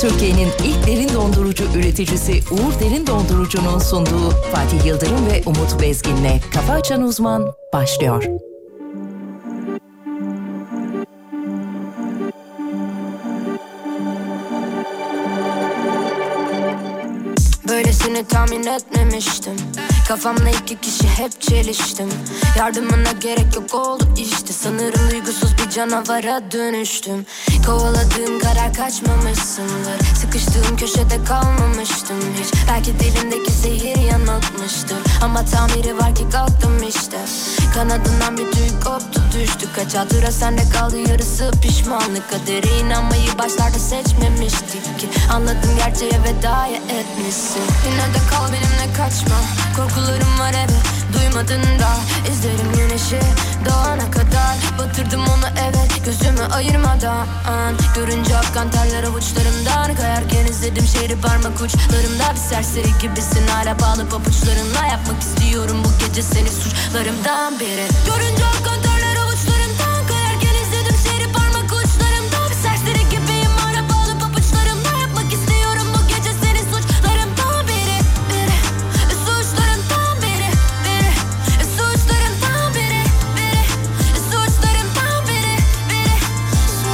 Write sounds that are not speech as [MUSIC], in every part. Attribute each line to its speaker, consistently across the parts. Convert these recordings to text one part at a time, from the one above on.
Speaker 1: Türkiye'nin ilk derin dondurucu üreticisi Uğur Derin Dondurucu'nun sunduğu Fatih Yıldırım ve Umut Bezgin'le Kafa Açan Uzman başlıyor.
Speaker 2: Böylesini tahmin etmemiştim Kafamla iki kişi hep çeliştim Yardımına gerek yok oldu işte Sanırım duygusuz bir canavara dönüştüm Kovaladığım karar kaçmamışsındır Sıkıştığım köşede kalmamıştım hiç Belki dilimdeki zehir yanıltmıştır Ama tamiri var ki kalktım işte Kanadından bir tüy koptu düştü Kaç hatıra sende kaldı yarısı pişmanlık Kadere inanmayı başlarda seçmemiştik ki Anladım gerçeğe vedaya etmişsin Yine de kal benimle kaçma Korkularım var eve duymadın da İzlerim güneşi doğana kadar Batırdım onu evet gözümü ayırmadan Görünce akkan terler avuçlarımdan Kayarken izledim şehri parmak uçlarımda Bir serseri gibisin hala bağlı papuçlarınla Yapmak istiyorum bu gece seni suçlarımdan biri Görünce akkan terler avuçlarımdan Kayarken izledim şehri parmak uçlarımda Bir serseri gibiyim hala bağlı papuçlarımla Yapmak istiyorum bu gece seni suçlarımdan biri Biri Suçlarımdan biri Biri Suçlarımdan biri Biri Suçlarımdan biri Biri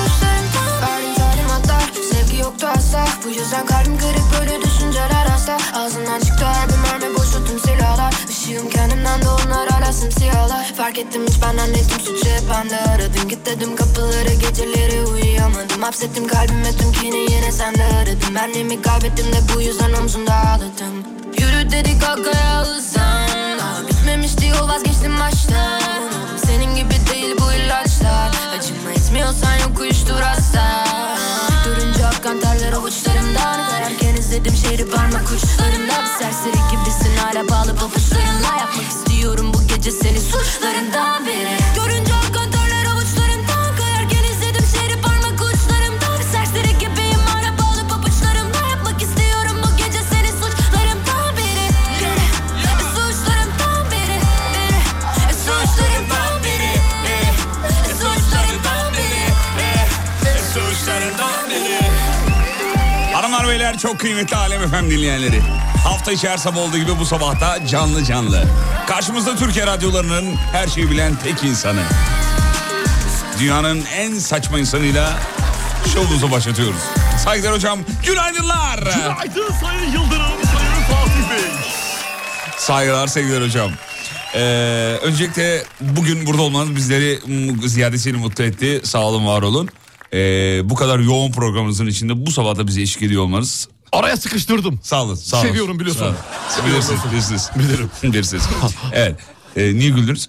Speaker 2: Verdim zalim hatlar Sevgi yoktu asla Bu yüzden kalbim kırık böyle düşünceler asla Ağzından çıktı her bir mermi boşalttım silahlar Işığım kendimden de onlar hala simsiyahlar Fark ettim hiç ben annetim suçu hep bende aradım Git dedim kapılara geceleri uyuyamadım Hapsettim kalbime tüm kini yine sende aradım Benliğimi kaybettim de bu yüzden omzumda ağladım Yürü dedi kalk ayağa uzan Daha bitmemiş diyor vazgeçtim baştan Senin gibi değil bu ilaçlar Acıma etmiyorsan yok uyuştur hasta Durunca akkan terler avuçlarımdan Kayarken izledim şehri parmak uçlarımda Bir serseri gibisin hala bağlı papuçlarınla Yapmak istiyorum bu gece seni suçlarından biri Görünce akkan terler avuçlarımdan Kayarken izledim şehri parmak uçlarımda Bir serseri gibiyim hala bağlı papuçlarımla Yapmak istiyorum bu gece seni suçlarımdan biri Biri Suçlarımdan biri Biri Suçlarımdan biri Biri Suçlarımdan biri Biri
Speaker 3: Hanımlar beyler çok kıymetli Alem Efem dinleyenleri. Hafta içi her sabah olduğu gibi bu sabahta canlı canlı. Karşımızda Türkiye radyolarının her şeyi bilen tek insanı. Dünyanın en saçma insanıyla şovumuzu başlatıyoruz. Saygılar hocam, günaydınlar.
Speaker 4: Günaydın Sayın Yıldırım, Sayın Fatih Bey.
Speaker 3: Saygılar sevgiler hocam. Ee, öncelikle bugün burada olmanız bizleri mm, ziyadesiyle mutlu etti. Sağ olun, var olun. Ee, bu kadar yoğun programınızın içinde bu sabah da bize eşlik ediyor olmanız
Speaker 4: Araya sıkıştırdım.
Speaker 3: Sağ olun. Sağ olun.
Speaker 4: Seviyorum biliyorsun.
Speaker 3: Sağ olun.
Speaker 4: Seviyorum
Speaker 3: Bilirsiniz, bilirsiniz. Bilirim. [LAUGHS] bilirsiniz. evet. Ee, niye güldünüz?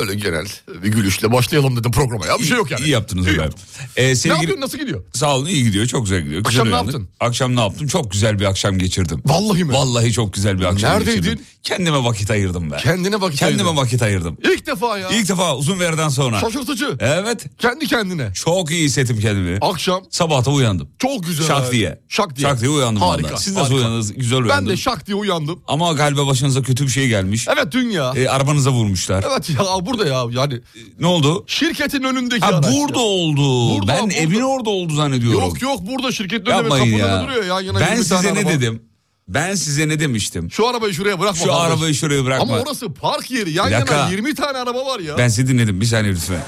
Speaker 4: Öyle genel bir gülüşle başlayalım dedim programa. Ya bir şey yok yani.
Speaker 3: İyi yaptınız
Speaker 4: İyi
Speaker 3: hocam.
Speaker 4: yaptın.
Speaker 3: Ee,
Speaker 4: Ne
Speaker 3: sevgili...
Speaker 4: yapıyorsun nasıl gidiyor?
Speaker 3: Sağ olun iyi gidiyor çok güzel gidiyor. Güzel
Speaker 4: Akşam ne
Speaker 3: uyandık.
Speaker 4: yaptın?
Speaker 3: Akşam ne yaptım? Çok güzel bir akşam geçirdim.
Speaker 4: Vallahi mi?
Speaker 3: Vallahi çok güzel bir akşam
Speaker 4: Neredeydin?
Speaker 3: geçirdim. Kendime vakit ayırdım ben.
Speaker 4: Kendine vakit
Speaker 3: Kendime
Speaker 4: ayırdın.
Speaker 3: vakit ayırdım.
Speaker 4: İlk defa ya.
Speaker 3: İlk E- defa uzun bir aradan sonra.
Speaker 4: Şaşırtıcı.
Speaker 3: Evet.
Speaker 4: Kendi kendine.
Speaker 3: Çok iyi hissettim kendimi.
Speaker 4: Akşam
Speaker 3: Sabah da uyandım.
Speaker 4: çok güzel.
Speaker 3: Şak diye.
Speaker 4: Şak diye.
Speaker 3: uyandım
Speaker 4: Harika.
Speaker 3: vallahi. Siz nasıl
Speaker 4: harika.
Speaker 3: uyandınız? Güzel uyandım.
Speaker 4: Ben de şak diye uyandım.
Speaker 3: Ama galiba başınıza kötü bir şey gelmiş.
Speaker 4: Evet dünya.
Speaker 3: Ee, arabanıza vurmuşlar.
Speaker 4: Evet ya burada ya yani
Speaker 3: Ne oldu?
Speaker 4: şirketin önündeki
Speaker 3: Ha
Speaker 4: araç ya.
Speaker 3: burada oldu.
Speaker 4: Burada,
Speaker 3: ben
Speaker 4: burada.
Speaker 3: evin orada oldu zannediyorum.
Speaker 4: Yok yok burada şirketin önünde
Speaker 3: Yapmayın
Speaker 4: kapının
Speaker 3: ya.
Speaker 4: önünde duruyor ya. Yan yana
Speaker 3: ben
Speaker 4: 20 tane
Speaker 3: size ne
Speaker 4: araba.
Speaker 3: dedim? Ben size ne demiştim?
Speaker 4: Şu arabayı şuraya bırakma.
Speaker 3: Şu
Speaker 4: kardeş.
Speaker 3: arabayı şuraya bırakma.
Speaker 4: Ama orası park yeri. Yan
Speaker 3: Bir dakika.
Speaker 4: yana 20 tane araba var ya.
Speaker 3: Ben sizi dinledim bir saniye lütfen.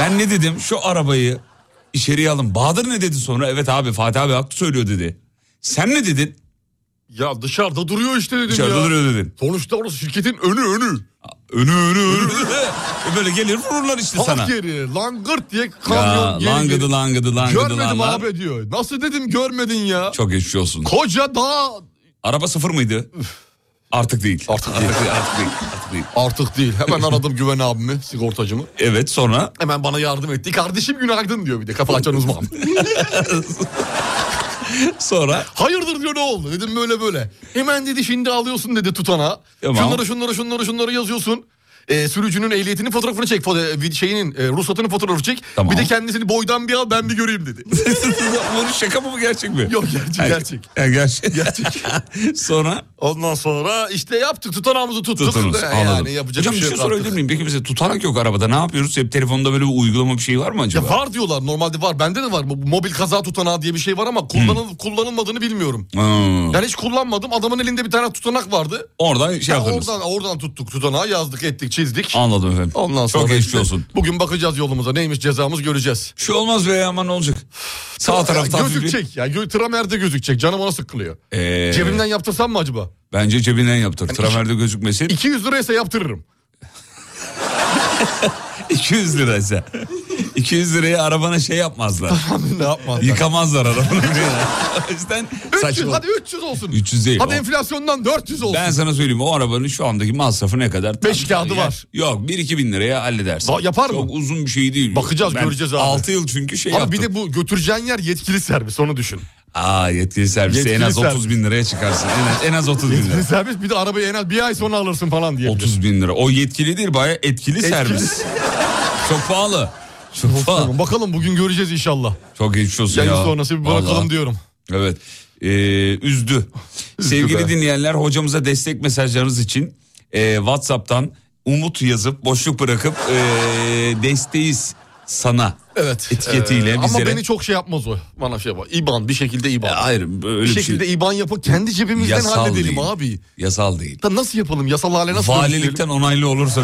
Speaker 3: ben ne dedim? Şu arabayı içeriye alın. Bahadır ne dedi sonra? Evet abi Fatih abi haklı söylüyor dedi. Sen ne dedin?
Speaker 4: Ya dışarıda duruyor işte dedim
Speaker 3: İçeride
Speaker 4: ya.
Speaker 3: duruyor dedin.
Speaker 4: Sonuçta orası şirketin önü önü.
Speaker 3: Önü önü önü. E Böyle gelir vururlar işte sana.
Speaker 4: Park yeri. Langırt diye kamyon.
Speaker 3: Ya
Speaker 4: geri geri-
Speaker 3: langıdı langıdı langıdı
Speaker 4: Görmedim
Speaker 3: langıdı.
Speaker 4: abi diyor. Nasıl dedim görmedin ya.
Speaker 3: Çok geçmiş olsun.
Speaker 4: Koca dağ.
Speaker 3: Araba sıfır mıydı? Artık değil.
Speaker 4: Artık değil.
Speaker 3: Artık değil. Artık değil. Artık değil.
Speaker 4: Artık değil. Hemen aradım Güven abimi, sigortacımı.
Speaker 3: Evet sonra
Speaker 4: Hemen bana yardım etti. Kardeşim günaydın diyor bir de kafa açan uzman. [LAUGHS]
Speaker 3: sonra
Speaker 4: Hayırdır diyor ne oldu? Dedim böyle böyle. Hemen dedi şimdi alıyorsun dedi tutana.
Speaker 3: Tamam.
Speaker 4: Şunları şunları şunları şunları yazıyorsun. E, sürücünün ehliyetinin fotoğrafını çek. Foto- bir şeyinin e, ruhsatının fotoğrafını çek.
Speaker 3: Tamam.
Speaker 4: Bir de kendisini boydan bir al ben bir göreyim
Speaker 3: [LAUGHS]
Speaker 4: dedi.
Speaker 3: Bunun şaka mı bu gerçek mi?
Speaker 4: Yok gerçek
Speaker 3: Hayır.
Speaker 4: gerçek.
Speaker 3: Yani gerçek.
Speaker 4: Gerçek.
Speaker 3: [LAUGHS] Sonra
Speaker 4: Ondan sonra işte yaptık tutanağımızı tuttuk. E,
Speaker 3: tutunuz.
Speaker 4: Yani
Speaker 3: anladım.
Speaker 4: yapacak
Speaker 3: Hocam bir şey
Speaker 4: yok artık.
Speaker 3: sorabilir miyim? Peki bize tutanak yok arabada. Ne yapıyoruz? Hep telefonda böyle bir uygulama bir şey var mı acaba?
Speaker 4: Ya var diyorlar normalde var. Bende de var. Bu Mobil kaza tutanağı diye bir şey var ama kullanıl kullanılmadığını bilmiyorum.
Speaker 3: Ha.
Speaker 4: Yani hiç kullanmadım. Adamın elinde bir tane tutanak vardı.
Speaker 3: Oradan şey
Speaker 4: Ya
Speaker 3: yaptınız.
Speaker 4: oradan oradan tuttuk tutanağı yazdık ettik çizdik.
Speaker 3: Anladım efendim.
Speaker 4: Ondan sonra
Speaker 3: Çok geçmiş
Speaker 4: işte
Speaker 3: olsun.
Speaker 4: Bugün bakacağız yolumuza neymiş cezamız göreceğiz.
Speaker 3: Bir şey olmaz be aman ne olacak? Sağ taraftan hafif bir-
Speaker 4: Gözükecek ya. Gö- Tramer'de gözükecek. Canım ona sıkılıyor.
Speaker 3: Ee,
Speaker 4: Cebimden yaptırsam mı acaba?
Speaker 3: Bence cebinden yaptır. Tramerde gözükmesin.
Speaker 4: 200 liraysa
Speaker 3: [LAUGHS]
Speaker 4: yaptırırım.
Speaker 3: 200 liraysa. 200 liraya arabana şey yapmazlar.
Speaker 4: ne yapmaz.
Speaker 3: Yıkamazlar arabanı. [LAUGHS] o yüzden
Speaker 4: 300
Speaker 3: saçma.
Speaker 4: hadi 300 olsun.
Speaker 3: 300 değil.
Speaker 4: Hadi
Speaker 3: o.
Speaker 4: enflasyondan 400 olsun.
Speaker 3: Ben sana söyleyeyim o arabanın şu andaki masrafı ne kadar?
Speaker 4: Beş
Speaker 3: Tam-
Speaker 4: kağıdı
Speaker 3: Ya-
Speaker 4: var.
Speaker 3: Yok 1-2 bin liraya halledersin.
Speaker 4: Va- yapar mı?
Speaker 3: Çok uzun bir şey değil.
Speaker 4: Bakacağız, göreceğiz abi.
Speaker 3: 6 yıl çünkü şey
Speaker 4: Abi
Speaker 3: yaptım.
Speaker 4: bir de bu götüreceğin yer yetkili servis onu düşün.
Speaker 3: Aa yetkili servise
Speaker 4: Yetkili
Speaker 3: en az
Speaker 4: servis.
Speaker 3: 30 bin liraya çıkarsın. En az, en az 30 bin lira.
Speaker 4: Yetkili servis bir de arabayı en az bir ay sonra alırsın falan diye.
Speaker 3: 30 bin lira. O yetkili değil baya etkili, servis. Çok pahalı. Çok pahalı.
Speaker 4: Bakalım bugün göreceğiz inşallah.
Speaker 3: Çok geçmiş olsun
Speaker 4: Yayın
Speaker 3: ya.
Speaker 4: sonrası bir bırakalım
Speaker 3: Vallahi.
Speaker 4: diyorum.
Speaker 3: Evet.
Speaker 4: [LAUGHS]
Speaker 3: Ee, üzdü. Sevgili
Speaker 4: be.
Speaker 3: dinleyenler hocamıza destek mesajlarınız için e, Whatsapp'tan umut yazıp boşluk bırakıp e, desteğiz sana
Speaker 4: Evet.
Speaker 3: etiketiyle
Speaker 4: Ee, Ama
Speaker 3: bizlere.
Speaker 4: beni çok şey yapmaz o. Bana şey yapar. İban bir şekilde İban.
Speaker 3: Hayır
Speaker 4: bir
Speaker 3: öyle bir
Speaker 4: şekilde
Speaker 3: şey.
Speaker 4: İban yapıp kendi cebimizden
Speaker 3: Yasal
Speaker 4: halledelim
Speaker 3: değil.
Speaker 4: abi.
Speaker 3: Yasal değil.
Speaker 4: Da nasıl yapalım? Yasal hale nasıl dönüştürelim? Ee,
Speaker 3: Valilikten onaylı olursa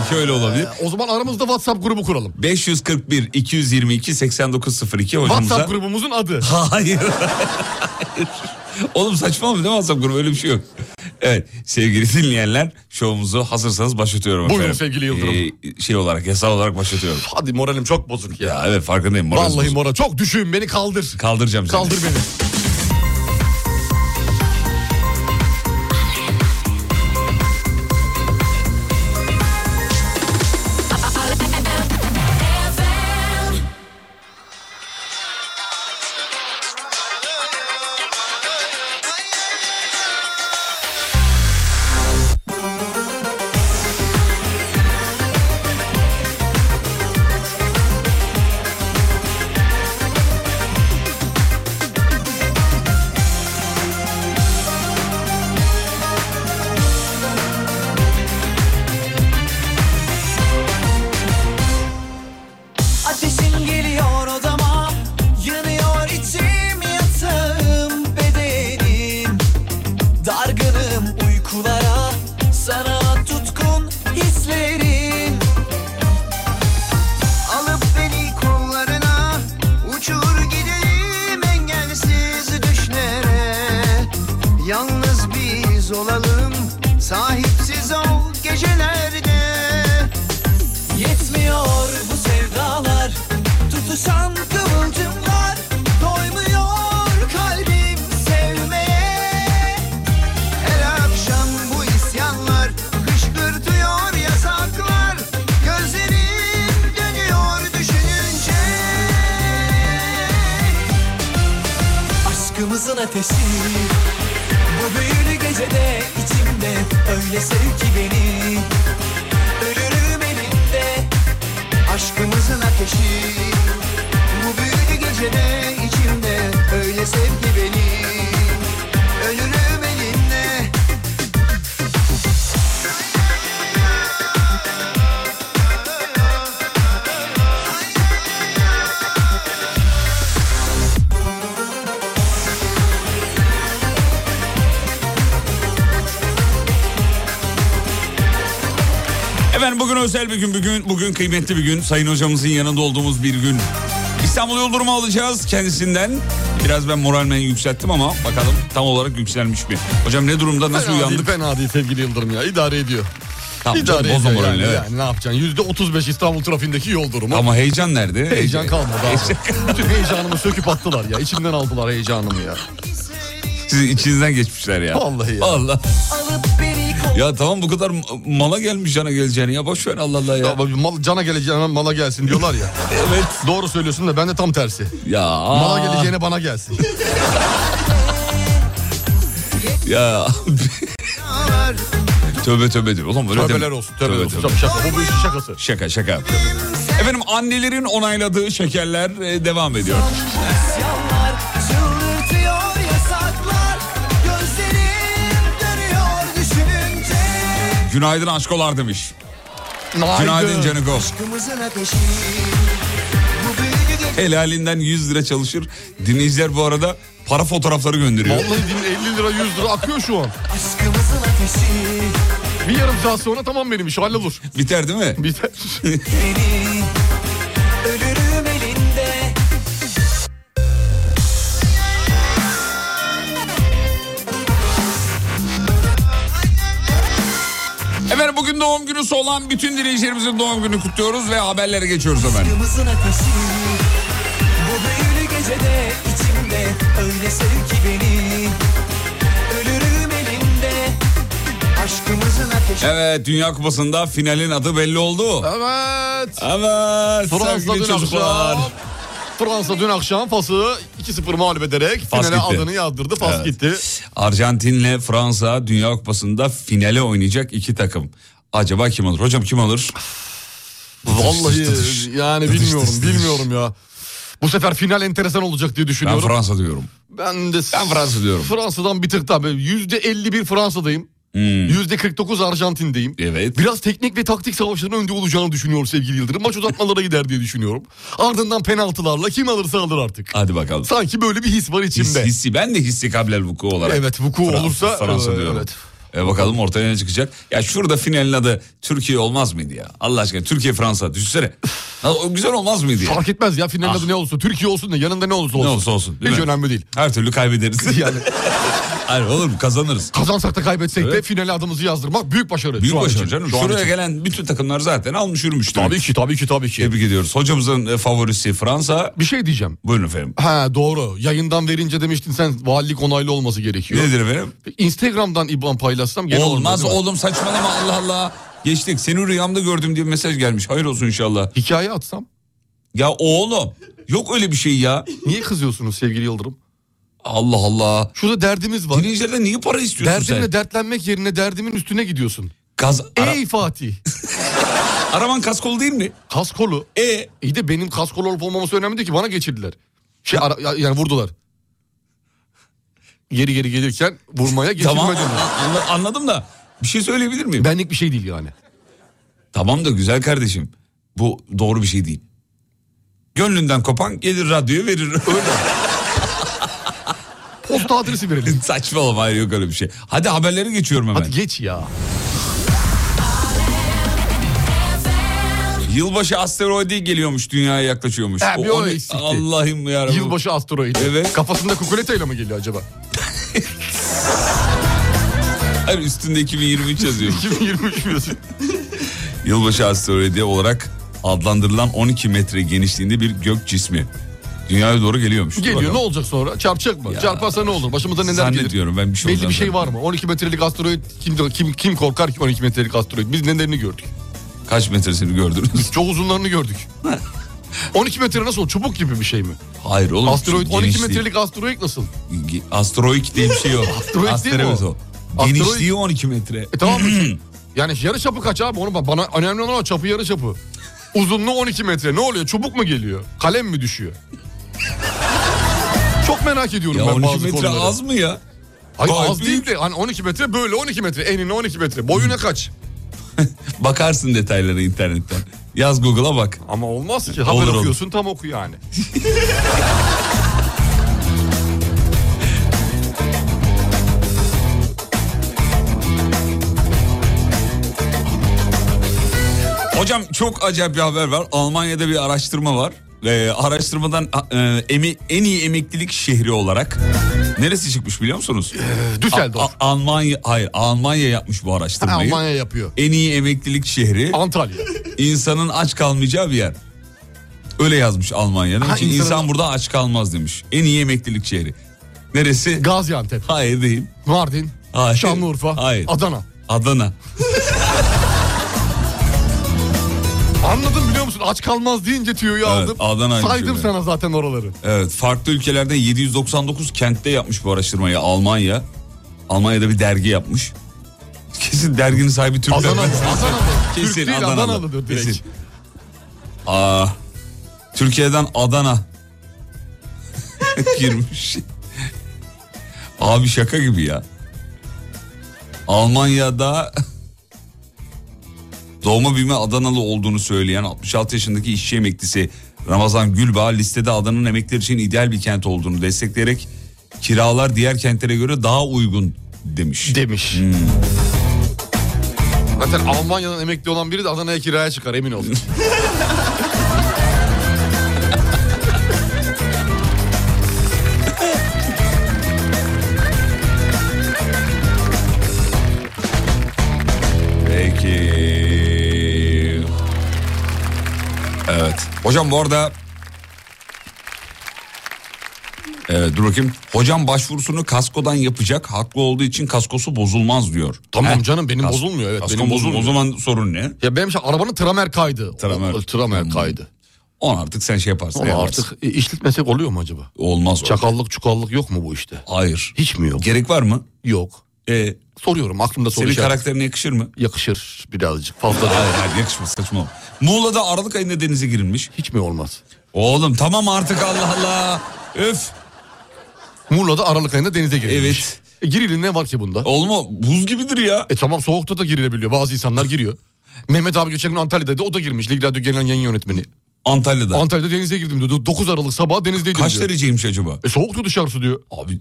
Speaker 4: [LAUGHS]
Speaker 3: belki öyle olabilir.
Speaker 4: O zaman aramızda WhatsApp grubu kuralım.
Speaker 3: 541 222 8902 hocamıza.
Speaker 4: WhatsApp grubumuzun adı.
Speaker 3: Hayır. Hayır. Oğlum saçma mı değil mi WhatsApp grubu öyle bir şey yok. Evet sevgili dinleyenler şovumuzu hazırsanız başlatıyorum
Speaker 4: Buyurun
Speaker 3: efendim.
Speaker 4: sevgili Yıldırım.
Speaker 3: Ee, şey olarak yasal olarak başlatıyorum.
Speaker 4: Hadi moralim çok bozuk ya.
Speaker 3: Ya evet farkındayım. Moral
Speaker 4: Vallahi
Speaker 3: bozuk.
Speaker 4: moral çok düşüğüm beni kaldır.
Speaker 3: Kaldıracağım seni.
Speaker 4: Kaldır beni.
Speaker 5: Ateşin geliyor odama Yanıyor içim yatağım bedenim Dargınım uykulara Sana tutkun hislerin Alıp beni kollarına Uçur gidelim engelsiz düşlere Yalnız biz olalım Sahipsiz ol gecelerde Yetmiyor bu sevdalar Tutuşan kıvılcımlar Doymuyor kalbim sevmeye Her akşam bu isyanlar Kışkırtıyor yasaklar Gözlerim dönüyor düşününce Aşkımızın ateşi Bu büyülü gecede içimde Öyle sev ki beni Ölürüm elinde Aşkımızın ateşi Bu büyülü gecede içimde Öyle sev ki beni Ölürüm elinde
Speaker 3: Efendim bugün özel bir gün, bugün, bugün kıymetli bir gün. Sayın hocamızın yanında olduğumuz bir gün. İstanbul yol durumu alacağız kendisinden. Biraz ben moralmen yükselttim ama bakalım tam olarak yükselmiş mi? Hocam ne durumda, nasıl
Speaker 4: fena Değil,
Speaker 3: uyandık?
Speaker 4: fena değil sevgili Yıldırım ya. İdare ediyor.
Speaker 3: Tamam,
Speaker 4: İdare
Speaker 3: canım, bozma
Speaker 4: ediyor
Speaker 3: moralini,
Speaker 4: yani.
Speaker 3: evet.
Speaker 4: yani. Ne yapacaksın? Yüzde 35 İstanbul trafiğindeki yol durumu.
Speaker 3: Ama heyecan nerede?
Speaker 4: Heyecan kalmadı abi.
Speaker 3: Heyecan-
Speaker 4: Bütün heyecanımı söküp attılar ya. İçimden aldılar heyecanımı ya.
Speaker 3: Sizin içinizden geçmişler ya.
Speaker 4: Vallahi ya.
Speaker 3: Vallahi.
Speaker 5: Alıp beni
Speaker 3: Ya tamam bu kadar mala gelmiş cana geleceğini ya boş ver Allah Allah ya.
Speaker 4: Ya bak, mal, cana geleceğine mala gelsin diyorlar ya.
Speaker 3: Evet.
Speaker 4: Doğru söylüyorsun da ben de tam tersi.
Speaker 3: Ya.
Speaker 4: Mala geleceğine bana gelsin.
Speaker 3: Ya.
Speaker 5: kollar
Speaker 3: [LAUGHS] Tövbe tövbe diyor. Oğlum öyle
Speaker 4: Tövbeler
Speaker 3: deme.
Speaker 4: olsun. Tövbeler
Speaker 3: Tövbe,
Speaker 4: olsun.
Speaker 3: tövbe.
Speaker 4: Tabii Şaka. Bu bu işin şakası.
Speaker 3: Şaka şaka. Efendim annelerin onayladığı şekerler e, devam ediyor.
Speaker 5: Yalanlar çıldırtıyor yasaklar Gözlerim dönüyor düşününce
Speaker 3: Günaydın aşkolar demiş. Günaydın Caniko.
Speaker 5: Aşkımızın ateşi Bu
Speaker 3: Helalinden 100 lira çalışır. Dinleyiciler bu arada para fotoğrafları gönderiyor.
Speaker 4: Vallahi din 50 lira 100 lira akıyor şu an.
Speaker 5: aşkımızın ateşi
Speaker 4: Bir yarım saat sonra tamam benim iş hallolur. [LAUGHS]
Speaker 3: Biter değil mi?
Speaker 4: Biter.
Speaker 5: beni Ölürüm elinde
Speaker 3: Efendim bugün doğum günüsü olan bütün dinleyicilerimizin doğum gününü kutluyoruz ve haberlere geçiyoruz hemen.
Speaker 5: Aşkımızın ateşi Bu büyülü gecede içimde Öyle sev ki beni Ölürüm elinde Aşkımızın ateşi
Speaker 3: Evet Dünya Kupası'nda finalin adı belli oldu.
Speaker 4: Evet.
Speaker 3: Evet
Speaker 4: Fransa
Speaker 3: sevgili
Speaker 4: dün
Speaker 3: çocuklar.
Speaker 4: akşam. Fransa dün akşam Fas'ı 2-0 mağlup ederek
Speaker 3: Fas
Speaker 4: finale
Speaker 3: gitti.
Speaker 4: adını yazdırdı. Fas
Speaker 3: Evet.
Speaker 4: gitti.
Speaker 3: Arjantin'le Fransa Dünya Kupası'nda finale oynayacak iki takım. Acaba kim alır? Hocam kim alır?
Speaker 4: Vallahi
Speaker 3: Dıdış,
Speaker 4: yani
Speaker 3: dıdış,
Speaker 4: bilmiyorum
Speaker 3: dıdış, dıdış.
Speaker 4: bilmiyorum ya. Bu sefer final enteresan olacak diye
Speaker 3: Ben
Speaker 4: düşünüyorum.
Speaker 3: Fransa diyorum.
Speaker 4: Ben de
Speaker 3: Ben Fransa diyorum.
Speaker 4: Fransa'dan bir tık daha böyle yüzde 51 Fransa'dayım.
Speaker 3: Hmm,
Speaker 4: Yüzde 49 Arjantin'deyim.
Speaker 3: evet.
Speaker 4: Biraz teknik ve taktik savaşların önde olacağını düşünüyorum sevgili Yıldırım. Maç uzatmalara gider diye düşünüyorum. Ardından penaltılarla kim alırsa alır artık.
Speaker 3: Hadi bakalım.
Speaker 4: Sanki böyle bir his var
Speaker 3: His,
Speaker 4: içimde.
Speaker 3: hissi ben de hissi kablel vuku olarak.
Speaker 4: Evet vuku
Speaker 3: Fra-
Speaker 4: olursa
Speaker 3: Fransa
Speaker 4: e,
Speaker 3: diyorum.
Speaker 4: evet.
Speaker 3: E bakalım ortaya ne çıkacak? Ya şurada finalin adı Türkiye olmaz mıydı ya? Allah aşkına Türkiye Fransa düşünsene. Ha, o güzel olmaz mıydı ya?
Speaker 4: Fark etmez ya finalin
Speaker 3: Ah.
Speaker 4: adı ne olsun. Türkiye olsun da yanında ne olursa
Speaker 3: Ne
Speaker 4: olsun.
Speaker 3: olursa olsun. değil
Speaker 4: Hiç
Speaker 3: mi?
Speaker 4: önemli değil.
Speaker 3: Her türlü
Speaker 4: [LAUGHS]
Speaker 3: kaybederiz.
Speaker 4: Yani
Speaker 3: Hayır olur mu kazanırız.
Speaker 4: kazansak da kaybetsek de
Speaker 3: Evet.
Speaker 4: finale adımızı yazdırmak büyük başarı.
Speaker 3: Büyük
Speaker 4: şu an
Speaker 3: başarı
Speaker 4: için.
Speaker 3: canım.
Speaker 4: Şu an
Speaker 3: Şuraya
Speaker 4: için.
Speaker 3: gelen bütün takımlar zaten almış yürümüş. demek.
Speaker 4: Tabii ki tabii ki tabii ki.
Speaker 3: Tebrik ediyoruz. Hocamızın e, favorisi Fransa.
Speaker 4: Bir şey diyeceğim.
Speaker 3: Buyurun efendim.
Speaker 4: Ha doğru. Yayından verince demiştin sen valilik onaylı olması gerekiyor.
Speaker 3: Nedir efendim?
Speaker 4: Instagram'dan IBAN paylaşsam gene olur,
Speaker 3: Olmaz
Speaker 4: değil mi?
Speaker 3: oğlum saçmalama Allah Allah. Geçtik. Seni rüyamda gördüm diye mesaj gelmiş. Hayır olsun inşallah.
Speaker 4: Hikaye atsam.
Speaker 3: Ya oğlum yok öyle bir şey ya.
Speaker 4: Niye kızıyorsunuz sevgili Yıldırım?
Speaker 3: Allah Allah.
Speaker 4: Şurada derdimiz var.
Speaker 3: Dinleyicilerden niye para istiyorsun
Speaker 4: Derdimle
Speaker 3: sen?
Speaker 4: dertlenmek yerine derdimin üstüne gidiyorsun.
Speaker 3: Gaz, ara-
Speaker 4: Ey Fatih.
Speaker 3: araban kaskol değil mi?
Speaker 4: [LAUGHS] Kaskolu.
Speaker 3: E
Speaker 4: İyi de benim kaskolu olup olmaması önemli değil ki bana geçirdiler. Şey ara- ya- yani vurdular. Geri geri gelirken vurmaya geçirme
Speaker 3: tamam
Speaker 4: denir.
Speaker 3: anla- anladım da bir şey söyleyebilir miyim?
Speaker 4: Benlik bir şey değil yani.
Speaker 3: Tamam da güzel kardeşim bu doğru bir şey değil. Gönlünden kopan gelir radyoyu verir. [LAUGHS]
Speaker 4: Posta adresi [LAUGHS] verelim.
Speaker 3: Saçmalama hayır yok öyle bir şey. Hadi haberlere geçiyorum hemen.
Speaker 4: Hadi geç ya.
Speaker 3: Yılbaşı asteroidi geliyormuş dünyaya yaklaşıyormuş.
Speaker 4: Ha, bir o
Speaker 3: ne-
Speaker 4: eksikti.
Speaker 3: Allah'ım yarabbim.
Speaker 4: Yılbaşı asteroidi.
Speaker 3: Evet.
Speaker 4: Kafasında kukuletayla mı geliyor [LAUGHS] acaba?
Speaker 3: Hayır üstünde 2023
Speaker 4: [LAUGHS]
Speaker 3: yazıyor.
Speaker 4: 2023 biliyorsun.
Speaker 3: Yılbaşı asteroidi olarak adlandırılan 12 metre genişliğinde bir gök cismi. Dünyaya doğru geliyormuş. Dur
Speaker 4: Geliyor ne
Speaker 3: bakalım.
Speaker 4: olacak sonra? Çarpacak mı?
Speaker 3: Ya.
Speaker 4: Çarparsa ne olur? Başımıza neler gelir?
Speaker 3: Zannetmiyorum ben bir şey
Speaker 4: Belli
Speaker 3: olacağını
Speaker 4: bir şey var mı? 12 metrelik asteroid kim, kim, kim korkar ki 12 metrelik asteroid? Biz nelerini gördük.
Speaker 3: zannetmiyorum. Kaç metresini gördünüz? [LAUGHS]
Speaker 4: Çok uzunlarını gördük. 12 metre nasıl? Çubuk gibi bir şey mi?
Speaker 3: Hayır oğlum.
Speaker 4: Asteroid
Speaker 3: şu
Speaker 4: 12
Speaker 3: genişliği-
Speaker 4: metrelik asteroid nasıl?
Speaker 3: Ge- Asteroid diye bir şey yok.
Speaker 4: [LAUGHS] Asteroid değil mi
Speaker 3: Asteroid
Speaker 4: o?
Speaker 3: o.
Speaker 4: Asteroid-
Speaker 3: Genişliği
Speaker 4: [LAUGHS]
Speaker 3: 12 metre.
Speaker 4: E tamam
Speaker 3: [CLEARS THROAT]
Speaker 4: mı? yani yarı çapı kaç abi? Onu bak- bana önemli olan o çapı yarı çapı. Uzunluğu 12 metre. Ne oluyor? Çubuk mu geliyor? Kalem mi düşüyor? Çok merak ediyorum
Speaker 3: Ya
Speaker 4: ben
Speaker 3: 12
Speaker 4: bazı
Speaker 3: metre
Speaker 4: konuları.
Speaker 3: az mı ya?
Speaker 4: Hayır
Speaker 3: Gayet
Speaker 4: az değil de hani 12 metre böyle 12 metre. Enine 12 metre. Boyuna kaç?
Speaker 3: Bakarsın detaylara internetten. Yaz Google'a bak.
Speaker 4: Ama olmaz ki. Haber
Speaker 3: Olur, olur.
Speaker 4: okuyorsun tam oku yani.
Speaker 3: Hocam çok acayip bir haber var. Almanya'da bir araştırma var. Ee, araştırmadan e, emi, en iyi emeklilik şehri olarak neresi çıkmış biliyor musunuz?
Speaker 4: E, Düsseldorf.
Speaker 3: A- Almanya hayır Almanya yapmış bu araştırmayı.
Speaker 4: Almanya yapıyor.
Speaker 3: En iyi emeklilik şehri
Speaker 4: Antalya.
Speaker 3: insanın aç kalmayacağı bir yer. Öyle yazmış Almanya. Demiş
Speaker 4: Ha,
Speaker 3: ki,
Speaker 4: insanın-
Speaker 3: insan burada aç kalmaz demiş. En iyi emeklilik şehri. Neresi?
Speaker 4: Gaziantep.
Speaker 3: Hayır değil.
Speaker 4: Mardin.
Speaker 3: Hayır.
Speaker 4: Şanlıurfa.
Speaker 3: Hayır.
Speaker 4: Adana.
Speaker 3: Adana.
Speaker 4: Anladım biliyor musun? Aç kalmaz deyince tüyoyu
Speaker 3: Evet,
Speaker 4: aldım.
Speaker 3: Adana'ymış
Speaker 4: Saydım
Speaker 3: öyle.
Speaker 4: sana zaten oraları.
Speaker 3: Evet farklı ülkelerde 799 kentte yapmış bu araştırmayı Almanya. Almanya'da bir dergi yapmış. Kesin derginin sahibi Türk.
Speaker 4: Adanalı.
Speaker 3: dergisi.
Speaker 4: Adanalı.
Speaker 3: Kesin
Speaker 4: Türk değil,
Speaker 3: Adanalı.
Speaker 4: Adanalıdır direkt.
Speaker 3: Kesin. Aa, Türkiye'den Adana [LAUGHS] girmiş. Abi şaka gibi ya. Almanya'da doğma büyüme Adanalı olduğunu söyleyen 66 yaşındaki işçi emeklisi Ramazan Gülbağ listede Adana'nın emekliler için ideal bir kent olduğunu destekleyerek kiralar diğer kentlere göre daha uygun demiş.
Speaker 4: Demiş.
Speaker 3: Hmm.
Speaker 4: Zaten Almanya'dan emekli olan biri de Adana'ya kiraya çıkar emin
Speaker 3: [LAUGHS]
Speaker 4: olun.
Speaker 3: Peki. Evet. Hocam bu arada... Evet dur bakayım. Hocam başvurusunu kaskodan yapacak. Haklı olduğu için kaskosu bozulmaz diyor.
Speaker 4: Tamam
Speaker 3: He?
Speaker 4: canım, benim
Speaker 3: Kas-
Speaker 4: bozulmuyor, evet,
Speaker 3: kaskon
Speaker 4: benim
Speaker 3: bozulmuyor. O
Speaker 4: bozulmuyor.
Speaker 3: zaman sorun ne?
Speaker 4: ya benim şey arabanın tramer kaydı.
Speaker 3: Tramer.
Speaker 4: O- o tramer
Speaker 3: Hmm.
Speaker 4: kaydı.
Speaker 3: On artık sen şey yaparsın.
Speaker 4: Onu
Speaker 3: yaparsın.
Speaker 4: artık e, işletmesek oluyor mu acaba?
Speaker 3: Olmaz o.
Speaker 4: Çakallık çukallık yok mu bu işte?
Speaker 3: Hayır.
Speaker 4: Hiç mi yok?
Speaker 3: Gerek var mı?
Speaker 4: Yok.
Speaker 3: Ee,
Speaker 4: Soruyorum aklımda soru
Speaker 3: senin
Speaker 4: işareti.
Speaker 3: karakterine yakışır mı?
Speaker 4: Yakışır birazcık fazla
Speaker 3: Hayır
Speaker 4: da.
Speaker 3: hayır yakışmaz saçmalama. Muğla'da Aralık ayında denize girilmiş.
Speaker 4: Hiç mi olmaz?
Speaker 3: Oğlum tamam artık Allah Allah. Öf.
Speaker 4: Muğla'da Aralık ayında denize girilmiş.
Speaker 3: Evet.
Speaker 4: E, girilin ne var ki bunda?
Speaker 3: Olma buz gibidir ya.
Speaker 4: E tamam soğukta da girilebiliyor. Bazı insanlar giriyor. Mehmet abi geçen gün Antalya'daydı o da girmiş. Lig Radyo Genel Yayın Yönetmeni.
Speaker 3: Antalya'da.
Speaker 4: Antalya'da denize girdim diyor. 9 Aralık sabah denizdeydim
Speaker 3: Kaç
Speaker 4: diyor.
Speaker 3: dereceymiş acaba?
Speaker 4: E soğuktu dışarısı diyor.
Speaker 3: Abi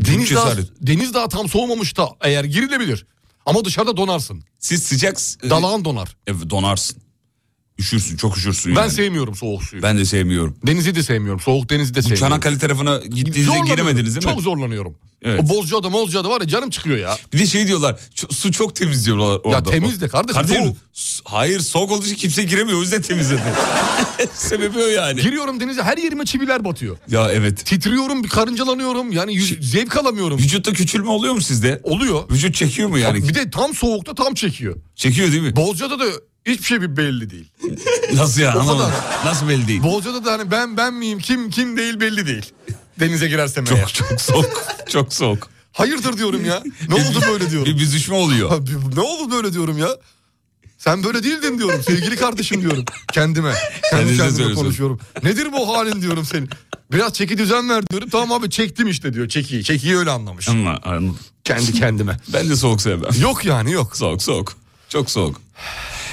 Speaker 4: Deniz
Speaker 3: deniz
Speaker 4: daha,
Speaker 3: cesaret.
Speaker 4: deniz daha tam soğumamış da eğer girilebilir. Ama dışarıda donarsın.
Speaker 3: Siz sıcak e,
Speaker 4: Dalağın donar.
Speaker 3: e, donarsın. Üşürsün, çok üşürsün
Speaker 4: Ben
Speaker 3: yani.
Speaker 4: sevmiyorum soğuk suyu.
Speaker 3: ben de sevmiyorum.
Speaker 4: Denizi de sevmiyorum. Soğuk denizi de
Speaker 3: Bu
Speaker 4: sevmiyorum.
Speaker 3: Çanakkale tarafına gittiğinizde
Speaker 4: Zorlanıyorum.
Speaker 3: giremediniz değil mi?
Speaker 4: Çok zorlanıyorum.
Speaker 3: Evet.
Speaker 4: O Bozcaada Mozcaada var ya canım çıkıyor ya.
Speaker 3: Bir de şey diyorlar, "Ço- su çok temiz diyorlar orada.
Speaker 4: temiz de kardeşim, soğuk.
Speaker 3: su- hayır soğuk olduğu için kimse giremiyor o yüzden temizledi. [LAUGHS] Sebebi o yani.
Speaker 4: Giriyorum denize her yerime çiviler batıyor.
Speaker 3: Ya evet.
Speaker 4: Titriyorum, bir karıncalanıyorum. Yani yüz- zevk alamıyorum.
Speaker 3: Vücutta küçülme oluyor mu sizde?
Speaker 4: Oluyor.
Speaker 3: Vücut çekiyor mu yani?
Speaker 4: Bir de tam soğukta tam çekiyor.
Speaker 3: Çekiyor değil mi?
Speaker 4: Bozcaada da hiçbir şey bir belli değil.
Speaker 3: Nasıl yani?
Speaker 4: O kadar.
Speaker 3: Anlamadım. Nasıl belli değil?
Speaker 4: Bozcaada da hani ben ben miyim, kim kim değil belli değil. Denize girersem
Speaker 3: Çok
Speaker 4: eğer.
Speaker 3: çok soğuk. Çok soğuk.
Speaker 4: Hayırdır diyorum ya. Ne oldu böyle diyorum.
Speaker 3: Bir büzüşme oluyor.
Speaker 4: Ha, bir- ne oldu böyle diyorum ya. Sen böyle değildin diyorum sevgili kardeşim diyorum kendime. Kendi
Speaker 3: Kendinize
Speaker 4: kendime
Speaker 3: söylüyorsun.
Speaker 4: konuşuyorum. Nedir bu halin diyorum senin. Biraz çeki düzen ver diyorum. Tamam abi çektim işte diyor çekiyi. Çekiyi öyle anlamış.
Speaker 3: [LAUGHS] Ama anladım.
Speaker 4: Kendi kendime.
Speaker 3: Ben de soğuk sevmem.
Speaker 4: Yok yani yok.
Speaker 3: Soğuk soğuk. Çok soğuk.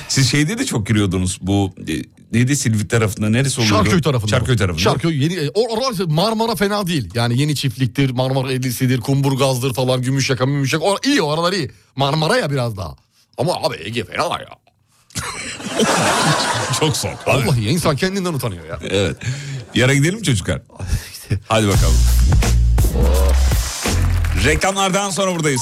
Speaker 3: Siz şeyde de çok giriyordunuz bu e, neydi Silivri tarafında neresi oluyordu?
Speaker 4: Şarköy tarafında.
Speaker 3: Şarköy tarafında.
Speaker 4: Şarköy yeni e, or, oralar Marmara fena değil. Yani yeni çiftliktir, Marmara Edlisi'dir, Kumburgaz'dır falan, Gümüşyaka, Mümüşyaka. Or, iyi oralar iyi. Marmara ya biraz daha. Ama abi Ege fena ya.
Speaker 3: [LAUGHS] Çok soğuk.
Speaker 4: Vallahi ya, insan kendinden utanıyor ya.
Speaker 3: Evet. Yara gidelim mi çocuklar? [LAUGHS] Hadi bakalım. Reklamlardan sonra buradayız.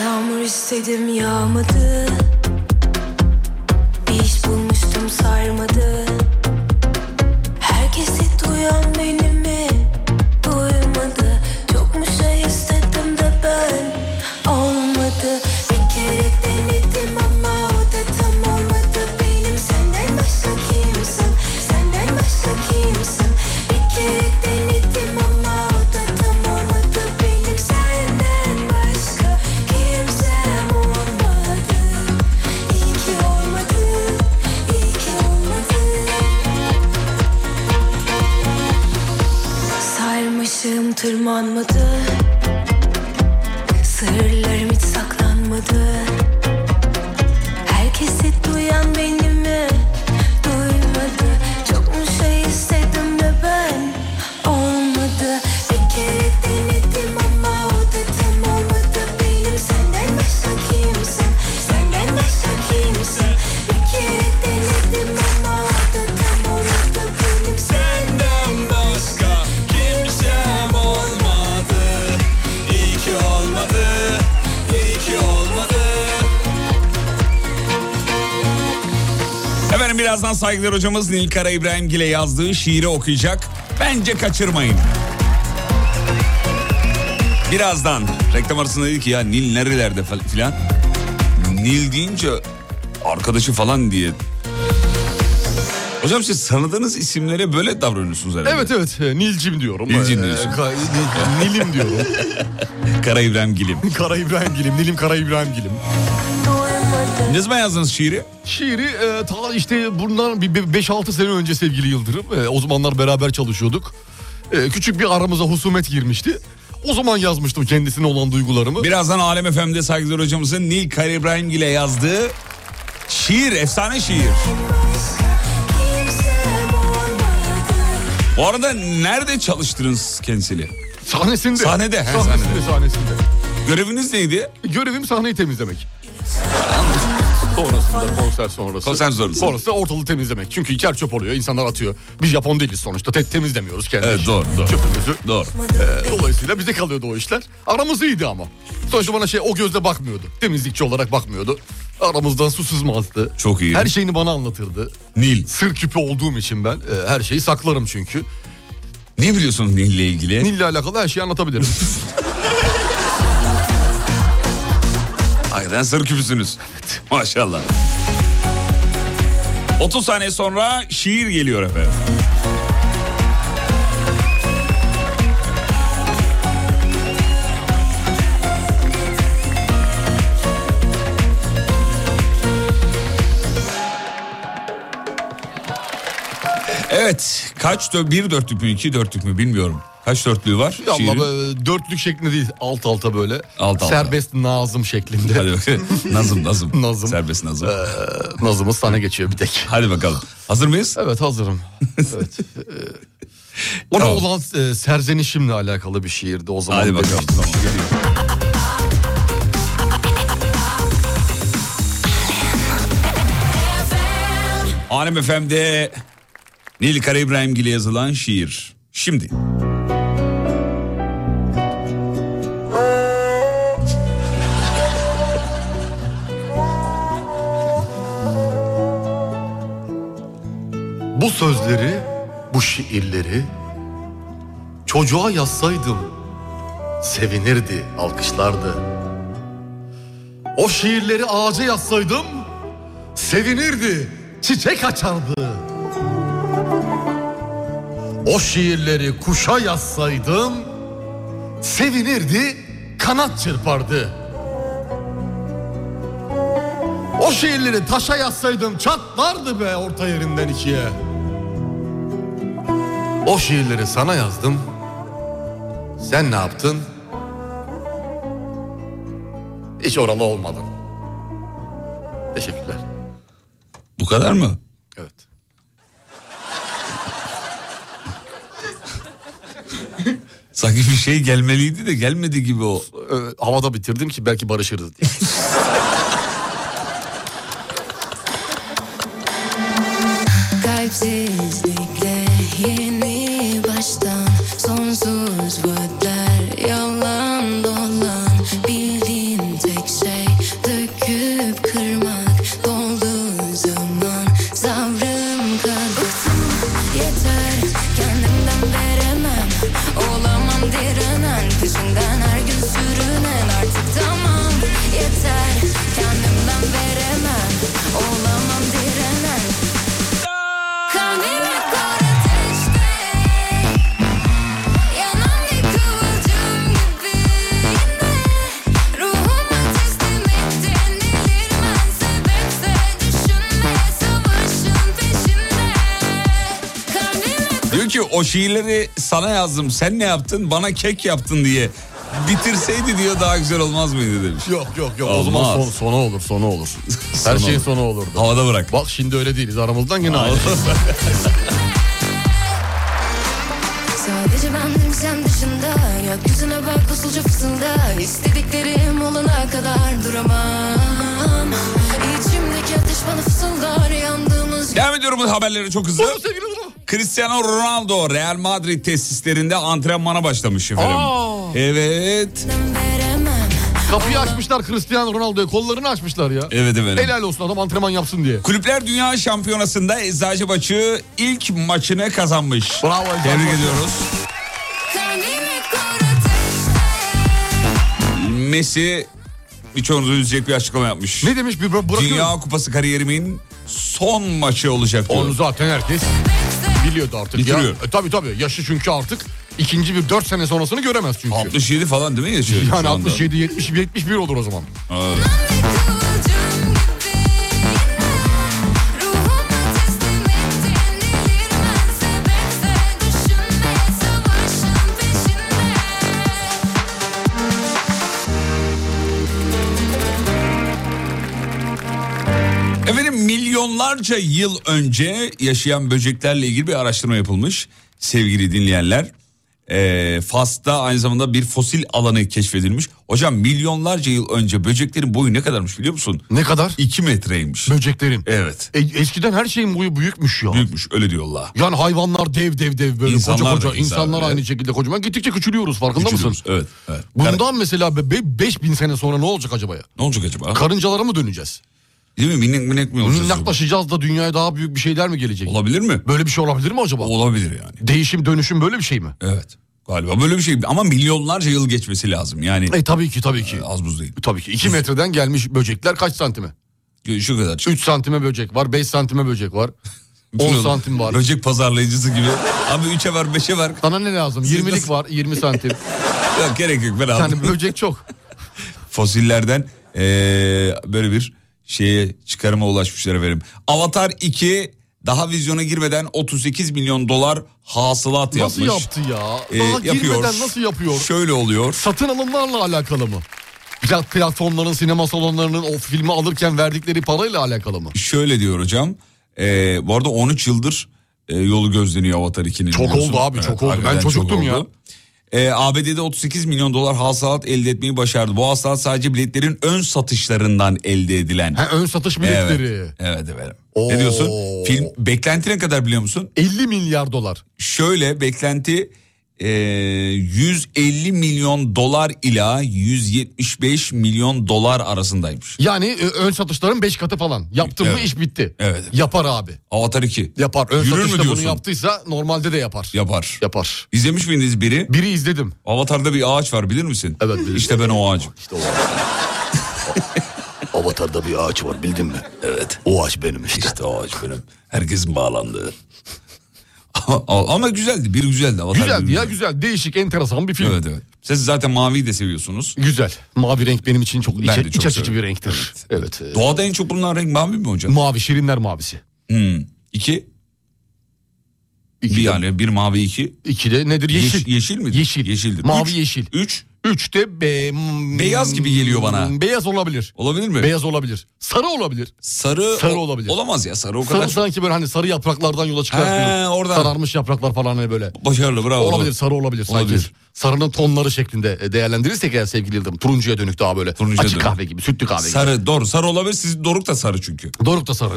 Speaker 2: Yağmur istedim yağmadı Bir iş bulmuştum sarmadı Herkesi duyan beni mi? Duymadı Çok mu şey istedim de ben Olmadı Bir kere denedim ama o da tam olmadı Benim senden başka kimsin? Senden başka kimsin? Bir kere denedim ama o da tam olmadı Benim senden başka kimsem olmadı İyi ki olmadı İyi ki olmadı
Speaker 6: şey
Speaker 3: birazdan saygılar hocamız Nilkara İbrahimgil'e yazdığı şiiri okuyacak. Bence kaçırmayın. Birazdan reklam arasında dedi ki ya Nil nerelerde fal- filan. Nil deyince arkadaşı falan diye. Hocam siz tanıdığınız isimlere böyle davranıyorsunuz herhalde.
Speaker 4: Evet evet e, Nilcim diyorum.
Speaker 3: Nilcim
Speaker 4: E,
Speaker 3: diyorsun.
Speaker 4: ka- Nil-
Speaker 3: [LAUGHS]
Speaker 4: Nilim diyorum.
Speaker 3: Kara İbrahimgil'im.
Speaker 4: Kara İbrahim Gilim, Nilim Kara İbrahim Gilim.
Speaker 3: Ne zaman yazdınız şiiri?
Speaker 4: Şiiri e, ta işte bundan bir 5-6 sene önce sevgili Yıldırım. e, o zamanlar beraber çalışıyorduk. E, küçük bir aramıza husumet girmişti. O zaman yazmıştım kendisine olan duygularımı.
Speaker 3: Birazdan Alem FM'de saygılar hocamızın Nil Kara İbrahimgil'e yazdığı şiir, efsane şiir. Bu arada nerede çalıştınız kendisini?
Speaker 4: Sahnesinde.
Speaker 3: Sahnede, he,
Speaker 4: Sahnesinde, sahnesinde.
Speaker 3: Göreviniz neydi?
Speaker 4: Görevim sahneyi temizlemek. Sonrasında konser sonrası.
Speaker 3: Konser sonrası.
Speaker 4: Sonrası ortalığı temizlemek. Çünkü içer çöp oluyor, insanlar atıyor. Biz Japon değiliz sonuçta, te- temizlemiyoruz kendimizi.
Speaker 3: Evet, doğru, doğru.
Speaker 4: Çöpümüzü.
Speaker 3: Doğru.
Speaker 4: Ee, dolayısıyla bize kalıyordu o işler. Aramız iyiydi ama. Sonuçta bana şey o gözle bakmıyordu. Temizlikçi olarak bakmıyordu. Aramızdan su sızmazdı.
Speaker 3: Çok iyi.
Speaker 4: Her şeyini bana anlatırdı.
Speaker 3: Nil.
Speaker 4: Sır küpü olduğum için ben e, her şeyi saklarım çünkü.
Speaker 3: Ne biliyorsun Nil'le ilgili?
Speaker 4: Nil'le alakalı her şeyi anlatabilirim.
Speaker 3: Aynen sarı küpüsünüz. Maşallah. 30 saniye sonra şiir geliyor efendim. Evet. Kaç? dö- Bir dörtlük mü? iki dörtlük mü? Bilmiyorum. Kaç dörtlüğü var?
Speaker 4: Ya
Speaker 3: [LAUGHS] şiirin?
Speaker 4: Ama böyle dörtlük şeklinde değil alt alta böyle.
Speaker 3: alta.
Speaker 4: Serbest Nazım şeklinde.
Speaker 3: Hadi bakalım. [LAUGHS] Nazım, Nazım.
Speaker 4: Nazım.
Speaker 3: Serbest Nazım.
Speaker 4: Ee, [LAUGHS] nazımız sana geçiyor bir tek.
Speaker 3: Hadi bakalım. Hazır mıyız?
Speaker 4: Evet
Speaker 3: [LAUGHS]
Speaker 4: hazırım. Evet. Ee, Ona
Speaker 3: Tamam.
Speaker 4: olan e, serzenişimle alakalı bir şiirdi o zaman.
Speaker 3: Hadi bakalım.
Speaker 4: demiştim.
Speaker 3: Tamam, geliyor. Alem FM'de Nil Kara İbrahimgil'e yazılan şiir. Şimdi.
Speaker 4: Bu sözleri, bu şiirleri çocuğa yazsaydım sevinirdi, alkışlardı. O şiirleri ağaca yazsaydım sevinirdi, çiçek açardı. O şiirleri kuşa yazsaydım sevinirdi, kanat çırpardı. O şiirleri taşa yazsaydım çatlardı be orta yerinden ikiye. O şiirleri sana yazdım. Sen ne yaptın? Hiç oralı olmadın. Teşekkürler.
Speaker 3: Bu kadar mı?
Speaker 4: Evet.
Speaker 3: Sanki bir şey gelmeliydi de gelmedi gibi o.
Speaker 4: Ee, havada bitirdim ki belki barışırız diye.
Speaker 2: Kalpsizlikle yeni baştan Sonsuz vaatler yalan dolan Bildiğin tek şey döküp kırmak Doldu zaman sabrım kaldı Yeter kendimden veremem Olamam direnen Peşinden her gün sürünen Artık tamam yeter Kendimden veremem Olamam direnen Kalbime kor ateşte Yanan bir kıvılcım gibi Yine ruhuma teslim ettin Delirmen sebepse Düşünme savaşın peşinde Kalbime
Speaker 3: Diyor ki o şiirleri sana yazdım sen ne yaptın bana kek yaptın diye. Bitirseydi diyor daha güzel olmaz mıydı demiş.
Speaker 4: [LAUGHS] yok yok yok. O
Speaker 3: Olmaz.
Speaker 4: zaman son, sonu olur sonu olur.
Speaker 3: [LAUGHS]
Speaker 4: Her
Speaker 3: Sonu
Speaker 4: şeyin
Speaker 3: olur.
Speaker 4: sonu olurdu.
Speaker 3: Havada bırak.
Speaker 4: Bak şimdi öyle değiliz aramızdan yine ayrı. [LAUGHS]
Speaker 2: Sadece bendim sen dışında Gökyüzüne bak usulca fısılda İstediklerim olana kadar duramam İçimdeki ateş bana fısıldar Yandığımız
Speaker 3: Devam ediyorum bu haberleri çok hızlı. Cristiano Ronaldo Real Madrid tesislerinde antrenmana başlamış efendim. Evet.
Speaker 2: veremem
Speaker 4: Kapıyı açmışlar Cristiano Ronaldo'ya kollarını açmışlar ya.
Speaker 3: Evet efendim.
Speaker 4: Helal olsun adam antrenman yapsın diye.
Speaker 3: Kulüpler Dünya Şampiyonası'nda Eczacıbaşı ilk maçını kazanmış.
Speaker 4: Bravo Eczacıbaşı.
Speaker 3: Tebrik ediyoruz. Messi birçoğunuzu üzecek bir açıklama yapmış.
Speaker 4: Ne demiş bir bıra- bırakıyor.
Speaker 3: Dünya Kupası kariyerimin son maçı olacak diyor.
Speaker 4: Onu zaten herkes biliyordu artık ya.
Speaker 3: Bitiriyor.
Speaker 4: E, tabii tabii yaşı çünkü artık ikinci bir 4 sene sonrasını göremez çünkü.
Speaker 3: 67 falan değil mi yaşıyor? şu
Speaker 4: yani
Speaker 3: anda?
Speaker 4: 67 70 71 olur o zaman.
Speaker 3: Evet. Efendim milyonlarca yıl önce yaşayan böceklerle ilgili bir araştırma yapılmış sevgili dinleyenler. Ee, Fas'ta aynı zamanda bir fosil alanı keşfedilmiş. Hocam milyonlarca yıl önce böceklerin boyu ne kadarmış biliyor musun?
Speaker 4: Ne kadar?
Speaker 3: 2 metreymiş.
Speaker 4: Böceklerin.
Speaker 3: Evet.
Speaker 4: E, eskiden her şeyin boyu büyükmüş ya.
Speaker 3: Büyükmüş öyle diyorlar.
Speaker 4: Yani hayvanlar dev dev dev böyle
Speaker 3: İnsanlar
Speaker 4: koca
Speaker 3: da
Speaker 4: koca insanlar
Speaker 3: insan,
Speaker 4: aynı
Speaker 3: evet.
Speaker 4: şekilde kocaman gittikçe küçülüyoruz farkında
Speaker 3: Küçülüyoruz,
Speaker 4: mısın?
Speaker 3: Evet, evet.
Speaker 4: Bundan
Speaker 3: Kar-
Speaker 4: mesela be- be- 5000 sene sonra ne olacak acaba ya?
Speaker 3: ne olacak acaba?
Speaker 4: Karıncalara mı döneceğiz?
Speaker 3: Değil mi? Minik minik mi olacağız? acaba?
Speaker 4: Minnaklaşacağız da dünyaya daha büyük bir şeyler mi gelecek?
Speaker 3: Olabilir mi?
Speaker 4: Böyle bir şey olabilir mi acaba?
Speaker 3: Olabilir yani.
Speaker 4: Değişim dönüşüm böyle bir şey mi?
Speaker 3: Evet. Galiba böyle bir şey ama milyonlarca yıl geçmesi lazım. Yani
Speaker 4: E tabii ki tabii ki.
Speaker 3: az buz değil.
Speaker 4: Tabii ki 2 metreden gelmiş böcekler kaç santime?
Speaker 3: Şu kadar.
Speaker 4: 3 santime böcek var, 5 santime böcek var. 10 santim var.
Speaker 3: Böcek pazarlayıcısı gibi. Abi 3'e var 5'e var.
Speaker 4: Sana ne lazım?
Speaker 3: Siz
Speaker 4: 20'lik
Speaker 3: nasıl-
Speaker 4: var, 20 santim.
Speaker 3: [LAUGHS] Yok gerek yok ben aldım.
Speaker 4: Yani böcek çok.
Speaker 3: Fosillerden eee, böyle bir şeye çıkarıma ulaşmışlar efendim. Avatar 2 daha vizyona girmeden 38 milyon dolar hasılat
Speaker 4: Nasıl
Speaker 3: yapmış.
Speaker 4: yaptı ya?
Speaker 3: Ee,
Speaker 4: Daha
Speaker 3: yapıyor.
Speaker 4: girmeden nasıl yapıyor?
Speaker 3: Şöyle oluyor.
Speaker 4: Satın alımlarla alakalı mı? Plat platformların, sinema salonlarının o filmi alırken verdikleri parayla alakalı mı?
Speaker 3: Şöyle diyor hocam. Eee bu arada 13 yıldır e, yolu gözleniyor Avatar 2'nin.
Speaker 4: Çok
Speaker 3: biliyorsun.
Speaker 4: oldu abi, çok oldu. Ben
Speaker 3: hakikaten çok
Speaker 4: çocuktum
Speaker 3: oldu. E,
Speaker 4: ya.
Speaker 3: Eee, ABD'de 38 milyon dolar hasılat elde etmeyi başardı. Bu hasılat sadece biletlerin ön satışlarından elde edilen.
Speaker 4: Ha, ön satış
Speaker 3: Evet.
Speaker 4: biletleri.
Speaker 3: Evet efendim.
Speaker 4: Oo.
Speaker 3: Ne diyorsun? Film beklentine kadar biliyor musun?
Speaker 4: 50 milyar dolar.
Speaker 3: Şöyle beklenti e, 150 milyon dolar ila 175 milyon dolar arasındaymış.
Speaker 4: Yani e, ön satışların 5 katı falan. Yaptın mı
Speaker 3: Evet.
Speaker 4: iş bitti.
Speaker 3: Evet.
Speaker 4: Yapar abi.
Speaker 3: Avatar 2
Speaker 4: Yapar. Ön
Speaker 3: Yürür mü
Speaker 4: satışta bunu
Speaker 3: diyorsun?
Speaker 4: yaptıysa normalde de yapar.
Speaker 3: yapar.
Speaker 4: Yapar.
Speaker 3: İzlemiş miydiniz biri?
Speaker 4: Biri izledim.
Speaker 3: Avatar'da bir ağaç var bilir misin?
Speaker 4: Evet, bilirim.
Speaker 3: İşte ben o ağacım.
Speaker 7: Avatar'da bir ağaç var bildin mi?
Speaker 3: Evet.
Speaker 7: O ağaç benim işte.
Speaker 3: İşte o ağaç benim. Herkesin bağlandığı. ama, ama güzeldi. Biri güzeldi. Avatar
Speaker 4: Güzeldi
Speaker 3: biri
Speaker 4: ya
Speaker 3: güzeldi.
Speaker 4: güzel. Değişik, enteresan bir film.
Speaker 3: Evet evet. Siz zaten maviyi de seviyorsunuz.
Speaker 4: Güzel. Mavi renk benim için çok,
Speaker 3: Ben
Speaker 4: iç,
Speaker 3: de çok
Speaker 4: iç açıcı
Speaker 3: severim.
Speaker 4: bir renktir. Evet. e,
Speaker 3: Doğada en çok bulunan renk mavi mi hocam?
Speaker 4: Mavi, şirinler mavisi.
Speaker 3: Hmm. İki.
Speaker 4: İki
Speaker 3: Bir
Speaker 4: de-
Speaker 3: yani bir mavi iki.
Speaker 4: İki de nedir?
Speaker 3: Yeşil.
Speaker 4: Yeşil.
Speaker 3: yeşil midir?
Speaker 4: Yeşil.
Speaker 3: Yeşildir.
Speaker 4: Mavi
Speaker 3: Üç-
Speaker 4: yeşil.
Speaker 3: Üç.
Speaker 4: Üç de be- m-
Speaker 3: Beyaz gibi geliyor bana.
Speaker 4: Beyaz olabilir.
Speaker 3: Olabilir mi?
Speaker 4: Beyaz olabilir. Sarı olabilir.
Speaker 3: Sarı.
Speaker 4: Sarı
Speaker 3: o-
Speaker 4: olabilir.
Speaker 3: Olamaz ya sarı o
Speaker 4: Sarı
Speaker 3: kadar.
Speaker 4: sanki böyle hani sarı yapraklardan yola çıkartıyor.
Speaker 3: He, oradan.
Speaker 4: Sararmış yapraklar falan hani böyle.
Speaker 3: Başarılı bravo.
Speaker 4: Olabilir sarı olabilir sanki.
Speaker 3: Olabilir.
Speaker 4: Sarının tonları şeklinde e, değerlendirirsek eğer sevgili Yıldırım. Turuncuya dönük daha böyle.
Speaker 3: Turuncuya
Speaker 4: Açık
Speaker 3: dönük.
Speaker 4: kahve gibi sütlü kahve gibi.
Speaker 3: Sarı doğru sarı olabilir. Siz doruk da sarı çünkü.
Speaker 4: [LAUGHS] Doruk da sarı.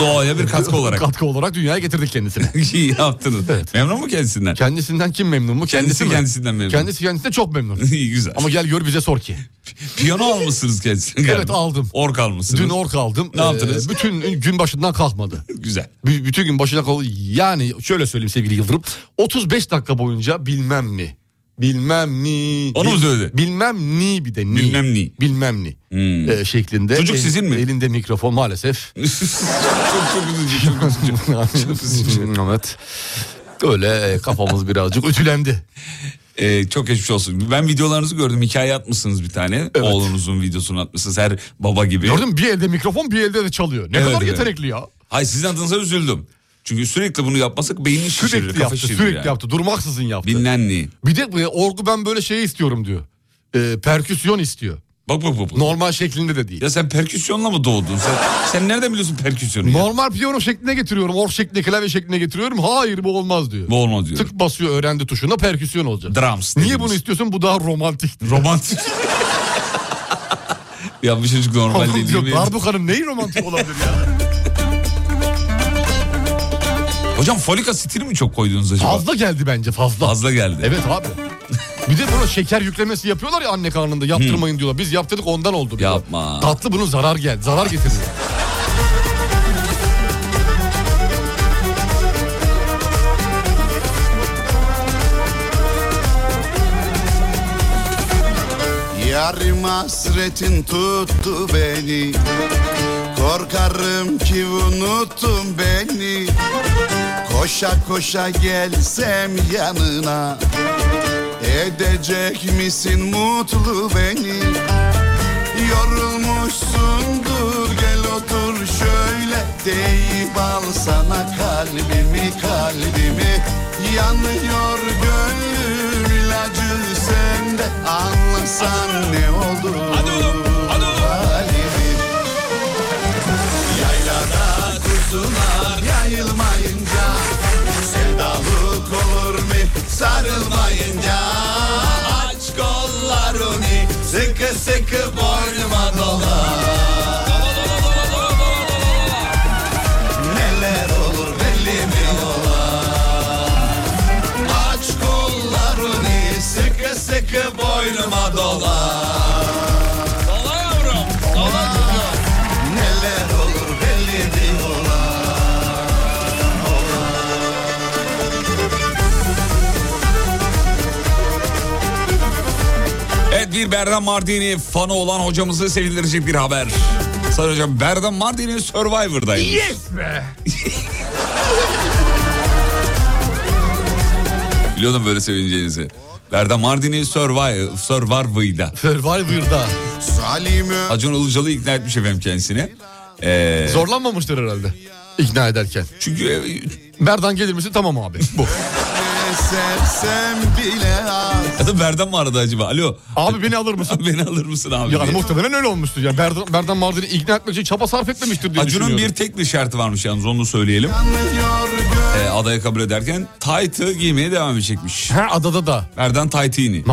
Speaker 3: Doğaya bir katkı olarak.
Speaker 4: [LAUGHS] Katkı olarak dünyaya getirdik kendisini.
Speaker 3: [LAUGHS] İyi yaptınız.
Speaker 4: Evet.
Speaker 3: Memnun mu kendisinden?
Speaker 4: Kendisinden kim memnun mu?
Speaker 3: Kendisi
Speaker 4: mi?
Speaker 3: kendisinden memnun.
Speaker 4: Kendisi kendisinden çok
Speaker 3: [LAUGHS]
Speaker 4: memnun.
Speaker 3: [LAUGHS] İyi güzel.
Speaker 4: Ama gel gör bize sor ki.
Speaker 3: Piyano almışsınız kendisine.
Speaker 4: Evet,
Speaker 3: galiba.
Speaker 4: aldım.
Speaker 3: Ork almışsınız.
Speaker 4: Dün ork aldım. Ee,
Speaker 3: Ne yaptınız?
Speaker 4: Bütün gün başından kalkmadı.
Speaker 3: Güzel. [LAUGHS]
Speaker 4: B- bütün gün başına kalkmadı. Yani şöyle söyleyeyim sevgili Yıldırım. 35 dakika boyunca bilmem mi? Bilmem mi?
Speaker 3: Onu mu söyledi?
Speaker 4: Bilmem ni bir de ni.
Speaker 3: Bilmem ni.
Speaker 4: Bilmem ni.
Speaker 3: Hmm.
Speaker 4: Ee, şeklinde.
Speaker 3: Çocuk sizin mi?
Speaker 4: Elinde mikrofon maalesef.
Speaker 3: [LAUGHS] çok çok üzücü. Çok
Speaker 4: [LAUGHS]
Speaker 3: üzücü. Çok üzücü.
Speaker 4: evet. Öyle e, kafamız birazcık ütülendi.
Speaker 3: Ee, çok geçmiş olsun. Ben videolarınızı gördüm. Hikaye atmışsınız bir tane. Oğlunuzun videosunu atmışsınız. Her baba gibi.
Speaker 4: Gördün mü? Bir elde mikrofon bir elde de çalıyor. Ne
Speaker 3: Evet,
Speaker 4: kadar
Speaker 3: evet.
Speaker 4: yetenekli ya.
Speaker 3: Hayır sizin adınıza üzüldüm. Çünkü sürekli bunu yapmasak beynin şişirir.
Speaker 4: Sürekli
Speaker 3: kafa
Speaker 4: yaptı.
Speaker 3: şişirir
Speaker 4: Sürekli
Speaker 3: yani.
Speaker 4: yaptı. Durmaksızın yaptı.
Speaker 3: Dinlenli.
Speaker 4: Bir de bu- orgu ben böyle şey istiyorum diyor. Ee, perküsyon istiyor.
Speaker 3: Bak bak bak. bak.
Speaker 4: Normal şeklinde de değil.
Speaker 3: Ya sen perküsyonla mı doğdun? Sen, sen nereden biliyorsun perküsyonu? ya?
Speaker 4: Normal piyano şekline getiriyorum. Org şekline klavye şekline getiriyorum. Hayır bu olmaz diyor.
Speaker 3: Bu olmaz diyor.
Speaker 4: Tık basıyor öğrendi tuşuna perküsyon olacak.
Speaker 3: Drums.
Speaker 4: Niye
Speaker 3: dediğimiz.
Speaker 4: bunu istiyorsun? Bu daha romantik.
Speaker 3: Romantik. ya bu çocuk [LAUGHS] normal
Speaker 4: Romantik
Speaker 3: değil.
Speaker 4: yok.
Speaker 3: değil mi?
Speaker 4: Darbukanın neyi romantik olabilir
Speaker 3: [LAUGHS]
Speaker 4: ya?
Speaker 3: Hocam folik asitini mi çok koydunuz acaba?
Speaker 4: Fazla geldi bence fazla.
Speaker 3: Fazla geldi.
Speaker 4: Evet abi. Bir de buna şeker yüklemesi yapıyorlar ya anne karnında yaptırmayın diyorlar. Biz yaptırdık ondan oldu. diyorlar.
Speaker 3: Hmm. Yapma.
Speaker 4: Tatlı bunun zarar gel, zarar getirir.
Speaker 8: Yarım hasretin tuttu beni Korkarım ki unuttun beni Koşa koşa gelsem yanına Edecek misin mutlu beni Yorulmuşsundur gel otur şöyle Deyip al sana kalbimi kalbimi Yanıyor gönlüm ilacı sende Anlasan ne olur
Speaker 3: Hadi oğlum. Hadi oğlum.
Speaker 8: halimi Yaylada kuzular yayılmayınca Sevdalık olur mu sarılmayınca Aç kollarını sıkı sıkı boynuma dola Neler olur belli mi ola Aç kollarını sıkı sıkı boynuma dola
Speaker 3: Dala yavrum. Dala çocuğum.
Speaker 8: Neler olur belli mi ola
Speaker 3: Evet bir Berdan Mardini fanı olan hocamızı sevindirecek bir haber. Sayın hocam Berdan Mardini Survivor'daymış. [LAUGHS] Biliyordum böyle sevineceğinizi. Berdan Mardini Survivor, Survivor'da.
Speaker 4: Survivor'da.
Speaker 8: Salim'e
Speaker 3: Acun Ilıcalı ikna etmiş efendim kendisini. Ee,
Speaker 4: Zorlanmamıştır herhalde ikna ederken.
Speaker 3: çünkü e,
Speaker 4: Berdan gelir misin? Tamam abi. Bu.
Speaker 8: sevsem bile az
Speaker 3: ya da Berdan mı aradı acaba? Alo.
Speaker 4: Abi beni alır mısın?
Speaker 3: Beni alır mısın abi?
Speaker 4: Yani
Speaker 3: diye.
Speaker 4: muhtemelen öyle olmuştur. Yani Berdan, Berdan Mardin'i ikna etmek için çaba sarf etmemiştir diye
Speaker 3: Acun'un bir
Speaker 4: düşünüyorum.
Speaker 3: tek bir şartı varmış yalnız onu söyleyelim.
Speaker 8: Yanıyor gönlüm
Speaker 3: Ee, adaya kabul ederken taytı giymeye devam edecekmiş.
Speaker 4: Ha adada da.
Speaker 3: Berdan taytini.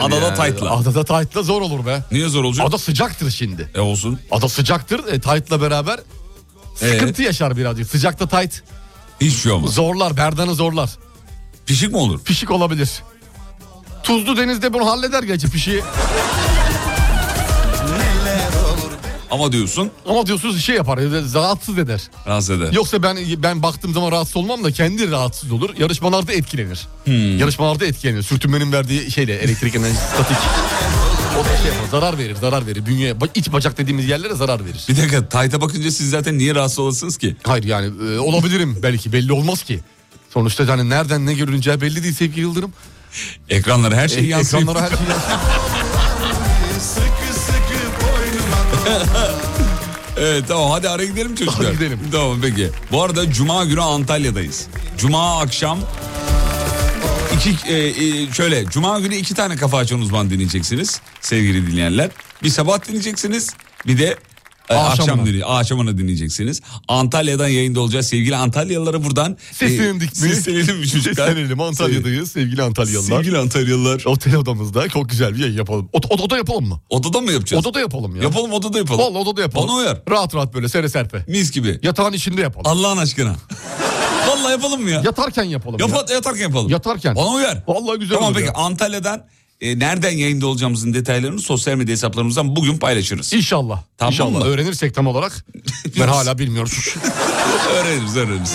Speaker 3: Adada taytla.
Speaker 4: Adada tight'la zor olur be.
Speaker 3: Niye zor olacak?
Speaker 4: Ada sıcaktır şimdi.
Speaker 3: E olsun.
Speaker 4: Ada sıcaktır. E, tight'la beraber
Speaker 3: Ee?
Speaker 4: sıkıntı yaşar birazcık. Sıcakta tight
Speaker 3: Hiç şey olmaz.
Speaker 4: zorlar. Berdan'ı zorlar.
Speaker 3: Pişik mi olur?
Speaker 4: Pişik olabilir. Tuzlu denizde bunu halleder gerçi pişiği.
Speaker 3: Ama diyorsun
Speaker 4: Ama diyorsunuz şey yapar. Rahatsız eder.
Speaker 3: rahatsız eder.
Speaker 4: Yoksa ben ben baktığım zaman rahatsız olmam da kendi rahatsız olur. Yarışmalarda etkilenir.
Speaker 3: Hmm.
Speaker 4: Yarışmalarda etkilenir. Sürtünmenin verdiği şeyle elektrik enerjisi statik. O da şey yapar. Zarar verir, zarar verir. Bünyeye, ba- iç bacak dediğimiz yerlere zarar verir.
Speaker 3: Bir dakika tayta bakınca siz zaten niye rahatsız olasınız ki?
Speaker 4: Hayır yani e, olabilirim belki belli olmaz ki. Sonuçta yani nereden ne görüneceği belli değil sevgili Yıldırım.
Speaker 3: Ekranlara her şey
Speaker 4: E,
Speaker 3: yansıyor.
Speaker 4: ekranlara her şey yansıyor.
Speaker 8: sıkı sıkı boynuma
Speaker 3: Evet tamam hadi ara gidelim çocuklar.
Speaker 4: Hadi gidelim.
Speaker 3: Tamam peki. Bu arada cuma günü Antalya'dayız. Cuma akşam iki, e, e, şöyle cuma günü iki tane kafa açan uzman dinleyeceksiniz sevgili dinleyenler. Bir sabah dinleyeceksiniz bir de e,
Speaker 4: Akşamına.
Speaker 3: akşam dinle, akşamına dinleyeceksiniz. Antalya'dan yayında olacağız. Sevgili Antalyalılara buradan e,
Speaker 4: Seslendik mi?
Speaker 3: seslenelim
Speaker 4: [LAUGHS]
Speaker 3: çocuklar.
Speaker 4: Seslenelim Antalya'dayız sevgili Antalyalılar.
Speaker 3: şey Sevgili Antalyalılar.
Speaker 4: Otel odamızda çok güzel bir yayın yapalım. Ot- Odada yapalım mı?
Speaker 3: Odada mı yapacağız?
Speaker 4: Odada yapalım ya.
Speaker 3: Yapalım odada yapalım.
Speaker 4: Vallahi odada yapalım.
Speaker 3: Bana uyar.
Speaker 4: Rahat rahat böyle sere serpe.
Speaker 3: Mis gibi.
Speaker 4: Yatağın içinde yapalım.
Speaker 3: Allah'ın aşkına. [LAUGHS] Vallahi yapalım mı ya?
Speaker 4: Yatarken yapalım.
Speaker 3: Yap,
Speaker 4: ya.
Speaker 3: yatarken yapalım.
Speaker 4: Yatarken.
Speaker 3: Bana uyar.
Speaker 4: Vallahi güzel
Speaker 3: Tamam
Speaker 4: olur
Speaker 3: peki
Speaker 4: ya.
Speaker 3: Antalya'dan e, nereden yayında olacağımızın detaylarını sosyal medya hesaplarımızdan bugün paylaşırız.
Speaker 4: İnşallah.
Speaker 3: Tamam
Speaker 4: İnşallah.
Speaker 3: mı?
Speaker 4: Öğrenirsek tam
Speaker 3: [LAUGHS]
Speaker 4: olarak. ben hala bilmiyorum.
Speaker 3: öğreniriz öğreniriz.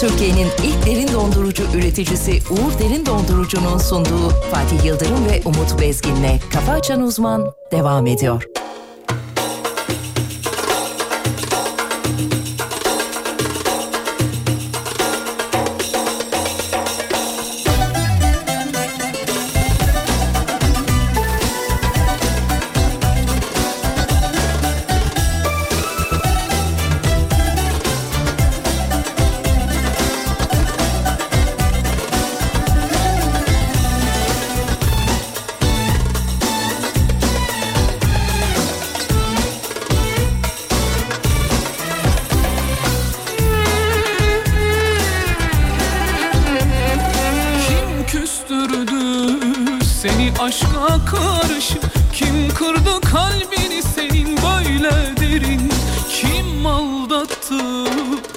Speaker 1: Türkiye'nin ilk derin dondurucu üreticisi Uğur Derin Dondurucu'nun sunduğu Fatih Yıldırım ve Umut Bezgin'le Kafa Açan Uzman devam ediyor.
Speaker 9: Kim küstürdü seni aşka karşı Kim kırdı kalbini senin böyle derin Kim aldattı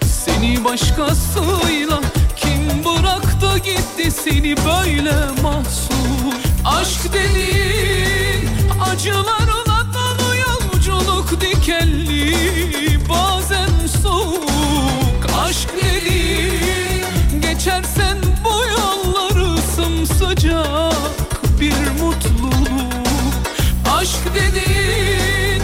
Speaker 9: seni başkasıyla Kim bıraktı gitti seni böyle mahsur Aşk dediğin acılarla dolu yolculuk dikenli Bazen soğuk aşk dediğin Geçersen bu yolları sımsıcak bir mutluluk Aşk dediğin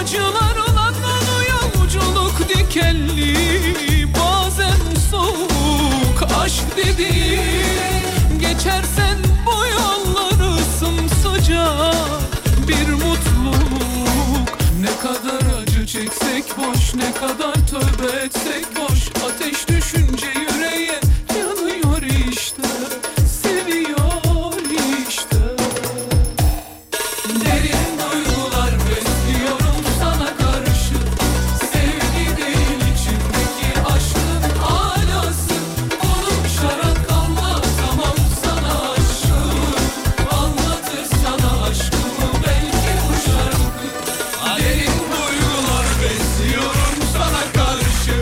Speaker 9: acılarla dolu yolculuk dikenli Bazen soğuk aşk dediğin Geçersen bu yolları sımsıcak bir mutluluk Ne kadar acı çeksek boş Ne kadar tövbe etsek boş Ateş düşünce yüreğe yanıyor işte Seviyor işte Derin duygular besliyorum sana karşı Sevgi değil içimdeki aşkın alası Konum şarap kalmaz tamam sana aşkım Anlatır sana aşkımı belki bu şarkı Derin duygular besliyorum sana karşı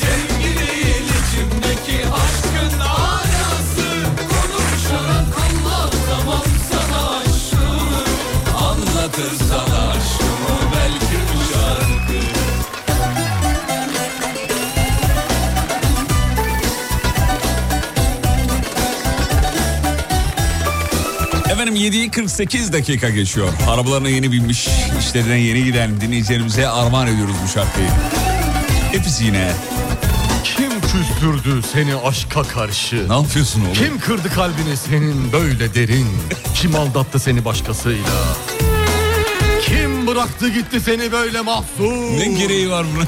Speaker 9: Sevgi değil içimdeki aşkın alası Konum şarap kalmaz tamam sana aşkım Anlatır sana aşkımı belki bu şarkı
Speaker 3: Efendim 7'yi 48 dakika geçiyor. Arabalarına yeni binmiş, işlerine yeni giden dinleyicilerimize armağan ediyoruz bu şarkıyı. Hepsi yine.
Speaker 4: Kim küstürdü seni aşka karşı?
Speaker 3: Ne yapıyorsun oğlum?
Speaker 4: Kim kırdı kalbini senin böyle derin? Kim aldattı seni başkasıyla? Kim bıraktı gitti seni böyle mahzun?
Speaker 3: Ne gereği var buna?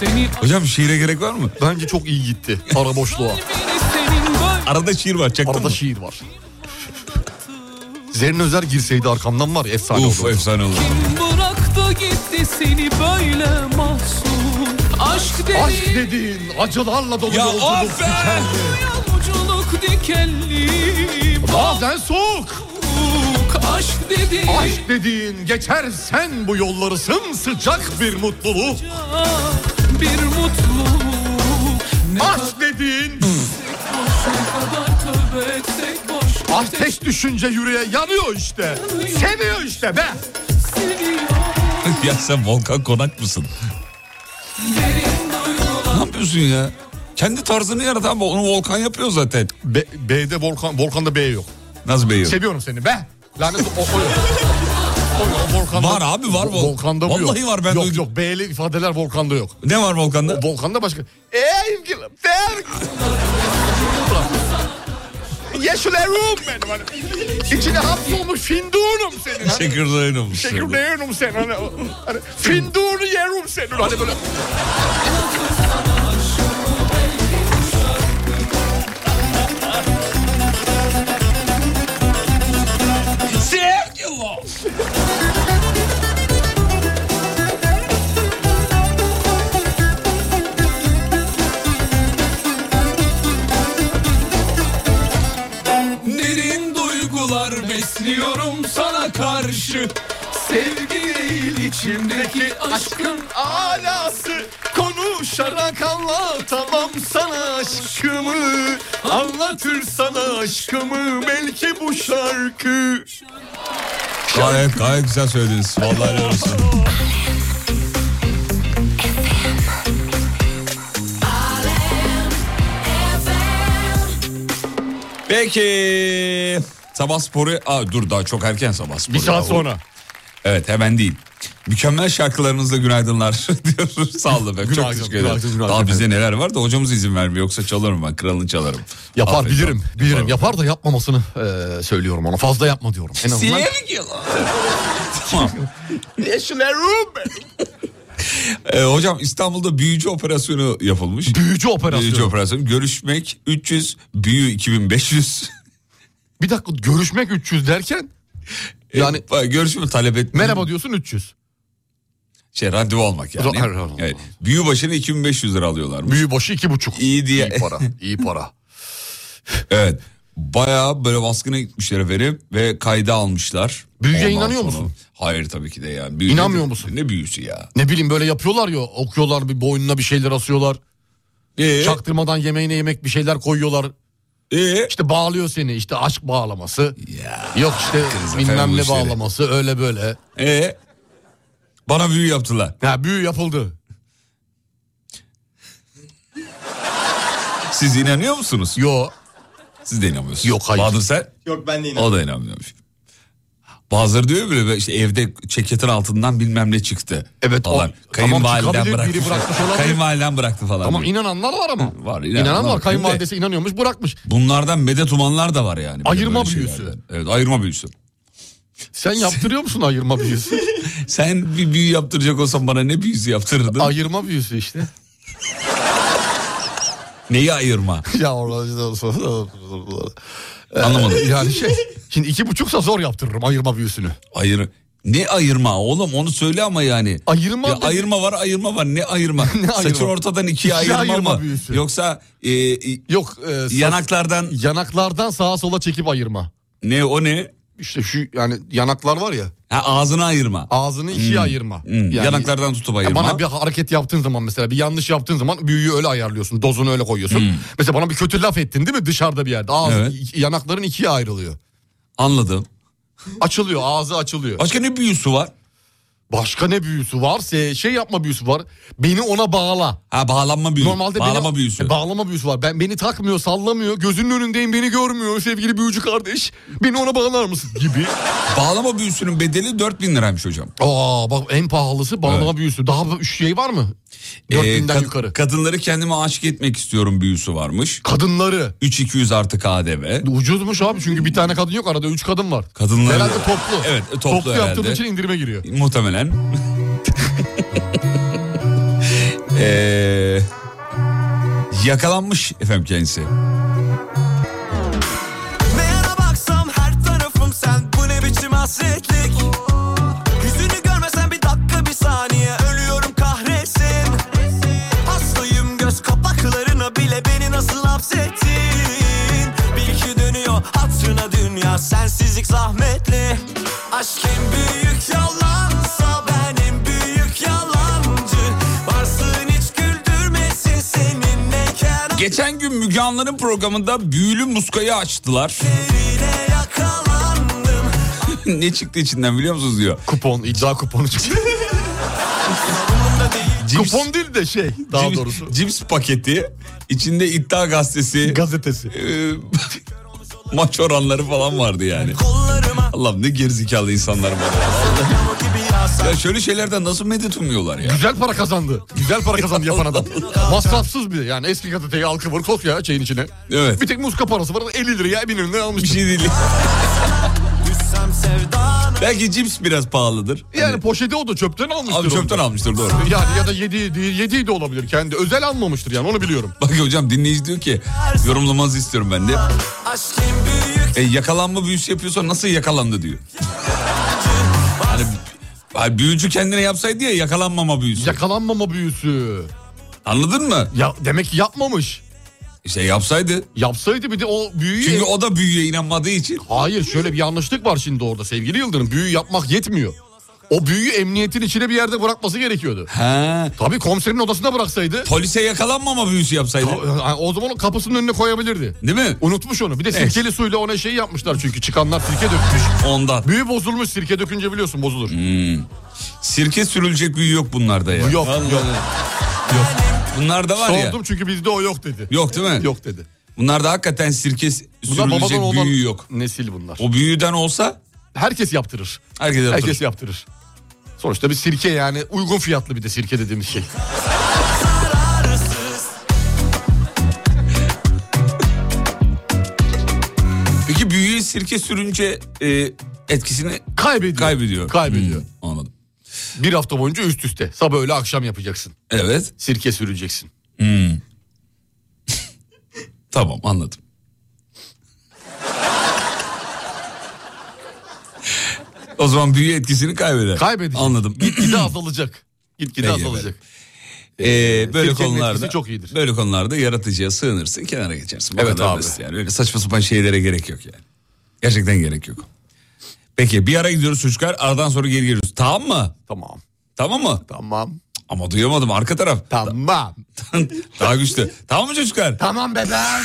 Speaker 9: Seni
Speaker 3: [LAUGHS] Hocam şiire gerek var mı?
Speaker 4: Bence çok iyi gitti. Ara boşluğa.
Speaker 9: senin böyle
Speaker 3: Arada şiir var çaktın
Speaker 4: Arada
Speaker 3: mı?
Speaker 4: şiir var. Zerrin Özer girseydi arkamdan var ya, efsane
Speaker 3: Uf
Speaker 4: olurdu.
Speaker 3: efsane olur.
Speaker 9: Kim bıraktı gitti seni böyle mahzun Aşk dedi
Speaker 4: Aşk dediğin acılarla dolu
Speaker 3: Ya
Speaker 4: yolculuk
Speaker 3: of be!
Speaker 4: dikenli.
Speaker 9: yolculuk dikenli
Speaker 4: Bazen soğuk.
Speaker 9: Balık aşk dedi
Speaker 4: Aşk dediğin geçersen bu yolları sımsıcak bir mutluluk.
Speaker 9: Bir mutluluk Ne
Speaker 4: Aşk dediğin
Speaker 9: kadar tövbe etsek boş
Speaker 4: ateş düşünce yüreğe yanıyor işte. Seviyor işte be.
Speaker 9: seviyor
Speaker 3: [LAUGHS] ya sen Volkan Konak mısın?
Speaker 9: Derin duygular
Speaker 3: Ne yapıyorsun ya? Kendi tarzını yarat ama onu Volkan yapıyor zaten.
Speaker 4: B, B'de Volkan, Volkan'da B yok.
Speaker 3: Nasıl beyiyor?
Speaker 4: Seviyorum seni be. Lanet o, o, o yok. O yok, Volkan'da-
Speaker 3: Var abi, var Vol-
Speaker 4: Volkan'da bu
Speaker 3: Vallahi
Speaker 4: yok.
Speaker 3: var, ben
Speaker 4: Yok
Speaker 3: duydum.
Speaker 4: yok B'li ifadeler Volkan'da yok.
Speaker 3: Ne var Volkan'da?
Speaker 4: Volkan'da başka. Eee ilgili. Berk. Yeşilerim benim. Hani. İçine hapsolmuş findunum senin. Hani.
Speaker 3: Teşekkürler olmuş.
Speaker 4: Teşekkürlerim sen. Hani, hani, findunu yerim senin. Hani böyle.
Speaker 9: Derin duygular besliyorum sana karşı Sevgi değil içimdeki aşkın
Speaker 4: alası konuşarak anlatamam sana aşkımı anlatır sana aşkımı belki bu şarkı
Speaker 3: Gayet, gayet güzel söylediniz. Vallahi helal olsun. Peki. Sabah sporu... Aa, dur daha çok erken sabah sporu.
Speaker 4: bir saat
Speaker 3: Ya.
Speaker 4: sonra
Speaker 3: Evet hemen değil. Mükemmel şarkılarınızla günaydınlar [LAUGHS] diyoruz. Sağ olun efendim. Çok
Speaker 4: Günaydın,
Speaker 3: teşekkür ederim.
Speaker 4: günaydın, günaydın
Speaker 3: Daha bizde neler var da hocamız izin vermiyor. Yoksa çalarım ben kralını çalarım.
Speaker 4: yapar
Speaker 3: Aferin.
Speaker 4: bilirim bilirim yapar da yapmamasını eee, söylüyorum ona fazla yapma diyorum en azından
Speaker 3: Sevgi
Speaker 4: [LAUGHS]
Speaker 3: Tamam. Ee, hocam İstanbul'da büyücü operasyonu yapılmış.
Speaker 4: büyücü operasyonu
Speaker 3: Büyücü operasyonu. Görüşmek 300, büyü 2500.
Speaker 4: bir dakika görüşmek 300 derken [LAUGHS] yani
Speaker 3: Yani Ee, görüşme talep et.
Speaker 4: merhaba diyorsun 300
Speaker 3: Şey randevu almak yani.
Speaker 4: Ra- randevu almak.
Speaker 3: Evet. Büyü başına 2500 lira alıyorlar.
Speaker 4: büyü başı iki buçuk [LAUGHS]
Speaker 3: İyi diye.
Speaker 4: iyi para iyi para
Speaker 3: Evet. Bayağı böyle baskına gitmişler efendim ve kayda almışlar.
Speaker 4: Büyüye inanıyor musun?
Speaker 3: Hayır tabii ki de yani.
Speaker 4: İnanmıyor
Speaker 3: ne-
Speaker 4: musun?
Speaker 3: Ne büyüsü ya?
Speaker 4: Ne bileyim böyle yapıyorlar ya okuyorlar bir boynuna bir şeyler asıyorlar.
Speaker 3: Ee,
Speaker 4: Çaktırmadan yemeğine yemek bir şeyler koyuyorlar.
Speaker 3: ee?
Speaker 4: İşte bağlıyor seni işte aşk bağlaması.
Speaker 3: Ya,
Speaker 4: Yok işte
Speaker 3: kız efendim
Speaker 4: bilmem
Speaker 3: bu
Speaker 4: ne
Speaker 3: işleri.
Speaker 4: bağlaması öyle böyle.
Speaker 3: Ee? Bana büyü yaptılar.
Speaker 4: Ya büyü yapıldı.
Speaker 3: Siz inanıyor musunuz?
Speaker 4: Yo
Speaker 3: Siz de inanmıyorsunuz.
Speaker 4: Yok, hayır.
Speaker 3: Bahadır sen?
Speaker 10: Yok ben de inanıyorum.
Speaker 3: O da inanmıyormuş. Bazıları diyor ya böyle işte evde ceketin altından bilmem ne çıktı.
Speaker 4: Evet, o-
Speaker 3: falan.
Speaker 4: tamam,
Speaker 3: Kayınvaliden
Speaker 4: çıkabilir,
Speaker 3: bıraktı.
Speaker 4: biri bırakmış olabilir.
Speaker 3: Kayınvaliden bıraktı falan.
Speaker 4: tamam
Speaker 3: diyor.
Speaker 4: inananlar var ama.
Speaker 3: Var, inananlar
Speaker 4: inanan,
Speaker 3: var.
Speaker 4: var. Kayınvalidesi inanıyormuş bırakmış.
Speaker 3: Bunlardan medet umanlar da var yani. Bir de
Speaker 4: Ayırma
Speaker 3: böyle
Speaker 4: büyüsü.
Speaker 3: şeylerden. Evet ayırma büyüsü.
Speaker 4: Sen yaptırıyor musun ayırma büyüsü?
Speaker 3: [LAUGHS] Sen bir büyü yaptıracak olsan bana ne büyüsü yaptırırdın?
Speaker 4: ayırma büyüsü
Speaker 3: [LAUGHS]
Speaker 4: işte.
Speaker 3: Neyi ayırma?
Speaker 4: ya orada
Speaker 3: Ee, Anlamadım.
Speaker 4: [LAUGHS] yani şey şimdi iki buçuksa zor yaptırırım ayırma büyüsünü.
Speaker 3: Ayır. Ne ayırma oğlum onu söyle ama yani.
Speaker 4: Ayırma
Speaker 3: Ya
Speaker 4: dedi.
Speaker 3: ayırma var ayırma var
Speaker 4: [LAUGHS]
Speaker 3: ne ayırma? Saçın
Speaker 4: ayırma?
Speaker 3: ortadan ikiye
Speaker 4: İkiye
Speaker 3: ayırma,
Speaker 4: ayırma
Speaker 3: mı?
Speaker 4: büyüsü.
Speaker 3: Yoksa e, e,
Speaker 4: Yok e, sa-
Speaker 3: yanaklardan
Speaker 4: yanaklardan sağa sola çekip ayırma.
Speaker 3: ne o ne?
Speaker 4: İşte şu yani yanaklar var ya
Speaker 3: Ha, ağzını ayırma.
Speaker 4: ağzını ikiye ayırma.
Speaker 3: Hmm,
Speaker 4: Yani-
Speaker 3: yanaklardan tutup
Speaker 4: Ya
Speaker 3: ayırma.
Speaker 4: bana bir hareket yaptığın zaman mesela bir yanlış yaptığın zaman büyüyü öyle ayarlıyorsun. Dozunu öyle koyuyorsun. Mesela bana bir kötü laf ettin değil mi dışarıda bir yerde? Ağzı,
Speaker 3: Hmm. Evet.
Speaker 4: iki- yanakların ikiye ayrılıyor.
Speaker 3: Anladım.
Speaker 4: Açılıyor ağzı açılıyor.
Speaker 3: Başka ne büyüsü var?
Speaker 4: Başka ne büyüsü varsa şey yapma büyüsü var. Beni ona bağla.
Speaker 3: Ha bağlanma büyüsü.
Speaker 4: Normalde
Speaker 3: bağlama
Speaker 4: beni,
Speaker 3: büyüsü.
Speaker 4: E, bağlama büyüsü var. Ben beni takmıyor, sallamıyor. Gözünün önündeyim, beni görmüyor sevgili büyücü kardeş. Beni ona bağlar mısın gibi.
Speaker 3: bağlama büyüsünün bedeli 4000 liraymış hocam.
Speaker 4: Aa bak en pahalısı bağlama
Speaker 3: Evet.
Speaker 4: büyüsü. Daha bir şey var mı? 4000'den
Speaker 3: Ee, kad-
Speaker 4: yukarı.
Speaker 3: Kadınları kendime aşık etmek istiyorum büyüsü varmış.
Speaker 4: Kadınları.
Speaker 3: 3200 artı KDV.
Speaker 4: Ucuzmuş abi çünkü bir tane kadın yok arada üç kadın var.
Speaker 3: Kadınları-
Speaker 4: Herhalde toplu.
Speaker 3: Evet, toplu herhalde.
Speaker 4: yaptığın için indirime giriyor.
Speaker 3: Muhtemelen. Ee, yakalanmış efendim kendisi.
Speaker 5: Meğere baksam her tarafım sen Bu ne biçim hasretlik Yüzünü görmesen bir dakika bir saniye Ölüyorum kahretsin Hastayım göz kapaklarına bile Beni nasıl hapsettin Bil ki dönüyor hatırına dünya Sensizlik zahmetli Aşk en büyük yalansa Ben en büyük yalancı Varsın hiç güldürmesin Seninleyken
Speaker 3: Geçen gün Müge Anlı'nın programında büyülü muskayı açtılar. [LAUGHS]
Speaker 5: bile yakalandım
Speaker 3: ne çıktı içinden biliyor musunuz diyor.
Speaker 4: Kupon, iddia kuponu [LAUGHS] çıktı.
Speaker 5: Umurumda değil
Speaker 3: Cips-
Speaker 4: kupon değil de şey daha
Speaker 3: cips-
Speaker 4: doğrusu.
Speaker 3: Cips paketi içinde iddia gazetesi.
Speaker 4: Gazetesi.
Speaker 3: e, [LAUGHS] maç oranları falan vardı yani.
Speaker 5: Kollarıma
Speaker 3: Allah'ım ne gerizekalı insanlar var.
Speaker 5: yağmur gibi yağsa
Speaker 3: Ya şöyle şeylerden nasıl medet umuyorlar ya?
Speaker 4: Güzel para kazandı. Güzel para kazandı yapan adam. Masrafsız bir yani eski gazeteyi halkı vur kos ya şeyin içine.
Speaker 3: Evet.
Speaker 4: Bir tek muska parası var 50 liraya 1000 liraya almış.
Speaker 3: Bir şey değil.
Speaker 5: Düşsem sevdana
Speaker 3: Belki cips biraz pahalıdır.
Speaker 4: Yani poşeti o da çöpten almıştır.
Speaker 3: şey- Abi çöpten
Speaker 4: onu.
Speaker 3: almıştır doğru.
Speaker 4: Yani ya da yediği, değil, yediği de olabilir kendi. Özel almamıştır yani onu biliyorum.
Speaker 3: Bak hocam dinleyici diyor ki yorumlamanızı istiyorum ben de.
Speaker 5: Aşk en büyük
Speaker 3: E, yakalanma büyüsü yapıyorsa nasıl yakalandı diyor. Hani hani büyücü kendine yapsaydı ya yakalanmama büyüsü.
Speaker 4: Yakalanmama büyüsü.
Speaker 3: Anladın mı?
Speaker 4: Ya demek ki yapmamış.
Speaker 3: İşte yapsaydı.
Speaker 4: Yapsaydı bir de o büyüyü...
Speaker 3: Çünkü o da büyüye inanmadığı için.
Speaker 4: Hayır şöyle bir yanlışlık var şimdi orada sevgili Yıldırım. Büyü yapmak yetmiyor. O büyüyü emniyetin içine bir yerde bırakması gerekiyordu.
Speaker 3: He.
Speaker 4: Tabii komiserin odasında bıraksaydı...
Speaker 3: Polise yakalanmama büyüsü yapsaydı.
Speaker 4: o- O zaman o kapısının önüne koyabilirdi.
Speaker 3: Değil mi?
Speaker 4: Unutmuş onu. Bir de sirkeli suyla ona şey yapmışlar çünkü çıkanlar sirke dökmüş.
Speaker 3: Ondan.
Speaker 4: Büyü bozulmuş sirke dökünce biliyorsun bozulur.
Speaker 3: Hmm. Sirke sürülecek büyü yok bunlarda ya.
Speaker 4: Yok, yok.
Speaker 3: Bunlarda var ya.
Speaker 4: Sordum çünkü bizde o yok dedi.
Speaker 3: Yok değil mi?
Speaker 4: Yok dedi.
Speaker 3: Bunlarda hakikaten sirke s-
Speaker 4: Bunlar
Speaker 3: sürülecek
Speaker 4: babadan olan
Speaker 3: büyü yok.
Speaker 4: nesil bunlar.
Speaker 3: O büyüden olsa
Speaker 4: Herkes yaptırır.
Speaker 3: herkes yaptırır.
Speaker 4: Herkes yaptırır. Sonuçta bir sirke yani uygun fiyatlı bir de sirke dediğimiz şey.
Speaker 3: Peki büyüye sirke sürünce e, etkisini
Speaker 4: Kaybediyor.
Speaker 3: kaybediyor.
Speaker 4: Kaybediyor.
Speaker 3: Hmm, anladım.
Speaker 4: Bir hafta boyunca üst üste. Sabah öğle akşam yapacaksın.
Speaker 3: Evet.
Speaker 4: Sirke sürüleceksin.
Speaker 3: Tamam anladım. o zaman büyü etkisini kaybeder.
Speaker 4: Kaybedecek.
Speaker 3: Anladım. [CLEARS THROAT]
Speaker 4: Gitgide azalacak. Gitgide
Speaker 3: Peki,
Speaker 4: azalacak.
Speaker 3: Ee, böyle
Speaker 4: sirkenin
Speaker 3: konularda
Speaker 4: etkisi çok iyidir.
Speaker 3: Böyle konularda yaratıcıya sığınırsın, kenara geçersin. Bu
Speaker 4: Evet
Speaker 3: kadar
Speaker 4: abi.
Speaker 3: basit Yani öyle saçma sapan şeylere gerek yok yani. Gerçekten gerek yok. Peki bir ara gidiyoruz çocuklar. Aradan sonra geri geliyoruz. Tamam mı?
Speaker 4: Tamam.
Speaker 3: Tamam mı?
Speaker 4: Tamam.
Speaker 3: Ama duyamadım arka taraf.
Speaker 4: Tamam.
Speaker 3: Daha güçlü. Tamam mı çocuklar?
Speaker 4: Tamam bebeğim.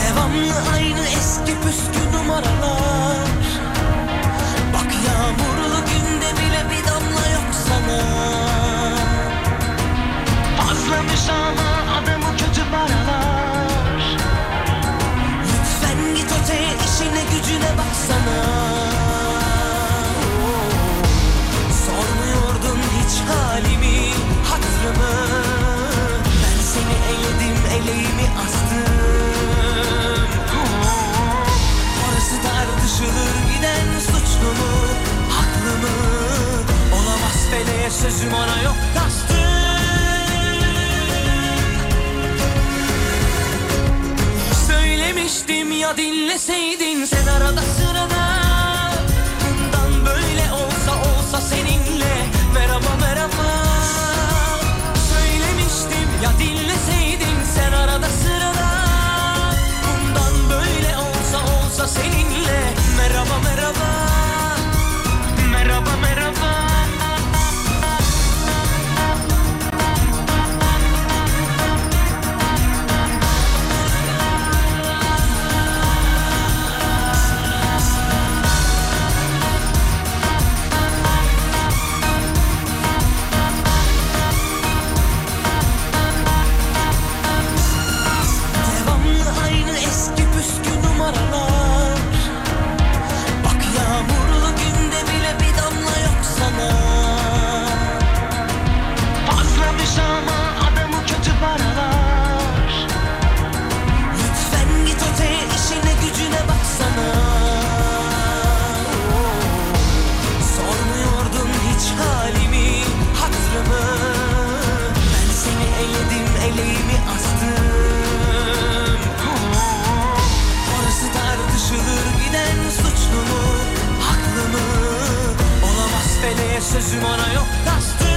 Speaker 5: Devamlı aynı eski püskü numaralar Bak yağmurlu günde bile bir damla yok sana Azlamış ama adamı kötü paralar Lütfen git öteye işine gücüne baksana Oo. Sormuyordun hiç halimi, hatırımı Ben seni eledim, eleğimi astım Oo. Orası tartışılır giden suçlu mu, haklı mı? Olamaz feleğe sözüm ona yok kastım Söylemiştim ya dinleseydin sen arada sırada Bundan böyle olsa olsa seninle merhaba merhaba Söylemiştim ya dinleseydin sen arada sırada Bundan böyle olsa olsa seninle merhaba merhaba Merhaba merhaba Devamlı aynı eski püskü numaralar Bak yağmurlu günde bile bir damla yok sana Azlamış ama adamı kötü paralar Lütfen git öteye işine gücüne baksana Oo. Sormuyordun hiç halimi, hatırımı Ben seni eledim, eleğimi astım Oo, Orası tartışılır giden suçlu mu, haklı mı? Olamaz feleğe sözüm ona yok kastım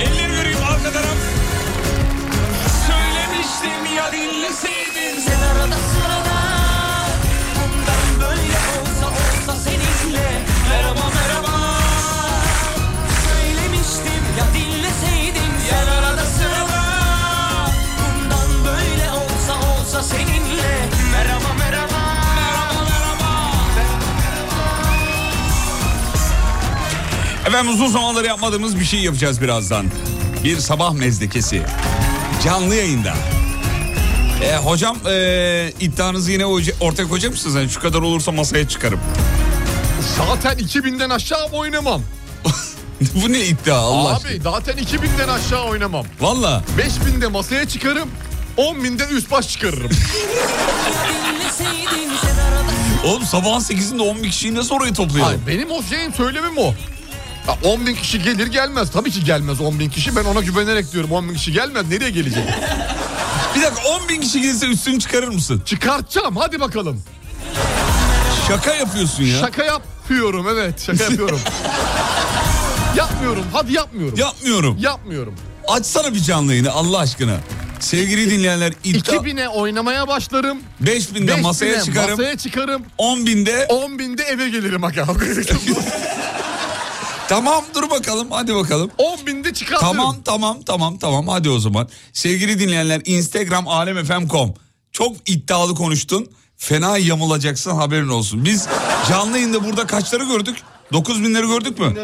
Speaker 3: Elleri göreyim arka taraf.
Speaker 5: Söylemiştim ya dinleseydin Sen arada sırada Bundan böyle olsa olsa seninle Merhaba merhaba Söylemiştim ya dinleseydin Sen arada sırada Bundan böyle olsa olsa seninle Merhaba merhaba Merhaba merhaba
Speaker 3: Efendim uzun zamandır yapmadığımız bir şey yapacağız birazdan. Bir sabah mezdekesi. Canlı yayında. E, hocam e, iddianızı yine hoca- ortaya koyacak mısınız? Yani şu kadar olursa masaya çıkarım. [LAUGHS]
Speaker 4: Zaten 2000'den aşağı oynamam.
Speaker 3: Bu ne iddia Allah aşkına?
Speaker 4: Abi zaten 2000'den aşağı oynamam.
Speaker 3: Valla
Speaker 4: 5000'de masaya çıkarım. 10.000'de üst baş çıkarırım.
Speaker 5: Dinleseydin sen arada
Speaker 3: oğlum sabahın 8'inde 10 bin kişiyi nasıl oraya toplayalım?
Speaker 4: Hayır, benim o şeyim söylemim o. 10 bin kişi gelir gelmez. Tabii ki gelmez 10 bin kişi. Ben ona güvenerek diyorum 10 bin kişi gelmez. Nereye gelecek?
Speaker 3: [LAUGHS] Bir dakika 10 bin kişi gelirse üstünü çıkarır mısın?
Speaker 4: Çıkartacağım hadi bakalım.
Speaker 3: Şaka yapıyorsun ya.
Speaker 4: Şaka yapıyorum evet
Speaker 3: [LAUGHS]
Speaker 4: şaka yapıyorum. yapmıyorum hadi yapmıyorum.
Speaker 3: Yapmıyorum.
Speaker 4: Yapmıyorum.
Speaker 3: Açsana bir canlı yayını Allah aşkına. Sevgili dinleyenler iddia
Speaker 4: 2000'e oynamaya başlarım.
Speaker 3: 5000'de
Speaker 4: 5000'e
Speaker 3: masaya çıkarım.
Speaker 4: Masaya çıkarım.
Speaker 3: 10.000'de
Speaker 4: 10 binde eve gelirim aga.
Speaker 3: [LAUGHS] tamam dur bakalım hadi bakalım.
Speaker 4: 10 binde çıkartırım.
Speaker 3: Tamam tamam tamam tamam hadi o zaman. Sevgili dinleyenler Instagram alemfm.com. Çok iddialı konuştun. Fena yamulacaksın haberin olsun. Biz canlı yayında burada kaçları gördük? 9 binleri gördük mü?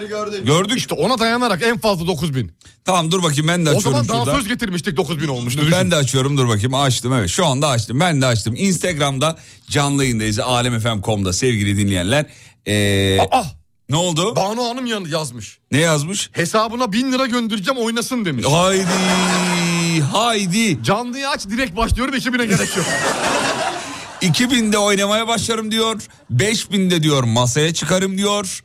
Speaker 3: gördük.
Speaker 4: İşte ona dayanarak en fazla 9000.
Speaker 3: Tamam dur bakayım ben de
Speaker 4: O
Speaker 3: açıyorum
Speaker 4: zaman daha
Speaker 3: şurada.
Speaker 4: söz getirmiştik 9000 olmuştu.
Speaker 3: Ben de açıyorum dur bakayım açtım evet şu anda açtım ben de açtım. Instagram'da canlı yayındayız alemfm.com'da sevgili dinleyenler. Ee,
Speaker 4: Aa,
Speaker 3: ne oldu?
Speaker 4: Ah, Banu Hanım yan- yazmış.
Speaker 3: Ne yazmış? E
Speaker 4: Hesabına 1000 lira göndereceğim oynasın demiş.
Speaker 3: Haydi haydi haydi.
Speaker 4: Canlıyı aç direkt başlıyorum ekibine gerek
Speaker 3: [LAUGHS]
Speaker 4: yok.
Speaker 3: 2000'de oynamaya başlarım diyor. 5000'de diyor masaya çıkarım diyor.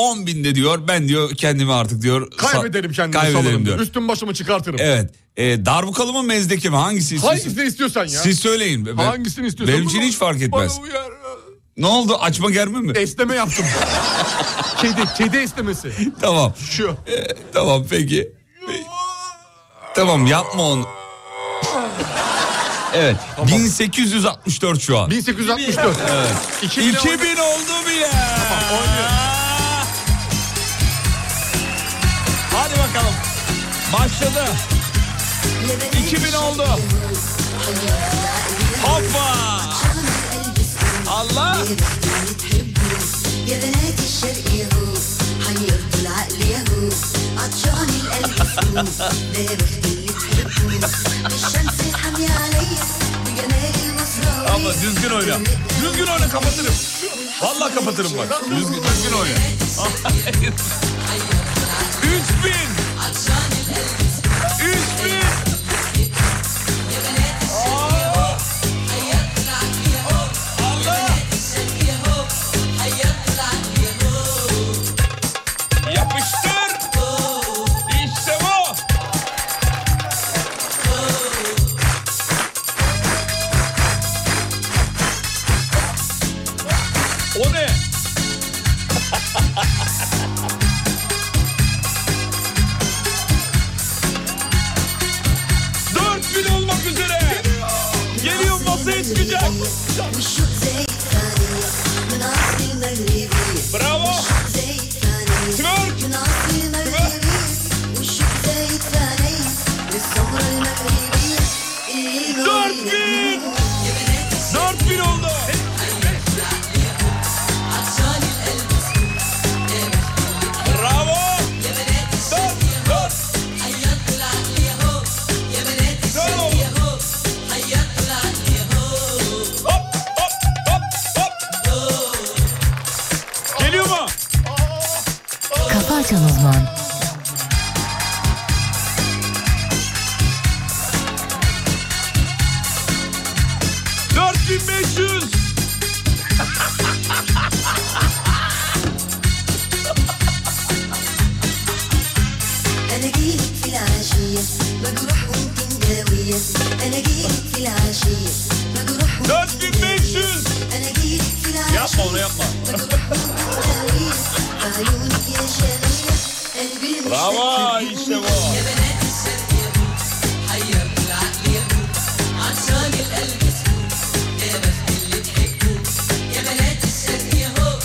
Speaker 3: 10.000'de diyor ben diyor kendimi artık diyor. sa-
Speaker 4: Kaybederim kendimi
Speaker 3: kaybederim
Speaker 4: salarım
Speaker 3: diyor.
Speaker 4: diyor. Üstüm başımı çıkartırım.
Speaker 3: Evet. E, darbukalı mı mezdeki mi hangisi?
Speaker 4: Hangisini istiyorsan ya.
Speaker 3: Siz söyleyin. Ben-
Speaker 4: Hangisini istiyorsan.
Speaker 3: Benim için
Speaker 4: Bunu-
Speaker 3: hiç fark etmez.
Speaker 4: Bana uyar.
Speaker 3: Ne oldu açma germe mi?
Speaker 4: Esneme
Speaker 3: [LAUGHS]
Speaker 4: yaptım. kedi, kedi esnemesi.
Speaker 3: Tamam.
Speaker 4: Şu.
Speaker 3: E, tamam peki. E, Tamam yapma onu. Evet. 1864 şu an.
Speaker 4: 1864. Evet. 2000.
Speaker 3: 2000 oldu bile. Hadi bakalım. Başladı. 2000 oldu. Hoppa. Allah.
Speaker 5: يا بنات الشرق هو
Speaker 2: hani
Speaker 5: هيرضوا العقل يا هو عطشان القلب فلوس دايرة اللي تحبه الشمس حامية عليا بجمال المزرعة
Speaker 3: Ama düzgün oyna. Düzgün oyna kapatırım. Vallahi kapatırım bak. Düzgün, düzgün oyna. 3000. 3000. Allah! Yapıştır. İşte bu. O ne? [LAUGHS] Dört bin olmak üzere. Geliyor masaya çıkacak.
Speaker 5: والشوق زي الثانية من عصر المغربي
Speaker 3: Bravo.
Speaker 5: زي الثانية
Speaker 3: Twerk.
Speaker 5: من عصر المغربي والشوق زي الثانية للثورة المغربية إيه
Speaker 3: Dört
Speaker 5: المغربية
Speaker 3: bin. Dört bin oldu. Bravo. Dört, dört. Dört oldu. Hop, hop, hop, hop. Geliyor mu?
Speaker 2: Kafa Açan Uzman.
Speaker 3: Dört bin beş yüz.
Speaker 5: أنا جيلك في العشية مجروح ويمكن داوية أنا جيلك في العشية مجروح
Speaker 3: Dört
Speaker 5: ويمكن
Speaker 3: bin beş
Speaker 5: داوية
Speaker 3: yüz.
Speaker 5: أنا جيلك في
Speaker 3: Yapma
Speaker 5: العشية
Speaker 3: onu yapma.
Speaker 5: مجروح ويمكن داوية عيونك يا شامية قلبي مش
Speaker 3: Bravo
Speaker 5: فاكر
Speaker 3: işte bu.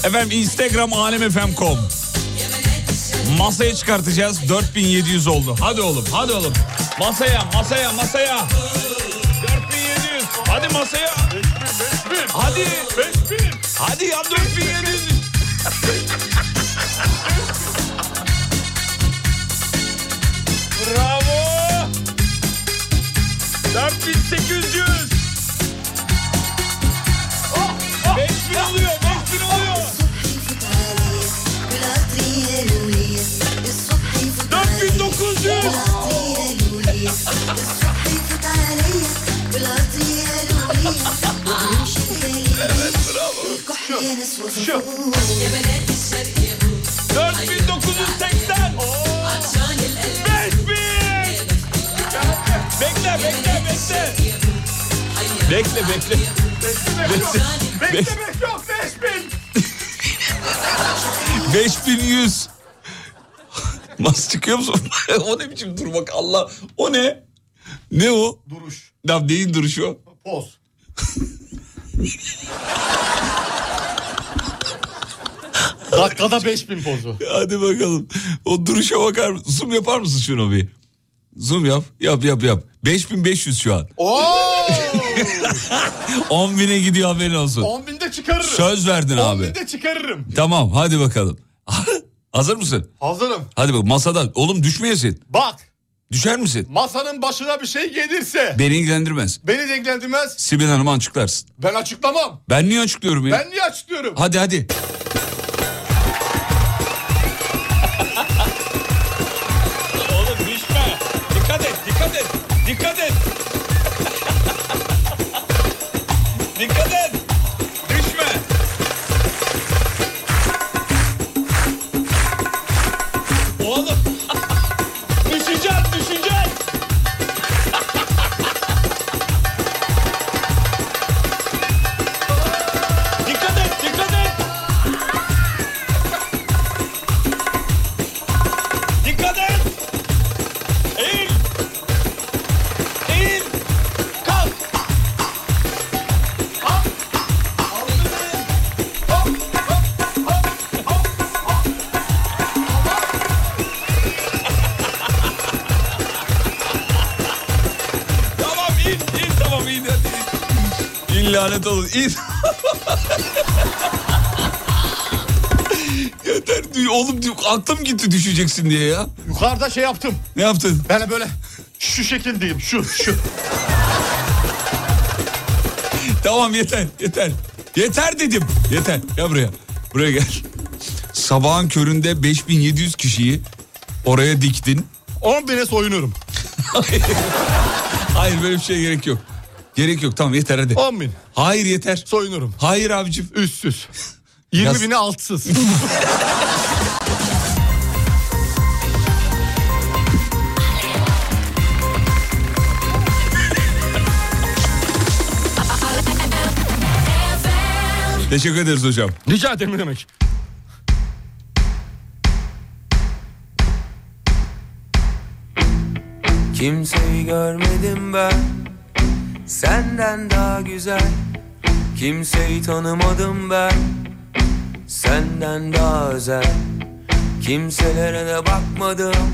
Speaker 3: Efendim Instagram alemfm.com Masaya çıkartacağız. 4700 oldu. Hadi oğlum, hadi oğlum. Masaya, masaya, masaya. 4700. Hadi masaya. Hadi. Hadi ya 4700. Bravo. 4800. Oh, oh. 5000 oluyor, 5000 oluyor.
Speaker 5: الصبح يفوت عليا بالعطر يا لوليا الصبح يفوت عليا
Speaker 3: 4900.
Speaker 5: بالعطر يا لوليا الصبح يفوت عليا بالعطر يا لوليا وبنمشي الخليل الكحل يا ناس وفوق
Speaker 3: 4980. 5000. Bekle bekle bekle. Bekle bekle. Bekle bekle.
Speaker 4: Yok 5000.
Speaker 3: 5100. Nasıl çıkıyor musun? [LAUGHS] o ne biçim dur bak Allah. O ne? Ne o?
Speaker 4: Duruş.
Speaker 3: Ya neyin duruşu o? [LAUGHS]
Speaker 4: Poz. Dakikada 5000 pozu.
Speaker 3: Hadi bakalım. O duruşa bakar mısın? Zoom yapar mısın şunu bir? Zoom yap. Yap yap yap. 5500 şu an.
Speaker 4: Oo!
Speaker 3: 10.000'e gidiyor haberin olsun.
Speaker 4: 10 binde çıkarırım.
Speaker 3: Söz verdin
Speaker 4: 10
Speaker 3: abi.
Speaker 4: binde çıkarırım.
Speaker 3: Tamam hadi bakalım. [LAUGHS] Hazır mısın?
Speaker 4: Hazırım.
Speaker 3: Hadi bak masadan. Oğlum düşmeyesin.
Speaker 4: Bak
Speaker 3: Düşer misin?
Speaker 4: masanın başına bir şey gelirse
Speaker 3: Beni ilgilendirmez.
Speaker 4: beni denklendirmez
Speaker 3: Sibel Hanım'a açıklarsın.
Speaker 4: ben açıklamam.
Speaker 3: Ben niye açıklıyorum ya?
Speaker 4: Ben niye açıklıyorum?
Speaker 3: Hadi hadi. Oğlum düşme. Dikkat et, [LAUGHS] dikkat et. Dikkat [LAUGHS] Bin lanet olun. İn. Yeter. Oğlum aklım gitti düşeceksin diye ya.
Speaker 4: Yukarıda şey yaptım.
Speaker 3: Ne yaptın?
Speaker 4: Ben böyle şu şekildeyim şu şu.
Speaker 3: Tamam yeter yeter. Yeter dedim. Yeter. Gel buraya. Buraya gel. Sabahın köründe 5700 kişiyi oraya diktin.
Speaker 4: 10 bine soyunuyorum.
Speaker 3: Hayır böyle bir şeye gerek yok. Gerek yok tamam yeter hadi.
Speaker 4: 10 bin
Speaker 3: Hayır yeter.
Speaker 4: soyunuyorum.
Speaker 3: Hayır abicim.
Speaker 4: [LAUGHS] Üstsüz. 20
Speaker 3: Yaz-
Speaker 4: bine
Speaker 3: [LAUGHS]
Speaker 4: altsız.
Speaker 3: Teşekkür ederiz hocam.
Speaker 4: Rica ederim ne demek.
Speaker 5: Kimseyi görmedim ben Senden daha güzel Kimseyi tanımadım ben Senden daha özel Kimselere de bakmadım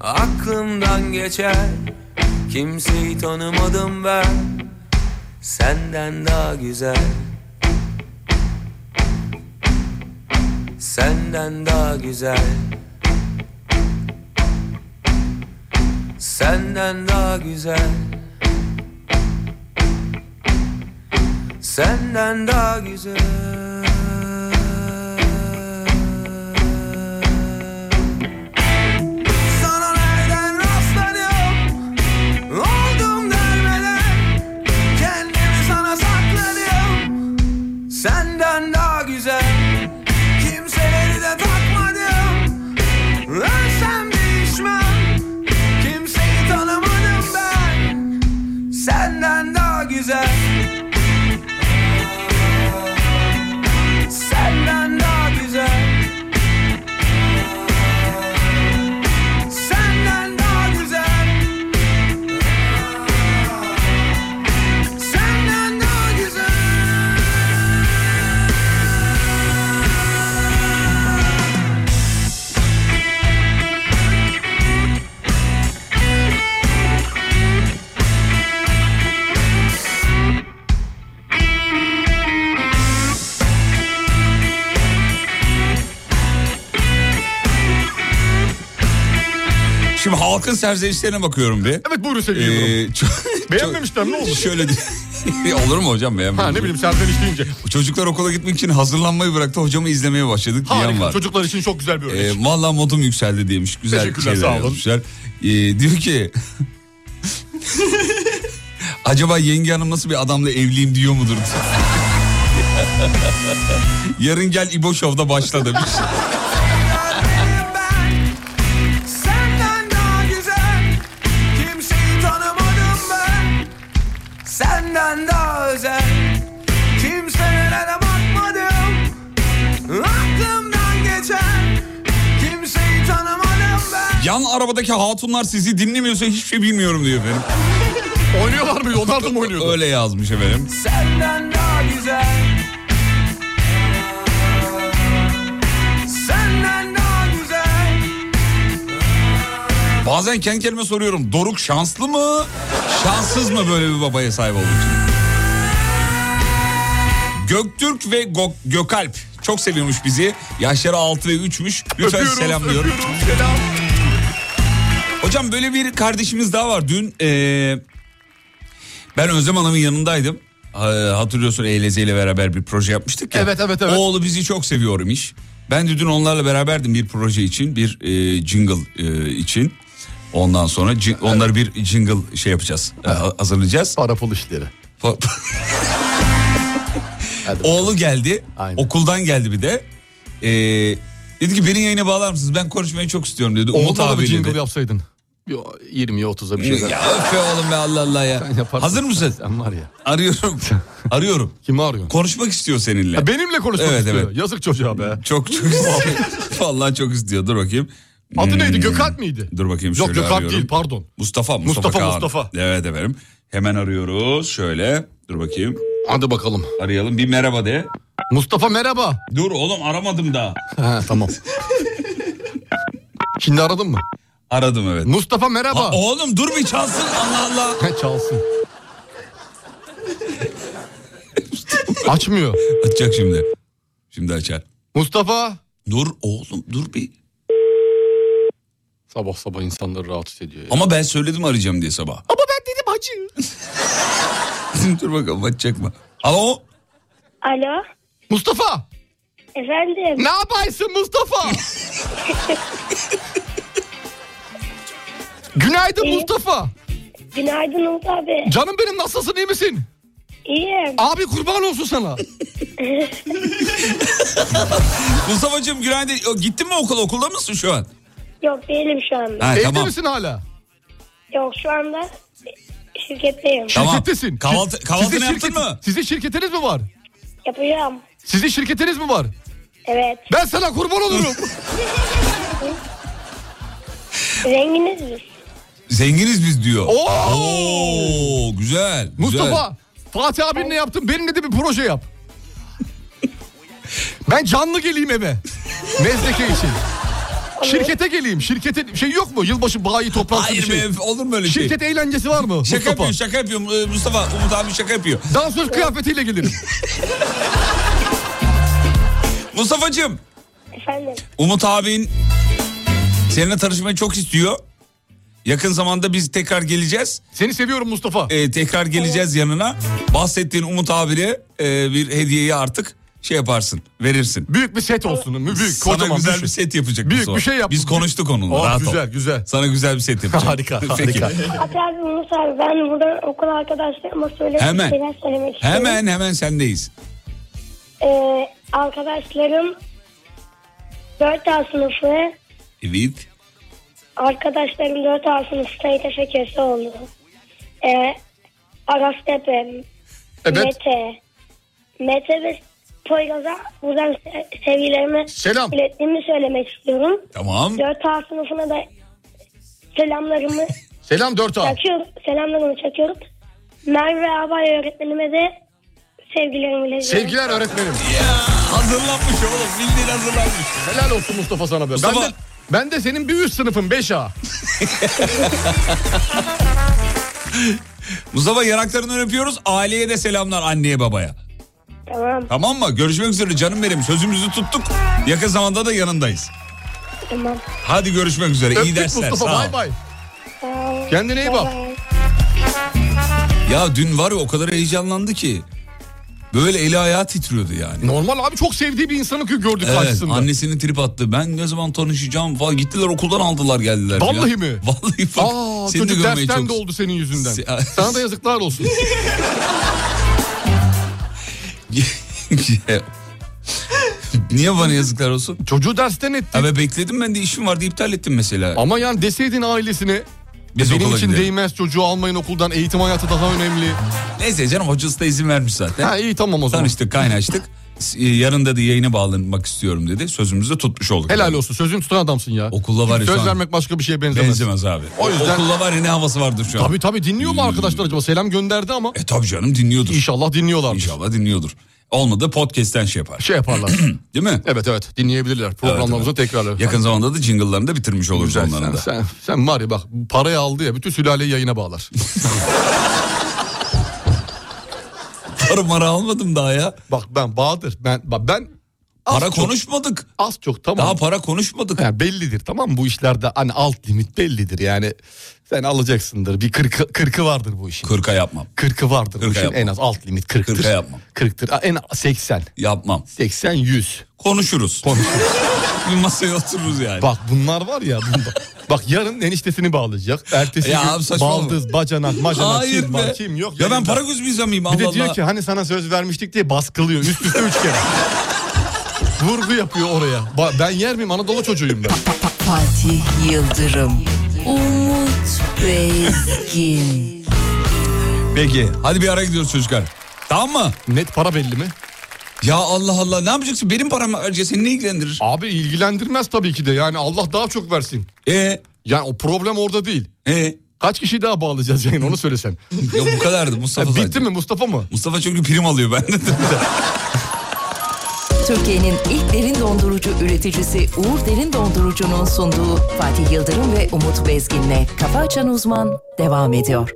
Speaker 5: Aklımdan geçer Kimseyi tanımadım ben Senden daha güzel Senden daha güzel Senden daha güzel Senden daha güzel Sana nereden rastladım Oldum dermeden Kendimi sana sakladım Senden daha güzel Kimseleri de takmadım Ölsem değişmem Kimseyi tanımadım ben Senden daha güzel Senden daha güzel Senden daha güzel Senden daha güzel
Speaker 3: Şimdi halkın serzenişlerine bakıyorum bir.
Speaker 4: Evet buyurun
Speaker 3: Ee,
Speaker 4: sevgili Yıldırım.
Speaker 3: çok- Şey-
Speaker 4: Beğenmemişler mi? Ne oldu?
Speaker 3: Şöyle di- [LAUGHS] Olur mu hocam beğenmemiş?
Speaker 4: Ha ne bileyim serzeniş deyince.
Speaker 3: Çocuklar okula gitmek için hazırlanmayı bıraktı hocamı izlemeye başladık diyen
Speaker 4: Harika
Speaker 3: var.
Speaker 4: çocuklar için çok güzel bir örnek.
Speaker 3: Ee, Valla modum yükseldi demiş. Güzel
Speaker 4: Teşekkürler,
Speaker 3: şeyler
Speaker 4: sağ olun.
Speaker 3: yazmışlar. Ee, diyor ki... [LAUGHS] Acaba yenge hanım nasıl bir adamla evliyim diyor mudur? [LAUGHS] Yarın gel İbo Show'da başla demiş. [LAUGHS]
Speaker 5: ben Senden daha güzel Kimseyi tanımadım ben Senden daha özel Kimselere de bakmadım Aklımdan geçen Kimseyi tanımadım ben
Speaker 3: Yan arabadaki hatunlar sizi dinlemiyorsa hiçbir şey bilmiyorum diyor efendim.
Speaker 4: Oynuyorlar mıydı? Onlar da mı oynuyordu?
Speaker 3: Ee, Öyle yazmış efendim.
Speaker 5: Senden daha güzel Senden daha güzel
Speaker 3: Bazen kendi kendime soruyorum. Doruk şanslı mı? Şanssız mı böyle bir babaya sahip olduğu için? Göktürk ve Gok- Gökalp çok seviyormuş bizi. Yaşları 6 ve 3'müş. Lütfen
Speaker 4: Öpüyoruz,
Speaker 3: selamlıyorum.
Speaker 4: öpüyoruz, selam.
Speaker 3: Hocam böyle bir kardeşimiz daha var. Dün eee, ben Özlem Hanım'ın yanındaydım. Eee, Hatırlıyorsun ELZ ile beraber bir proje yapmıştık ya.
Speaker 4: Evet, evet, evet.
Speaker 3: Oğlu bizi çok seviyorum iş. Ben de dün onlarla beraberdim bir proje için, bir eee, jingle eee, için. Ondan sonra cin- onları bir jingle şey yapacağız, eee, hazırlayacağız.
Speaker 4: Para pul işleri. Hadi.
Speaker 3: Oğlu geldi,
Speaker 4: Aynen.
Speaker 3: okuldan geldi bir de. Eee, dedi ki beni yayına bağlar mısınız? Ben konuşmayı çok istiyorum dedi. Umut
Speaker 4: Onunla da bir
Speaker 3: abiyle
Speaker 4: jingle
Speaker 3: de.
Speaker 4: yapsaydın. Bir 20'ye 30'a bir şeyler.
Speaker 3: Ya öf be oğlum be Allah Allah ya.
Speaker 4: [LAUGHS] Yaparsın.
Speaker 3: Hazır mısın?
Speaker 4: Sen var ya. [LAUGHS]
Speaker 3: Arıyorum. Arıyorum.
Speaker 4: Kimi arıyorsun?
Speaker 3: Konuşmak istiyor seninle.
Speaker 4: Ya benimle konuşmak
Speaker 3: Evet,
Speaker 4: istiyor.
Speaker 3: evet.
Speaker 4: Yazık çocuğa be.
Speaker 3: Çok
Speaker 4: [LAUGHS]
Speaker 3: çok istiyor. Vallahi çok istiyor. Dur bakayım.
Speaker 4: Adı
Speaker 3: Hmm.
Speaker 4: neydi? Gökalp miydi?
Speaker 3: Dur bakayım
Speaker 4: Yok
Speaker 3: şöyle
Speaker 4: Gökalp
Speaker 3: arıyorum.
Speaker 4: değil pardon.
Speaker 3: Mustafa Mustafa
Speaker 4: Mustafa,
Speaker 3: Kağan.
Speaker 4: Mustafa.
Speaker 3: Evet efendim. Hemen arıyoruz. Şöyle. Dur bakayım.
Speaker 4: Hadi bakalım.
Speaker 3: Arayalım. Bir merhaba de.
Speaker 4: Mustafa merhaba.
Speaker 3: Dur oğlum aramadım daha.
Speaker 4: Ha tamam. Şimdi aradın mı?
Speaker 3: Aradım evet.
Speaker 4: Mustafa
Speaker 3: Ha,
Speaker 4: merhaba.
Speaker 3: oğlum dur bir çalsın Allah Allah.
Speaker 4: Ha, çalsın. Açmıyor.
Speaker 3: Açacak şimdi. Şimdi açar.
Speaker 4: Mustafa.
Speaker 3: Dur oğlum dur bir.
Speaker 4: Sabah sabah insanları rahatsız ediyor. Ya.
Speaker 3: Ama ben söyledim arayacağım diye sabah. [LAUGHS]
Speaker 4: Ama ben dedim hacı.
Speaker 3: dur bakalım açacak mı? Alo.
Speaker 11: Alo.
Speaker 4: Mustafa.
Speaker 11: Efendim.
Speaker 4: Ne yapaysın Mustafa? Günaydın
Speaker 11: İyi.
Speaker 4: Mustafa.
Speaker 11: Günaydın Umut abi.
Speaker 4: Canım benim nasılsın iyi misin?
Speaker 11: İyiyim.
Speaker 4: Abi kurban olsun sana.
Speaker 3: Mustafa'cığım günaydın. Ö, Gittin mi okula? Okulda mısın şu an?
Speaker 11: Yok değilim şu anda.
Speaker 3: Ha,
Speaker 4: Evde
Speaker 3: tamam.
Speaker 4: misin hala?
Speaker 11: Yok şu anda şirketteyim.
Speaker 3: Tamam.
Speaker 4: Şirkettesin.
Speaker 3: Kahvaltı-
Speaker 4: Siz-
Speaker 3: kahvaltını
Speaker 4: sizin
Speaker 3: yaptın mı?
Speaker 4: Sizin şirketiniz mi var?
Speaker 11: Yapacağım.
Speaker 4: Sizin şirketiniz mi var?
Speaker 11: Evet.
Speaker 4: Ben sana kurban
Speaker 3: [LAUGHS]
Speaker 4: olurum.
Speaker 11: Zenginiz biz.
Speaker 3: Zenginiz biz diyor.
Speaker 4: Oo!
Speaker 3: Oo, güzel.
Speaker 4: Mustafa Fatih abinle yaptın benimle de bir proje yap. ben canlı geleyim eve. Mezdeke için. Şirkete geleyim. Şirkete şey yok mu? Yılbaşı bayi
Speaker 3: Güzel.
Speaker 4: toplantısı
Speaker 3: Hayır
Speaker 4: bir şey.
Speaker 3: be olur mu öyle şey?
Speaker 4: Şirket eğlencesi var mı?
Speaker 3: Şaka
Speaker 4: Mustafa.
Speaker 3: yapıyor şaka yapıyor Ee, Mustafa. Umut abi şaka yapıyor.
Speaker 4: Dansöz kıyafetiyle gelirim.
Speaker 3: Mustafa'cığım
Speaker 11: Efendim.
Speaker 3: Umut abin seninle tanışmayı çok istiyor. Yakın zamanda biz tekrar geleceğiz.
Speaker 4: Seni seviyorum Mustafa.
Speaker 3: Ee, tekrar geleceğiz yanına. Bahsettiğin Umut abine e, bir hediyeyi artık şey yaparsın verirsin.
Speaker 4: Büyük bir set olsun. Büyük
Speaker 3: Sana
Speaker 4: kocaman
Speaker 3: güzel bir
Speaker 4: şey.
Speaker 3: set yapacak.
Speaker 4: Büyük
Speaker 3: Mustafa.
Speaker 4: bir şey yap.
Speaker 3: Biz konuştuk onunla
Speaker 4: Oh,
Speaker 3: rahat ol.
Speaker 4: güzel güzel.
Speaker 3: Sana güzel bir set yapacak.
Speaker 4: Harika,
Speaker 3: Peki.
Speaker 4: harika.
Speaker 11: Hatta abi Umut abi ben burada okul arkadaşlarıma söylemek
Speaker 3: Hemen.
Speaker 11: şeyler söylemek istiyorum.
Speaker 3: Hemen hemen sendeyiz.
Speaker 11: Ee, arkadaşlarım 4 A sınıfı
Speaker 3: Evet.
Speaker 11: Arkadaşlarım 4 A sınıfı Sait Efe Köse oldu. Ee, Aras Tepe,
Speaker 4: Evet.
Speaker 11: Mete. Mete ve Poyraz'a buradan se- sevgilerimi
Speaker 4: Selam.
Speaker 11: ilettiğimi söylemek istiyorum.
Speaker 3: Tamam.
Speaker 11: 4 A sınıfına da
Speaker 4: [LAUGHS]
Speaker 11: selamlarımı
Speaker 4: Selam 4A.
Speaker 11: çakıyorum. Selamlarımı çakıyorum. Merve Abay öğretmenime de sevgilerimi iletiyorum.
Speaker 4: Sevgiler öğretmenim.
Speaker 3: Hazırlanmış oğlum. Bildiğin hazırlanmış.
Speaker 4: Helal olsun Mustafa sana be.
Speaker 3: Mustafa-
Speaker 4: Ben de, ben de senin bir üst sınıfın 5A.
Speaker 3: Mustafa yanaklarını öpüyoruz. Aileye de selamlar anneye babaya.
Speaker 11: Tamam
Speaker 3: Tamam mı? Görüşmek üzere canım benim. Sözümüzü tuttuk. Yakın zamanda da yanındayız.
Speaker 11: tamam.
Speaker 3: Hadi görüşmek üzere. İyi
Speaker 4: Öptük
Speaker 3: dersler.
Speaker 4: Mustafa
Speaker 3: Sağ
Speaker 4: bay
Speaker 3: ol.
Speaker 4: bay.
Speaker 11: Sağ ol.
Speaker 4: Kendine iyi
Speaker 11: Bay
Speaker 4: bak.
Speaker 11: bay.
Speaker 3: Ya dün var ya o kadar heyecanlandı ki. Böyle eli ayağı titriyordu yani.
Speaker 4: Normal abi çok sevdiği bir insanı kö- gördük
Speaker 3: Evet,
Speaker 4: karşısında.
Speaker 3: annesinin trip attı. Ben ne zaman tanışacağım falan. Gittiler okuldan aldılar geldiler. falan.
Speaker 4: Vallahi mi?
Speaker 3: [LAUGHS] Vallahi bak.
Speaker 4: Aa,
Speaker 3: seni de
Speaker 4: çocuk
Speaker 3: görmeyi
Speaker 4: dersten
Speaker 3: çok-
Speaker 4: de oldu senin yüzünden.
Speaker 3: Se-
Speaker 4: [LAUGHS] Sana da yazıklar
Speaker 3: [LAUGHS]
Speaker 4: olsun.
Speaker 3: [LAUGHS] Niye bana yazıklar olsun?
Speaker 4: Çocuğu dersten etti.
Speaker 3: Abi bekledim ben de işim vardı iptal ettim mesela.
Speaker 4: Ama yani deseydin ailesine
Speaker 3: Biz
Speaker 4: benim
Speaker 3: okula
Speaker 4: için
Speaker 3: gidelim.
Speaker 4: değmez çocuğu almayın okuldan eğitim hayatı daha önemli.
Speaker 3: Neyse canım hocası da izin vermiş zaten.
Speaker 4: Ha iyi tamam o zaman.
Speaker 3: Tanıştık kaynaştık. S- e, Yarın da yayına bağlanmak istiyorum dedi. Sözümüzü de tutmuş olduk.
Speaker 4: Helal olsun sözün tutan adamsın ya.
Speaker 3: Okulda var ya şu
Speaker 4: Söz
Speaker 3: an-
Speaker 4: vermek başka bir şeye benzemez.
Speaker 3: Benzemez abi.
Speaker 4: O
Speaker 3: O
Speaker 4: yüzden-
Speaker 3: Okulla var ya ne havası vardır şu an.
Speaker 4: Tabii tabii dinliyor mu arkadaşlar acaba? Selam gönderdi ama
Speaker 3: E tabii canım dinliyordur.
Speaker 4: inşallah dinliyorlar.
Speaker 3: İnşallah dinliyordur. Olmadı podcast'ten şey yapar.
Speaker 4: Şey yaparlar.
Speaker 3: [CLEARS THROAT] Değil mi?
Speaker 4: evet evet dinleyebilirler. Programlarımızı tekrarlar.
Speaker 3: Yakın zamanda da jingle'larını da bitirmiş oluruz
Speaker 4: Güzel,
Speaker 3: onların
Speaker 4: sen,
Speaker 3: da.
Speaker 4: sen, sen var ya bak parayı aldı ya bütün sülaleyi yayına
Speaker 3: [LAUGHS]
Speaker 4: bağlar.
Speaker 3: Para mara almadım daha ya.
Speaker 4: bak ben Bahadır ben bak ben az
Speaker 3: Para
Speaker 4: çok-
Speaker 3: konuşmadık.
Speaker 4: Az çok tamam.
Speaker 3: Daha para konuşmadık.
Speaker 4: Yani bellidir tamam mı? bu işlerde hani alt limit bellidir yani sen alacaksındır bir kırkı, kırkı vardır bu işin.
Speaker 3: Kırka yapmam.
Speaker 4: Kırkı vardır bu
Speaker 3: Kırka
Speaker 4: işin
Speaker 3: yapmam.
Speaker 4: en az alt limit kırktır.
Speaker 3: Kırka yapmam.
Speaker 4: Kırktır A, en 80.
Speaker 3: Yapmam.
Speaker 4: 80 100.
Speaker 3: Konuşuruz. [LAUGHS] bir masaya otururuz yani.
Speaker 4: Bak bunlar var ya
Speaker 3: [LAUGHS]
Speaker 4: bunda. Bak yarın eniştesini bağlayacak. Ertesi
Speaker 3: Ya abi
Speaker 4: gün
Speaker 3: saçmalama.
Speaker 4: baldız, bacanak, macanak,
Speaker 3: Hayır
Speaker 4: kim
Speaker 3: be.
Speaker 4: var, kim yok.
Speaker 3: Ya ben
Speaker 4: Yayında.
Speaker 3: para göz müyüz miyim Allah
Speaker 4: Bir de diyor
Speaker 3: Allah.
Speaker 4: ki hani sana söz vermiştik diye baskılıyor üst üste üç kere. Vurgu yapıyor oraya. Ba- Ben yer miyim Anadolu çocuğuyum ben.
Speaker 1: Fatih Yıldırım, Umut Bezgin.
Speaker 3: Peki hadi bir ara gidiyoruz çocuklar. Tamam mı?
Speaker 4: Net para belli mi?
Speaker 3: Ya Allah Allah ne yapacaksın? Benim param harca seni ne ilgilendirir?
Speaker 4: Abi ilgilendirmez tabii ki de yani Allah daha çok versin.
Speaker 3: E
Speaker 4: Yani o problem orada değil.
Speaker 3: e ya
Speaker 4: Kaç kişi daha bağlayacağız yani onu
Speaker 3: [LAUGHS]
Speaker 4: söylesen.
Speaker 3: bu
Speaker 4: [LAUGHS]
Speaker 3: kadardı
Speaker 4: Ha,
Speaker 3: Mustafa.
Speaker 4: E, bitti
Speaker 3: zaten.
Speaker 4: mi Mustafa mı?
Speaker 3: Mustafa çünkü prim alıyor benden. de. [LAUGHS]
Speaker 1: Türkiye'nin ilk derin dondurucu üreticisi Uğur Derin Dondurucu'nun sunduğu Fatih Yıldırım ve Umut Bezgin'le Kafa Açan Uzman devam ediyor.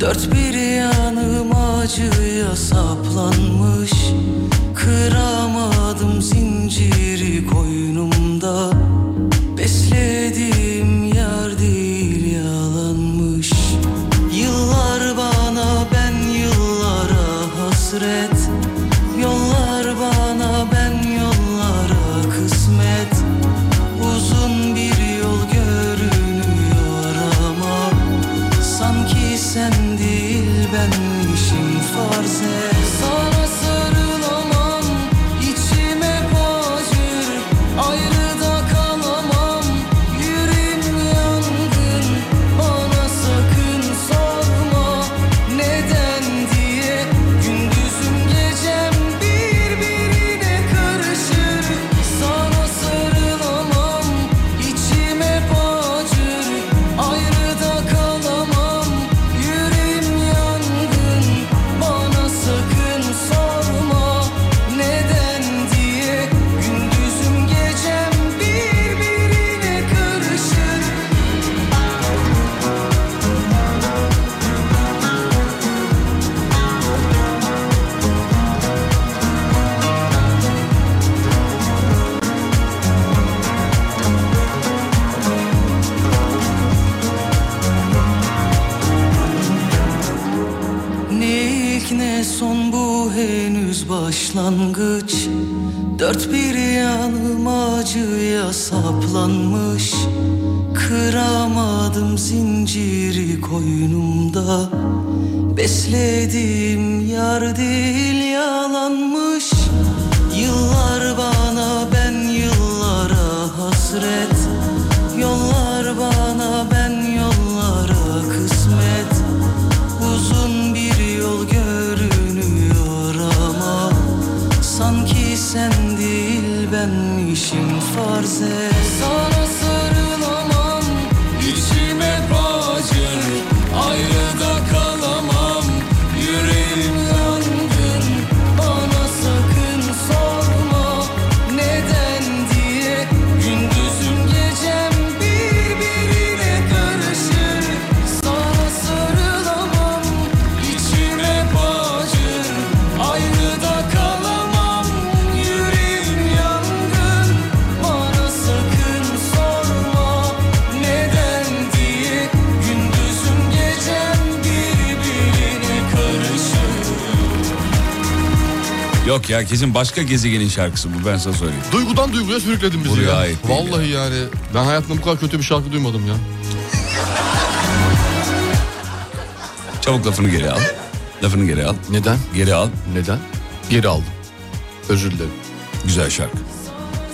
Speaker 12: Dört bir yanım acıya saplanmış Kıramadım zinciri koynumda Beslediğim yer değil yalanmış Yıllar bana ben yıllara hasret Yollar bana ben yollara kısmet Uzun bir yol görünüyor ama Sanki sen değil benmişim farz et Sana sarılamam, içime acır Ayrı da kalamam, yüreğim yangın Bana sakın sorma, neden diye Gündüzüm gecem birbirine karışır Sana sarılamam, içime acır Ayrı da kalamam, yüreğim yangın Bana sakın sorma, neden diye Gündüzüm gecem birbirine karışır Ne ilk ne son bu henüz başlangıç Dört bir yanım acıya saplanmış Kıramadım zinciri koynumda Beslediğim yar değil yalanmış Yıllar bana ben yıllara hasret Yollar bana ben yollara kısmet Uzun bir yol görünüyor ama Sanki sen değil benmişim farz et Sana sarılamam, içime bacır Ayrı da kalamam, yüreğim yangın Bana sakın sorma, neden diye Gündüzüm gecem birbirine karışır Sana sarılamam, içime bacır Ayrı da kalamam, yüreğim yangın Bana sakın sorma, neden diye Gündüzüm gecem birbirine karışır
Speaker 3: Yok ya kesin başka gezegenin şarkısı bu ben sana söyleyeyim.
Speaker 4: Duygudan duyguya sürükledin bizi
Speaker 3: Buraya
Speaker 4: ya.
Speaker 3: ait değil
Speaker 4: Vallahi yani ben hayatımda bu kadar kötü bir şarkı duymadım ya.
Speaker 3: Çabuk lafını geri al. Lafını geri al.
Speaker 4: Neden?
Speaker 3: Geri al.
Speaker 4: Neden? Geri aldım. Özür dilerim.
Speaker 3: Güzel şarkı.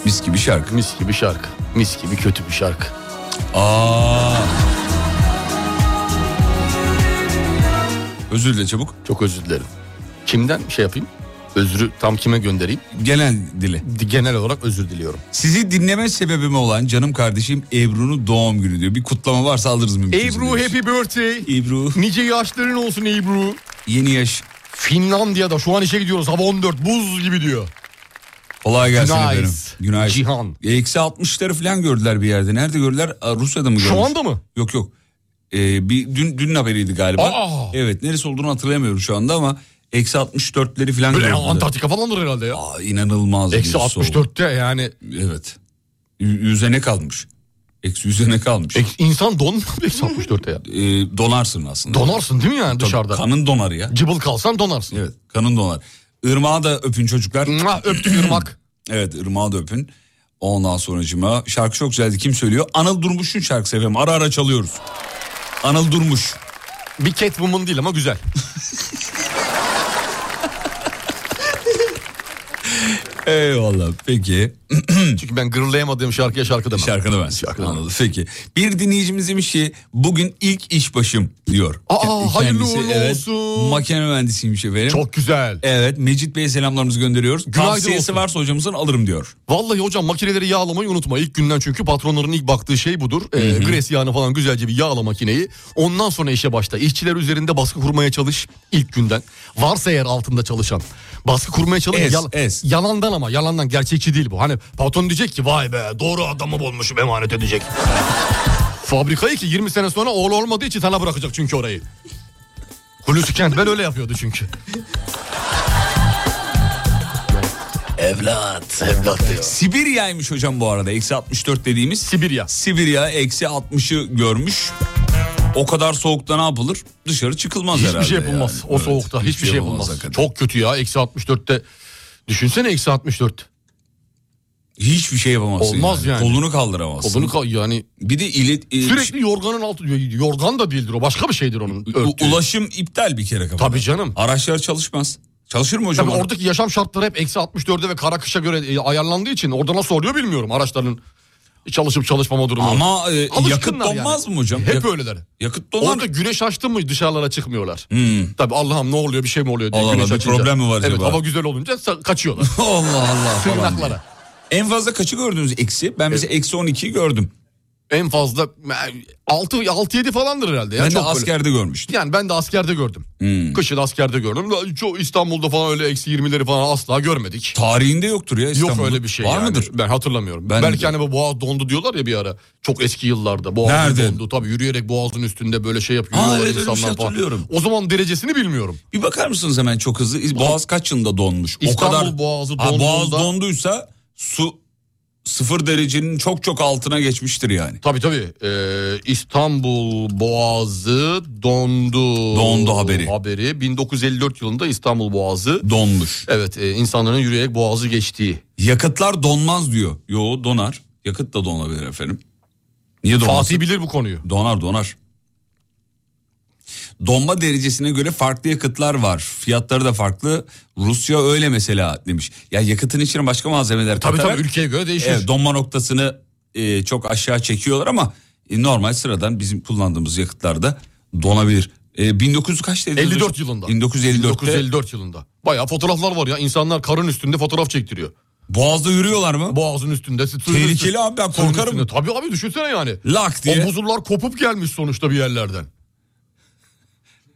Speaker 3: Mis gibi şarkı.
Speaker 4: Mis gibi şarkı. Mis gibi kötü bir şarkı.
Speaker 3: Aa. Özür dile çabuk.
Speaker 4: Çok özür dilerim. Kimden şey yapayım? Özrü tam kime göndereyim?
Speaker 3: Genel dili.
Speaker 4: Genel olarak özür diliyorum.
Speaker 3: Sizi dinleme sebebim olan canım kardeşim Ebru'nun doğum günü diyor. Bir kutlama varsa alırız mümkünse.
Speaker 4: Ebru happy birthday.
Speaker 3: Ebru.
Speaker 4: Nice yaşların olsun Ebru.
Speaker 3: Yeni yaş.
Speaker 4: Finlandiya'da şu an işe gidiyoruz. Hava 14 buz gibi diyor.
Speaker 3: Kolay gelsin
Speaker 4: Günaydın.
Speaker 3: efendim. Günaydın.
Speaker 4: Cihan.
Speaker 3: E, Eksi 60'ları falan gördüler bir yerde. Nerede gördüler? Aa, Rusya'da mı
Speaker 4: Şu
Speaker 3: gördüler?
Speaker 4: anda mı?
Speaker 3: Yok yok. E, bir dün dünün haberiydi galiba.
Speaker 4: Aa!
Speaker 3: Evet neresi olduğunu hatırlayamıyorum şu anda ama eksi 64'leri falan
Speaker 4: Böyle
Speaker 3: gördüler.
Speaker 4: Antarktika falandır herhalde ya.
Speaker 3: Aa, inanılmaz.
Speaker 4: Eksi
Speaker 3: bir soğuk.
Speaker 4: 64'te yani
Speaker 3: Evet. Y- yüze ne kalmış? Eksi yüze ne kalmış?
Speaker 4: Ek- insan donmuyor mu [LAUGHS] eksi 64'te ya.
Speaker 3: E, donarsın aslında.
Speaker 4: Donarsın değil mi yani
Speaker 3: Tabii,
Speaker 4: dışarıda?
Speaker 3: Kanın donar ya.
Speaker 4: Cıbıl kalsan donarsın.
Speaker 3: Evet kanın donar. Irmağı da öpün çocuklar.
Speaker 4: Mua, Öptük ırmak.
Speaker 3: Evet Irmağı da öpün. Ondan sonracıma şarkı çok güzeldi. Kim söylüyor? Anıl Durmuş'un şarkısı efendim. Ara ara çalıyoruz. Anıl Durmuş.
Speaker 4: Bir Catwoman değil ama [LAUGHS] güzel.
Speaker 3: Eyvallah peki.
Speaker 4: Çünkü ben gırlayamadığım şarkıya şarkı demem.
Speaker 3: Şarkını ben
Speaker 4: Şarkını
Speaker 3: anladım. Peki. Bir dinleyicimiz demiş ki bugün ilk iş başım diyor.
Speaker 4: Aa,
Speaker 3: Kendisi,
Speaker 4: hayırlı uğurlu
Speaker 3: evet,
Speaker 4: olsun.
Speaker 3: Makine mühendisiymiş efendim.
Speaker 4: Çok güzel.
Speaker 3: Evet Mecit Bey'e selamlarımızı gönderiyoruz.
Speaker 4: Günaydın
Speaker 3: Tavsiyesi
Speaker 4: olsun.
Speaker 3: varsa hocamızın alırım diyor.
Speaker 4: Vallahi hocam makineleri yağlamayı unutma. İlk günden çünkü patronların ilk baktığı şey budur. Ee, gres yağını falan güzelce bir yağla makineyi. Ondan sonra işe başla. İşçiler üzerinde baskı kurmaya çalış ilk günden. Varsa eğer altında çalışan. Baskı kurmaya çalış.
Speaker 3: Es,
Speaker 4: Yal-
Speaker 3: es.
Speaker 4: Yalandan ama yalandan gerçekçi değil bu. Hani patron diyecek ki vay be doğru adamı bulmuşum emanet edecek. [LAUGHS] Fabrikayı ki 20 sene sonra oğlu olmadığı için sana bırakacak çünkü orayı. Hulusi Kentmen öyle yapıyordu çünkü.
Speaker 3: Evlat, evlat Sibirya'ymış hocam bu arada. Eksi 64 dediğimiz. Sibirya. Sibirya eksi 60'ı görmüş. O kadar soğukta ne yapılır? Dışarı çıkılmaz
Speaker 4: hiçbir
Speaker 3: herhalde.
Speaker 4: şey yapılmaz.
Speaker 3: yani.
Speaker 4: O
Speaker 3: Evet,
Speaker 4: soğukta hiçbir, şey yapılmaz. Çok kötü ya. Eksi 64'te. Düşünsene eksi 64.
Speaker 3: Hiçbir şey yapamazsın.
Speaker 4: Olmaz yani.
Speaker 3: Kolunu kaldıramazsın.
Speaker 4: Kolunu kal- yani.
Speaker 3: Bir de ilet... e,
Speaker 4: Sürekli yorganın altı. Yorgan da değildir o. Başka bir şeydir onun.
Speaker 3: u- ulaşım iptal bir kere kafada. Tabii canım. Araçlar çalışmaz. Çalışır mı hocam?
Speaker 4: Tabii
Speaker 3: araba?
Speaker 4: oradaki yaşam şartları hep eksi 64'e ve kara kışa göre e, ayarlandığı için orada nasıl oluyor bilmiyorum araçların çalışıp çalışmama durumu.
Speaker 3: Ama e,
Speaker 4: Alışkınlar
Speaker 3: yakıt
Speaker 4: yani.
Speaker 3: donmaz mı hocam?
Speaker 4: Hep
Speaker 3: Yak-
Speaker 4: öyleler.
Speaker 3: Yakıt donar.
Speaker 4: Orada güneş açtı mı dışarılara çıkmıyorlar. Tabii Allah'ım ne oluyor bir şey mi oluyor diye
Speaker 3: Allah
Speaker 4: güneş
Speaker 3: Allah, Hmm. bir
Speaker 4: açınca.
Speaker 3: problem mi var
Speaker 4: Evet
Speaker 3: acaba?
Speaker 4: hava güzel olunca sa-
Speaker 3: [LAUGHS]
Speaker 4: kaçıyorlar.
Speaker 3: Allah Allah falan diye.
Speaker 4: Sığınaklara.
Speaker 3: En fazla kaçı gördünüz eksi? Ben mesela eksi 12'yi gördüm.
Speaker 4: En fazla 6-7 falandır herhalde. Ya.
Speaker 3: Ben de Hmm.
Speaker 4: Çok böyle-
Speaker 3: askerde görmüştüm.
Speaker 4: Yani ben de askerde gördüm. Kışın askerde gördüm. La- Çok İstanbul'da falan öyle eksi 20'leri falan asla görmedik.
Speaker 3: Tarihinde yoktur ya İstanbul.
Speaker 4: Yok öyle bir şey
Speaker 3: Var
Speaker 4: yani.
Speaker 3: mıdır?
Speaker 4: Ben hatırlamıyorum.
Speaker 3: Ben
Speaker 4: Belki
Speaker 3: de-
Speaker 4: hani bu boğaz dondu diyorlar ya bir ara. Çok eski yıllarda boğaz
Speaker 3: Nerede?
Speaker 4: dondu. Tabii yürüyerek boğazın üstünde böyle şey yapıyor.
Speaker 3: Aa,
Speaker 4: yürüyorlar
Speaker 3: evet, öyle bir şey
Speaker 4: insanlar falan.
Speaker 3: hatırlıyorum.
Speaker 4: O zaman derecesini bilmiyorum.
Speaker 3: Bir bakar mısınız hemen çok hızlı? Boğaz kaç yılında donmuş?
Speaker 4: İstanbul
Speaker 3: o kadar...
Speaker 4: Boğazı
Speaker 3: Ha, Boğaz
Speaker 4: donduğunda-
Speaker 3: donduysa su sıfır derecenin çok çok altına geçmiştir yani.
Speaker 4: Tabii tabii. Ee, İstanbul Boğazı dondu.
Speaker 3: Dondu haberi.
Speaker 4: Haberi 1954 yılında İstanbul Boğazı
Speaker 3: donmuş.
Speaker 4: Evet, e, insanların yürüyerek boğazı geçtiği.
Speaker 3: Yakıtlar donmaz diyor. Yo donar. Yakıt da donabilir efendim. Niye donmaz?
Speaker 4: Fatih bilir bu konuyu.
Speaker 3: Donar donar. Donma derecesine göre farklı yakıtlar var. Fiyatları da farklı. Rusya öyle mesela demiş. Ya yakıtın içine başka malzemeler
Speaker 4: Tabii
Speaker 3: katarak-
Speaker 4: tabii ülkeye göre değişir.
Speaker 3: Evet, donma noktasını e, çok aşağı çekiyorlar ama e, normal sıradan bizim kullandığımız yakıtlarda donabilir. E, 1900 kaç dediniz
Speaker 4: 54
Speaker 3: hocam?
Speaker 4: yılında.
Speaker 3: 1954'te.
Speaker 4: 1954 yılında. Bayağı fotoğraflar var ya. İnsanlar karın üstünde fotoğraf çektiriyor.
Speaker 3: Boğazda yürüyorlar mı?
Speaker 4: Boğazın üstünde. Suyun
Speaker 3: Tehlikeli
Speaker 4: üstünde-
Speaker 3: abi, ben
Speaker 4: suyun
Speaker 3: korkarım.
Speaker 4: üstünde. Tabii abi düşünsene yani.
Speaker 3: Lak diye.
Speaker 4: O buzullar kopup gelmiş sonuçta bir yerlerden.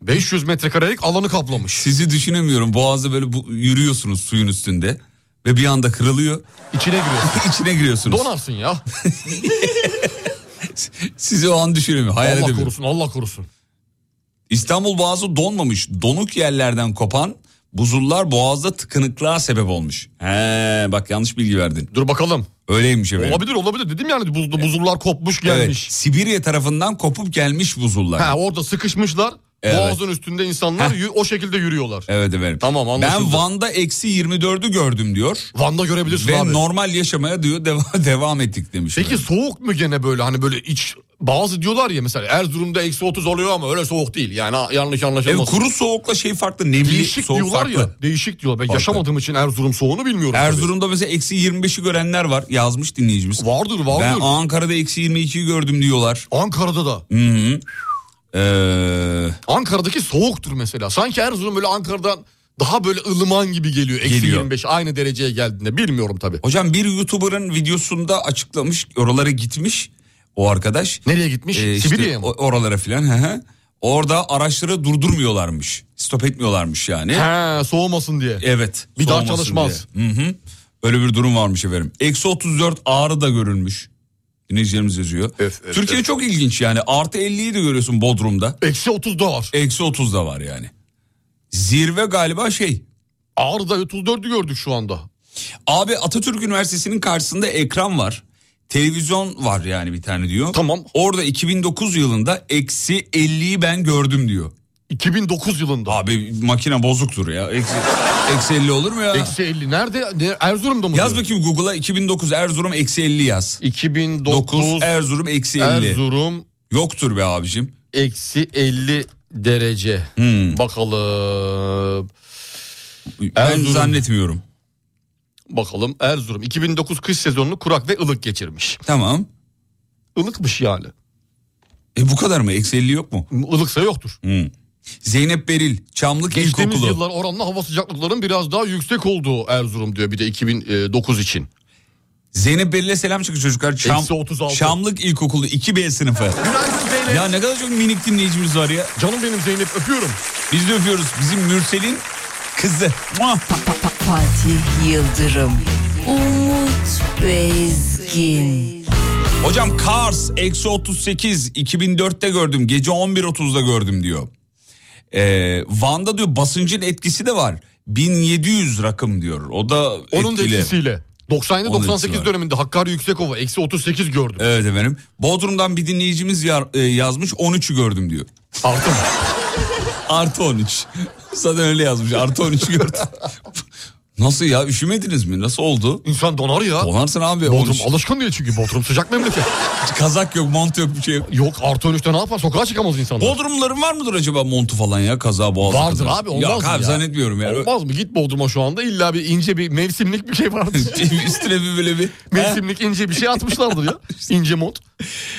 Speaker 4: 500 metrekarelik alanı kaplamış.
Speaker 3: Sizi düşünemiyorum. Boğazda böyle bu, yürüyorsunuz suyun üstünde ve bir anda kırılıyor. [LAUGHS]
Speaker 4: İçine giriyorsunuz.
Speaker 3: İçine giriyorsunuz.
Speaker 4: Donarsın ya.
Speaker 3: Sizi o an düşünemiyorum. Hayal
Speaker 4: Allah
Speaker 3: edemiyorum.
Speaker 4: korusun Allah korusun.
Speaker 3: İstanbul Boğazı donmamış. Donuk yerlerden kopan buzullar boğazda tıkanıklığa sebep olmuş. He bak yanlış bilgi verdin.
Speaker 4: Dur bakalım.
Speaker 3: Öyleymiş efendim.
Speaker 4: Olabilir olabilir dedim yani buzlu buzullar kopmuş gelmiş.
Speaker 3: Evet, Sibirya tarafından kopup gelmiş buzullar.
Speaker 4: Ha orada sıkışmışlar.
Speaker 3: Evet.
Speaker 4: Boğazın üstünde insanlar yü- o şekilde yürüyorlar.
Speaker 3: Evet efendim.
Speaker 4: Tamam anlaşıldı.
Speaker 3: Ben Van'da eksi 24'ü gördüm diyor.
Speaker 4: Van'da görebilirsin
Speaker 3: Ve
Speaker 4: abi.
Speaker 3: normal yaşamaya diyor [LAUGHS] deva- devam ettik demiş.
Speaker 4: Peki soğuk mu gene böyle hani böyle iç bazı diyorlar ya mesela Erzurum'da eksi 30 oluyor ama öyle soğuk değil. Yani ha- yanlış anlaşılmasın.
Speaker 3: Evet, kuru soğukla şey farklı nemli
Speaker 4: Değişik
Speaker 3: soğuk
Speaker 4: diyorlar
Speaker 3: farklı.
Speaker 4: ya. Değişik diyorlar. Ben
Speaker 3: Farklı.
Speaker 4: yaşamadığım için Erzurum soğuğunu bilmiyorum.
Speaker 3: Erzurum'da mesela eksi 25'i görenler var yazmış dinleyicimiz.
Speaker 4: Vardır vardır.
Speaker 3: Ben Ankara'da eksi 22'yi gördüm diyorlar.
Speaker 4: Ankara'da da.
Speaker 3: Hı hı. Ee,
Speaker 4: Ankara'daki soğuktur mesela. Sanki Erzurum böyle Ankara'dan daha böyle ılıman gibi geliyor. Eksi
Speaker 3: Geliyor.
Speaker 4: 25 aynı dereceye geldiğinde bilmiyorum tabii.
Speaker 3: hocam bir YouTuber'ın videosunda açıklamış oralara gitmiş o arkadaş.
Speaker 4: Nereye gitmiş? Sibirya'ya mı?
Speaker 3: E, Ee, o- Oralara filan. hı hı. Orada araçları durdurmuyorlarmış. Stop etmiyorlarmış yani.
Speaker 4: He soğumasın diye.
Speaker 3: Evet.
Speaker 4: Bir daha
Speaker 3: soğumasın
Speaker 4: çalışmaz.
Speaker 3: diye. Hı hı. Öyle bir durum varmış efendim. Eksi 34 ağrı da görülmüş. Dinleyicilerimiz yazıyor. Türkiye çok ilginç yani. Artı 50'yi de görüyorsun Bodrum'da.
Speaker 4: Eksi E, 30 da var.
Speaker 3: Eksi 30 da var yani. Zirve galiba şey.
Speaker 4: Ağrı'da 34'ü gördük şu anda.
Speaker 3: Abi Atatürk Üniversitesi'nin karşısında ekran var. Televizyon var yani bir tane diyor.
Speaker 4: Tamam.
Speaker 3: Orada 2009 yılında eksi 50'yi ben gördüm diyor.
Speaker 4: 2009 yılında.
Speaker 3: Abi makine bozuktur ya. Eksi, eksi 50 olur mu ya?
Speaker 4: Eksi 50. Nerede? Ne- Erzurum'da mı?
Speaker 3: Yaz
Speaker 4: diyor?
Speaker 3: bakayım Google'a 2009 Erzurum eksi 50 yaz.
Speaker 4: 2009
Speaker 3: 9 Erzurum eksi 50.
Speaker 4: Erzurum
Speaker 3: Yoktur be abicim.
Speaker 4: eksi 50 derece.
Speaker 3: Hmm.
Speaker 4: Bakalım.
Speaker 3: Ben
Speaker 4: Erzurum.
Speaker 3: zannetmiyorum.
Speaker 4: Bakalım Erzurum 2009 kış sezonunu kurak ve ılık geçirmiş.
Speaker 3: Tamam.
Speaker 4: Ilıkmış yani.
Speaker 3: E bu kadar mı? Eksi 50 yok mu?
Speaker 4: Ilıksa yoktur.
Speaker 3: Hı. Zeynep Beril, Çamlık
Speaker 4: Geçtiğimiz
Speaker 3: İlkokulu.
Speaker 4: yıllar oranla hava sıcaklıklarının biraz daha yüksek olduğu Erzurum diyor bir de 2009 için.
Speaker 3: Zeynep Beril'e selam çıkın çocuklar. Çam,
Speaker 4: Eksi 36.
Speaker 3: Çamlık İlkokulu 2B sınıfı.
Speaker 4: Günaydın Zeynep.
Speaker 3: ya ne kadar çok minik dinleyicimiz var ya.
Speaker 4: Canım benim Zeynep öpüyorum.
Speaker 3: Biz de öpüyoruz. Bizim Mürsel'in kızı. Muah.
Speaker 1: Fatih Yıldırım, Umut Bezgin,
Speaker 3: Hocam Kars eksi 38 2004'te gördüm gece 11.30'da gördüm diyor. Ee, Van'da diyor basıncın etkisi de var. 1700 rakım diyor. O da
Speaker 4: Onun da
Speaker 3: etkili.
Speaker 4: etkisiyle. 97
Speaker 3: Onun da
Speaker 4: 98
Speaker 3: etkisi var.
Speaker 4: döneminde Hakkari Yüksekova eksi 38 gördüm.
Speaker 3: Evet efendim. Bodrum'dan bir dinleyicimiz yar- e, yazmış 13'ü gördüm diyor. Artı mı? Artı 13. [LAUGHS] Zaten öyle yazmış. Artı 13'ü gördüm. [LAUGHS] Nasıl ya üşümediniz mi? Nasıl oldu?
Speaker 4: İnsan donar ya.
Speaker 3: Donarsın abi.
Speaker 4: Bodrum
Speaker 3: 13.
Speaker 4: alışkın değil çünkü Bodrum sıcak memleket.
Speaker 3: Kazak yok, mont yok bir şey yok.
Speaker 4: Yok artı 13'te ne yapar sokağa çıkamaz insanlar.
Speaker 3: Bodrumların var mıdır acaba montu falan ya kaza boğazı?
Speaker 4: Vardır
Speaker 3: kaza?
Speaker 4: abi olmaz
Speaker 3: Yok
Speaker 4: mı
Speaker 3: abi
Speaker 4: ya?
Speaker 3: zannetmiyorum yani.
Speaker 4: Olmaz mı? Git Bodrum'a şu anda illa bir ince bir mevsimlik bir şey
Speaker 3: [LAUGHS]
Speaker 4: vardır. [LAUGHS]
Speaker 3: Üstüne bir böyle bir...
Speaker 4: mevsimlik ince bir şey atmışlardır
Speaker 3: [LAUGHS]
Speaker 4: ya. İnce mont.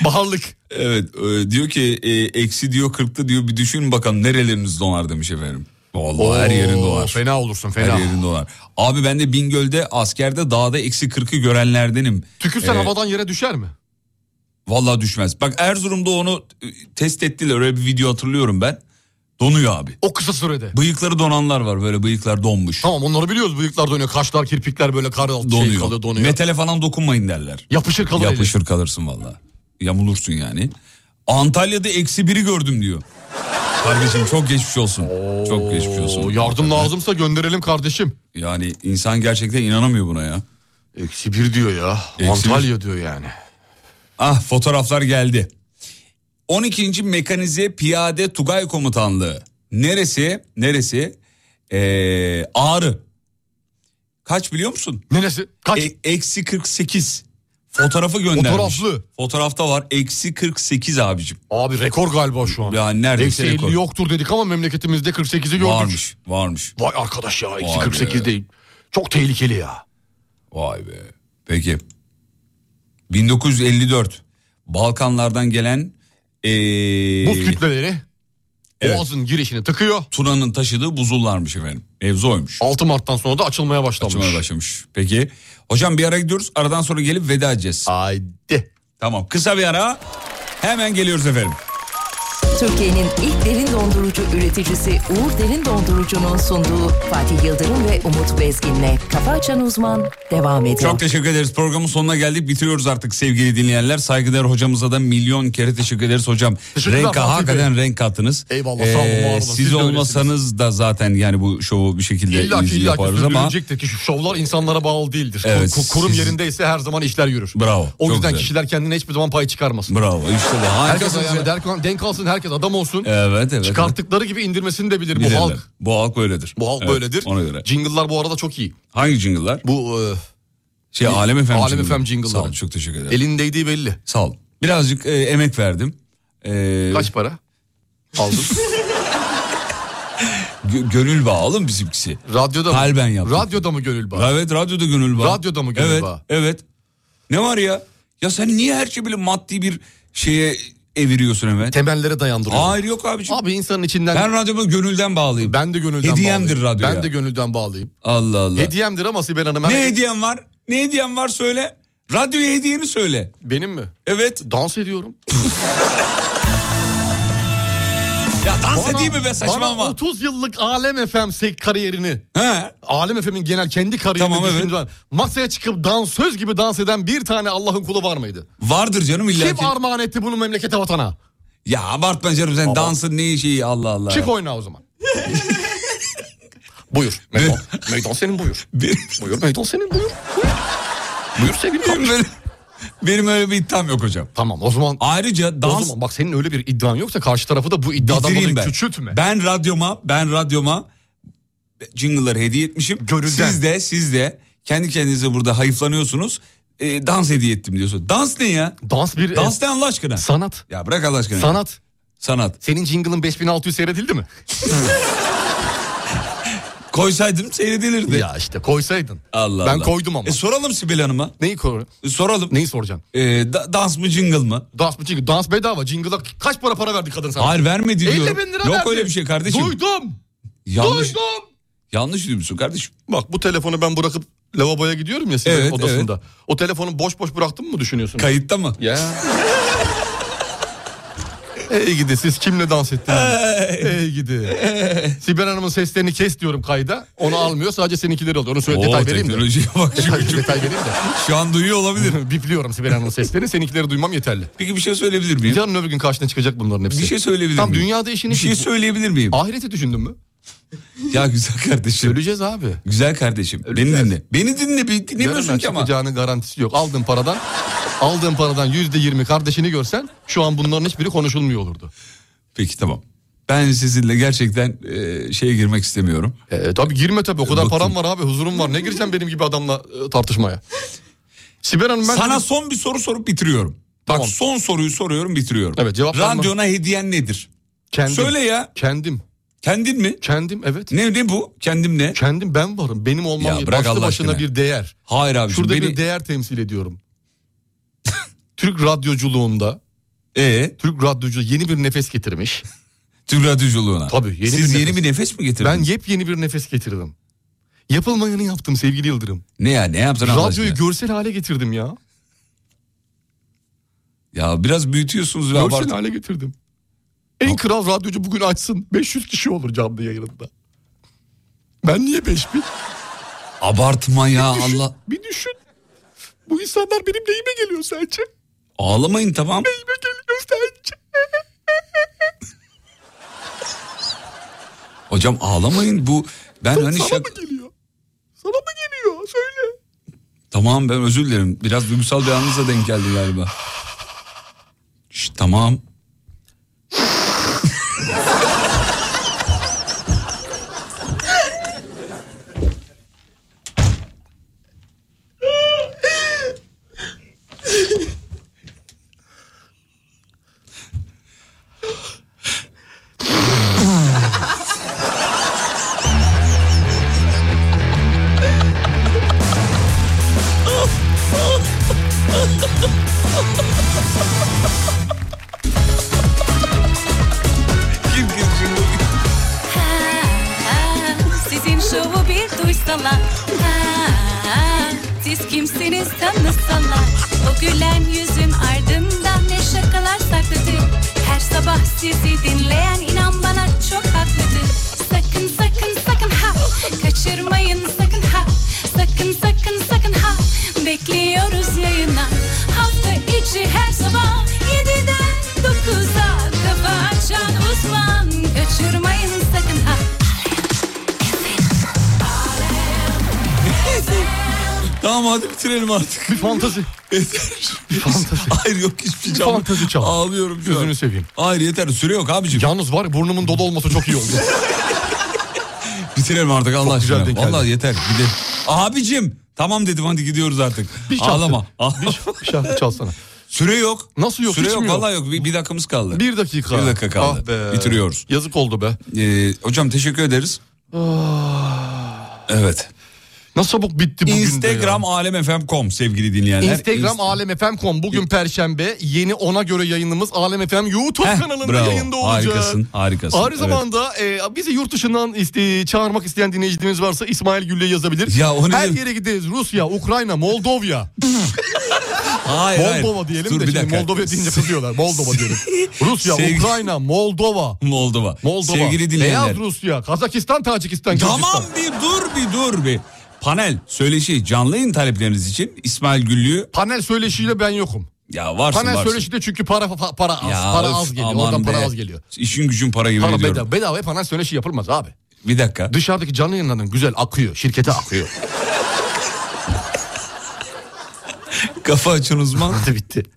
Speaker 4: Baharlık.
Speaker 3: Evet e, diyor ki e, eksi diyor 40'ta diyor bir düşün bakalım nereleriniz donar demiş efendim. Vallahi her
Speaker 4: Oo,
Speaker 3: yerin donar.
Speaker 4: Fena olursun fena.
Speaker 3: Her yerin donar. Abi ben de Bingöl'de askerde dağda eksi 40'ı görenlerdenim.
Speaker 4: Tükürsen
Speaker 3: Ee,
Speaker 4: havadan yere düşer mi?
Speaker 3: Vallahi düşmez. Bak Erzurum'da onu e, test ettiler öyle bir video hatırlıyorum ben. Donuyor abi.
Speaker 4: O kısa sürede.
Speaker 3: Bıyıkları donanlar var böyle bıyıklar donmuş.
Speaker 4: Tamam onları biliyoruz. Bıyıklar donuyor. Kaşlar, kirpikler böyle kar altı
Speaker 3: Donuyor.
Speaker 4: şey kalıyor donuyor.
Speaker 3: Metale falan dokunmayın derler.
Speaker 4: Yapışır kalır
Speaker 3: Yapışır kalırsın valla. Yamulursun yani. Antalya'da eksi biri gördüm diyor. Kardeşim çok geçmiş olsun. çok geçmiş olsun.
Speaker 4: yardım lazımsa gönderelim kardeşim.
Speaker 3: Yani insan gerçekten inanamıyor buna ya.
Speaker 4: Eksi bir diyor ya. Antalya diyor yani.
Speaker 3: Ah fotoğraflar geldi. 12. Mekanize Piyade Tugay Komutanlığı. Neresi? Neresi? Ee, Ağrı. Kaç biliyor musun?
Speaker 4: Neresi? Kaç?
Speaker 3: E- eksi 48. Fotoğrafı göndermiş.
Speaker 4: Fotoğraflı.
Speaker 3: Fotoğrafta var. Eksi 48 abicim.
Speaker 4: Abi rekor galiba şu an.
Speaker 3: Yani
Speaker 4: Eksi
Speaker 3: neredeyse
Speaker 4: 50
Speaker 3: rekor.
Speaker 4: yoktur dedik ama memleketimizde 48'i gördük.
Speaker 3: Varmış, varmış.
Speaker 4: Vay arkadaş ya eksi
Speaker 3: Vay
Speaker 4: 48
Speaker 3: be.
Speaker 4: değil. Çok tehlikeli ya.
Speaker 3: Vay be. Peki. 1954. Balkanlardan gelen... Ee,
Speaker 4: Buz kütleleri
Speaker 3: evet,
Speaker 4: boğazın girişini tıkıyor.
Speaker 3: Tuna'nın taşıdığı buzullarmış efendim. Mevzu oymuş.
Speaker 4: 6 Mart'tan sonra da açılmaya başlamış.
Speaker 3: Açılmaya başlamış. Peki. Hocam bir ara gidiyoruz. Aradan sonra gelip veda edeceğiz.
Speaker 4: Haydi.
Speaker 3: Tamam. Kısa bir ara. Hemen geliyoruz efendim.
Speaker 1: Türkiye'nin ilk derin dondurucu üreticisi Uğur Derin Dondurucu'nun sunduğu Fatih Yıldırım ve Umut Bezgin'le Kafa Açan Uzman devam ediyor.
Speaker 3: Çok teşekkür ederiz. Programın sonuna geldik. Bitiriyoruz artık sevgili dinleyenler. Saygıdeğer hocamıza da milyon kere teşekkür ederiz hocam.
Speaker 4: Teşekkürler
Speaker 3: Renk
Speaker 4: Fatih
Speaker 3: hakikaten renk kattınız.
Speaker 4: Eyvallah, sağ olun, var olun.
Speaker 3: Siz,
Speaker 4: Siz de
Speaker 3: olmasanız da zaten yani bu şovu bir şekilde
Speaker 4: İlla ki
Speaker 3: iz-
Speaker 4: illa ki
Speaker 3: yaparız ama
Speaker 4: sürdürülecektir ki şu şovlar insanlara bağlı değildir.
Speaker 3: Evet,
Speaker 4: Kur- kurum
Speaker 3: siz-
Speaker 4: yerindeyse her zaman işler yürür.
Speaker 3: Bravo,
Speaker 4: O
Speaker 3: çok
Speaker 4: yüzden
Speaker 3: güzel.
Speaker 4: kişiler kendine hiçbir zaman pay çıkarmasın.
Speaker 3: bravo işte bu.
Speaker 4: Herkes
Speaker 3: Harikasınız
Speaker 4: ayağına
Speaker 3: ya.
Speaker 4: denk- denk alsın, herkes adam olsun.
Speaker 3: Evet evet.
Speaker 4: Çıkarttıkları gibi indirmesini de bilir
Speaker 3: evet.
Speaker 4: bu
Speaker 3: Bilirler.
Speaker 4: halk.
Speaker 3: Bu halk böyledir.
Speaker 4: Bu halk
Speaker 3: Evet,
Speaker 4: böyledir.
Speaker 3: Ona göre.
Speaker 4: Jingle'lar bu arada çok iyi.
Speaker 3: Hangi jingle'lar?
Speaker 4: Bu e,
Speaker 3: Şey Alem Efem
Speaker 4: Alem FM
Speaker 3: Sağ olun
Speaker 4: jingle'ları.
Speaker 3: çok teşekkür ederim.
Speaker 4: elin değdiği belli.
Speaker 3: Sağ olun. Birazcık e, emek verdim. E,
Speaker 4: Kaç para? Aldım.
Speaker 3: [LAUGHS] gö- gönül bağı oğlum bizimkisi.
Speaker 4: Radyoda mı?
Speaker 3: Kalben yaptım.
Speaker 4: Radyoda mı gönül bağı?
Speaker 3: Evet radyoda gönül bağı.
Speaker 4: Radyoda mı gönül
Speaker 3: evet,
Speaker 4: bağı?
Speaker 3: Evet. Ne var ya? Ya sen niye her şeyi böyle maddi bir şeye eviriyorsun hemen?
Speaker 4: Temellere dayandırıyor.
Speaker 3: Hayır yok abiciğim.
Speaker 4: Abi insanın içinden
Speaker 3: Ben radyoma gönülden bağlıyım.
Speaker 4: ben de gönülden
Speaker 3: Hediyemdir
Speaker 4: bağlıyım.
Speaker 3: radyo
Speaker 4: Ben
Speaker 3: ya.
Speaker 4: de gönülden bağlıyım.
Speaker 3: Allah Allah.
Speaker 4: Hediyemdir ama Sibel Hanım. her-
Speaker 3: Ne hediyen var? Ne hediyen var söyle. Radyoya hediyeni söyle.
Speaker 4: Benim mi?
Speaker 3: Evet.
Speaker 4: Dans ediyorum.
Speaker 3: Ya dans edeyim mi be saçmalama.
Speaker 4: Bana 30 yıllık Alem FM sek- kariyerini,
Speaker 3: He.
Speaker 4: Alem FM'in genel kendi kariyerini
Speaker 3: Tamam, evet.
Speaker 4: düşündüğün zaman masaya çıkıp dansöz gibi dans eden bir tane Allah'ın kulu var mıydı?
Speaker 3: Vardır canım illa ki.
Speaker 4: Kim armağan etti bunu memlekete vatana?
Speaker 3: Ya abartma canım sen dansın ne şeyi Allah Allah. [LAUGHS]
Speaker 4: Çık oyna o zaman. [LAUGHS] buyur. Meydan,
Speaker 3: [LAUGHS]
Speaker 4: meydan senin buyur.
Speaker 3: Bir-
Speaker 4: Buyur meydan senin buyur. Buyur, buyur sevgili
Speaker 3: benim,
Speaker 4: kardeşim.
Speaker 3: öyle, benim öyle bir iddiam yok hocam.
Speaker 4: Tamam o zaman...
Speaker 3: Ayrıca
Speaker 4: O
Speaker 3: dans
Speaker 4: zaman bak senin öyle bir iddian yoksa karşı tarafı da bu iddiadan
Speaker 3: bitireyim
Speaker 4: dolayı
Speaker 3: ben.
Speaker 4: küçültme.
Speaker 3: Ben radyoma, ben radyoma jingle'ları hediye etmişim.
Speaker 4: Gönülden.
Speaker 3: Siz de, siz de kendi kendinize burada hayıflanıyorsunuz. E, dans hediye ettim diyorsun. Dans ne ya?
Speaker 4: Dans bir... e,
Speaker 3: Dans ne Allah aşkına?
Speaker 4: Sanat.
Speaker 3: ya bırak Allah aşkına.
Speaker 4: Sanat.
Speaker 3: Sanat.
Speaker 4: Senin jingle'ın 5600 seyredildi mi?
Speaker 3: Koysaydım seyredilirdi.
Speaker 4: Ya işte koysaydın.
Speaker 3: Allah
Speaker 4: ben
Speaker 3: Allah.
Speaker 4: koydum ama.
Speaker 3: E, soralım Sibel Hanım'a.
Speaker 4: Neyi koy?
Speaker 3: E, soralım.
Speaker 4: Neyi soracaksın?
Speaker 3: E, da- dans mı jingle mı?
Speaker 4: Dans mı jingle? Dans bedava. Jingle'a kaç para para verdi kadın sana?
Speaker 3: Hayır vermedi diyor.
Speaker 4: 50 bin lira
Speaker 3: Yok
Speaker 4: verdi.
Speaker 3: öyle bir şey kardeşim.
Speaker 4: Duydum.
Speaker 3: Yanlış,
Speaker 4: Duydum.
Speaker 3: yanlış duymuşsun kardeşim.
Speaker 4: Bak bu telefonu ben bırakıp lavaboya gidiyorum ya sizin
Speaker 3: Evet,
Speaker 4: odasında. O telefonu boş boş bıraktım mı düşünüyorsun?
Speaker 3: Kayıtta mı?
Speaker 4: ya. Ey gidi siz kimle dans ettiniz? Ey gidi. Sibel Hanım'ın seslerini kes diyorum kayda. Onu almıyor sadece seninkileri alıyor. Onu söyle
Speaker 3: Oo,
Speaker 4: detay vereyim mi?
Speaker 3: teknolojiye bak.
Speaker 4: Detay, detay vereyim
Speaker 3: [LAUGHS]
Speaker 4: de.
Speaker 3: Şu an duyuyor olabilir.
Speaker 4: Bipliyorum Sibel Hanım'ın seslerini. Seninkileri duymam yeterli.
Speaker 3: Peki bir şey söyleyebilir miyim?
Speaker 4: Yarın öbür gün karşına çıkacak bunların hepsi.
Speaker 3: Bir şey söyleyebilir
Speaker 4: Tam
Speaker 3: miyim?
Speaker 4: dünyada işini...
Speaker 3: Bir şey söyleyebilir miyim?
Speaker 4: Ahireti düşündün mü?
Speaker 3: Ya güzel kardeşim.
Speaker 4: Söyleyeceğiz abi.
Speaker 3: Güzel kardeşim. Beni dinle. Beni dinle. Bir dinlemiyorsun ki ama.
Speaker 4: Çıkacağının garantisi yok. Aldığın paradan aldığın paradan yüzde yirmi kardeşini görsen şu an bunların hiçbiri konuşulmuyor olurdu.
Speaker 3: Peki tamam. Ben sizinle gerçekten e, şeye girmek istemiyorum.
Speaker 4: E, tabii girme tabii. O kadar param var abi huzurum var. Ne gireceğim benim gibi adamla e, tartışmaya? Sibel Hanım ben...
Speaker 3: Sana son bir soru sorup bitiriyorum. Bak son soruyu soruyorum bitiriyorum.
Speaker 4: Evet, cevap verme.
Speaker 3: Radyona hediyen nedir?
Speaker 4: Kendim.
Speaker 3: Söyle ya.
Speaker 4: Kendim.
Speaker 3: Kendin mi?
Speaker 4: Kendim evet.
Speaker 3: Ne ne bu? Kendim ne?
Speaker 4: Kendim ben varım. Benim olmam
Speaker 3: Ya
Speaker 4: ya,
Speaker 3: bırak
Speaker 4: başlı
Speaker 3: Allah
Speaker 4: başına
Speaker 3: aşkına.
Speaker 4: bir değer.
Speaker 3: Hayır abi.
Speaker 4: Şurada
Speaker 3: beni...
Speaker 4: bir değer temsil ediyorum. [LAUGHS] Türk radyoculuğunda
Speaker 3: Ee?
Speaker 4: Türk radyoculuğu yeni bir nefes getirmiş.
Speaker 3: Türk radyoculuğuna.
Speaker 4: Tabii yeni
Speaker 3: Siz
Speaker 4: bir
Speaker 3: yeni
Speaker 4: nefes.
Speaker 3: bir nefes mi getirdiniz?
Speaker 4: Ben yepyeni bir nefes getirdim. Yapılmayanı yaptım sevgili Yıldırım.
Speaker 3: Ne ya ne yaptın Allah
Speaker 4: Radyoyu
Speaker 3: aşkına?
Speaker 4: görsel hale getirdim ya.
Speaker 3: Ya biraz büyütüyorsunuz ve
Speaker 4: Görsel
Speaker 3: abartın.
Speaker 4: hale getirdim. En kral radyocu bugün açsın. 500 kişi olur canlı yayınında. Ben niye 5000?
Speaker 3: Abartma ya
Speaker 4: Bir düşün,
Speaker 3: Allah.
Speaker 4: Bir düşün. Bu insanlar benim neyime geliyor sence?
Speaker 3: Ağlamayın tamam.
Speaker 4: Neyime geliyor sence?
Speaker 3: Hocam ağlamayın bu. Ben hani
Speaker 4: Sana
Speaker 3: şak...
Speaker 4: mı geliyor? Sana mı geliyor? Söyle.
Speaker 3: Tamam ben özür dilerim. Biraz duygusal bir anınıza denk geldi galiba. Şş, tamam. Kim kim şimdi?
Speaker 6: Sizin şovu bir duysalar Ha, Siz kimsiniz tanısalar O gülen yüzün ardından ne şakalar saklıdır Her sabah sizi dinleyen inan bana çok haklıdır Sakın sakın sakın ha Kaçırmayın sakın ha Sakın sakın sakın ha Bekliyoruz yayına Hafta içi her sabah 7'den 9'a Kafa açan uzman Kaçırmayın sakın ha
Speaker 3: Tamam hadi bitirelim artık. [LAUGHS]
Speaker 4: Bir fantezi.
Speaker 3: Bir fantezi. Hayır yok hiçbir şey.
Speaker 4: Bir
Speaker 3: canım.
Speaker 4: fantezi çal.
Speaker 3: Ağlıyorum şu an.
Speaker 4: Gözünü seveyim.
Speaker 3: Hayır yeter süre yok abicim.
Speaker 4: Yalnız var ya, burnumun dolu olması çok iyi
Speaker 3: [LAUGHS]
Speaker 4: oldu.
Speaker 3: Bitirelim artık Allah
Speaker 4: güzel
Speaker 3: aşkına.
Speaker 4: denk geldi.
Speaker 3: Vallahi yeter gidelim. Abicim tamam dedim hadi gidiyoruz artık.
Speaker 4: Bir şarkı.
Speaker 3: Ağlama. Ah,
Speaker 4: Bir, şarkı- bir şarkı çalsana.
Speaker 3: Süre yok.
Speaker 4: Nasıl yok?
Speaker 3: Süre
Speaker 4: Hiç
Speaker 3: yok,
Speaker 4: mi yok?
Speaker 3: vallahi yok. Bir, bir dakikamız kaldı.
Speaker 4: Bir dakika.
Speaker 3: Bir dakika kaldı.
Speaker 4: Ah be.
Speaker 3: Bitiriyoruz.
Speaker 4: Yazık oldu be.
Speaker 3: Ee, hocam teşekkür ederiz. Evet.
Speaker 4: Nasıl çabuk bitti Oh. bugün de ya.
Speaker 3: Instagram alemfm.com sevgili dinleyenler.
Speaker 4: Instagram
Speaker 3: İnst-
Speaker 4: alemfm.com bugün perşembe yeni ona göre yayınımız alemfm YouTube
Speaker 3: Heh,
Speaker 4: kanalında
Speaker 3: bravo.
Speaker 4: yayında olacak.
Speaker 3: Harikasın, harikasın.
Speaker 4: Aynı
Speaker 3: Evet.
Speaker 4: zamanda e, bizi yurt dışından iste- çağırmak isteyen dinleyicimiz varsa İsmail Gül'le yazabilir.
Speaker 3: Ya o ne
Speaker 4: Her
Speaker 3: demek?
Speaker 4: yere gideriz Rusya, Ukrayna,
Speaker 3: [LAUGHS]
Speaker 4: Moldova.
Speaker 3: Hayır, hayır.
Speaker 4: Moldova diyelim
Speaker 3: Dur,
Speaker 4: de
Speaker 3: bir
Speaker 4: şimdi
Speaker 3: dakika.
Speaker 4: Moldova deyince kızıyorlar. Moldova diyelim. Rusya,
Speaker 3: Sevgili-
Speaker 4: Ukrayna, Moldova.
Speaker 3: [LAUGHS] Moldova.
Speaker 4: Moldova.
Speaker 3: Sevgili dinleyenler.
Speaker 4: Beyaz Rusya, Kazakistan, Tacikistan,
Speaker 3: Tamam
Speaker 4: Gürcistan.
Speaker 3: bir dur bir dur bir. Panel söyleşi canlı yayın talepleriniz için İsmail Güllü'yü
Speaker 4: Panel söyleşiyle ben yokum.
Speaker 3: ya varsın
Speaker 4: Panel
Speaker 3: varsın.
Speaker 4: söyleşide çünkü para fa- para az,
Speaker 3: Ya
Speaker 4: para
Speaker 3: öf,
Speaker 4: az geliyor.
Speaker 3: aman
Speaker 4: Oradan para
Speaker 3: be.
Speaker 4: az geliyor.
Speaker 3: İşin gücün para gibi
Speaker 4: Para
Speaker 3: diyorum.
Speaker 4: bedava, bedava panel söyleşi yapılmaz abi.
Speaker 3: Bir dakika.
Speaker 4: Dışarıdaki canlı yayınların güzel akıyor. Şirkete
Speaker 3: [LAUGHS]
Speaker 4: akıyor.
Speaker 3: Kafa açın uzman.
Speaker 4: Hadi bitti.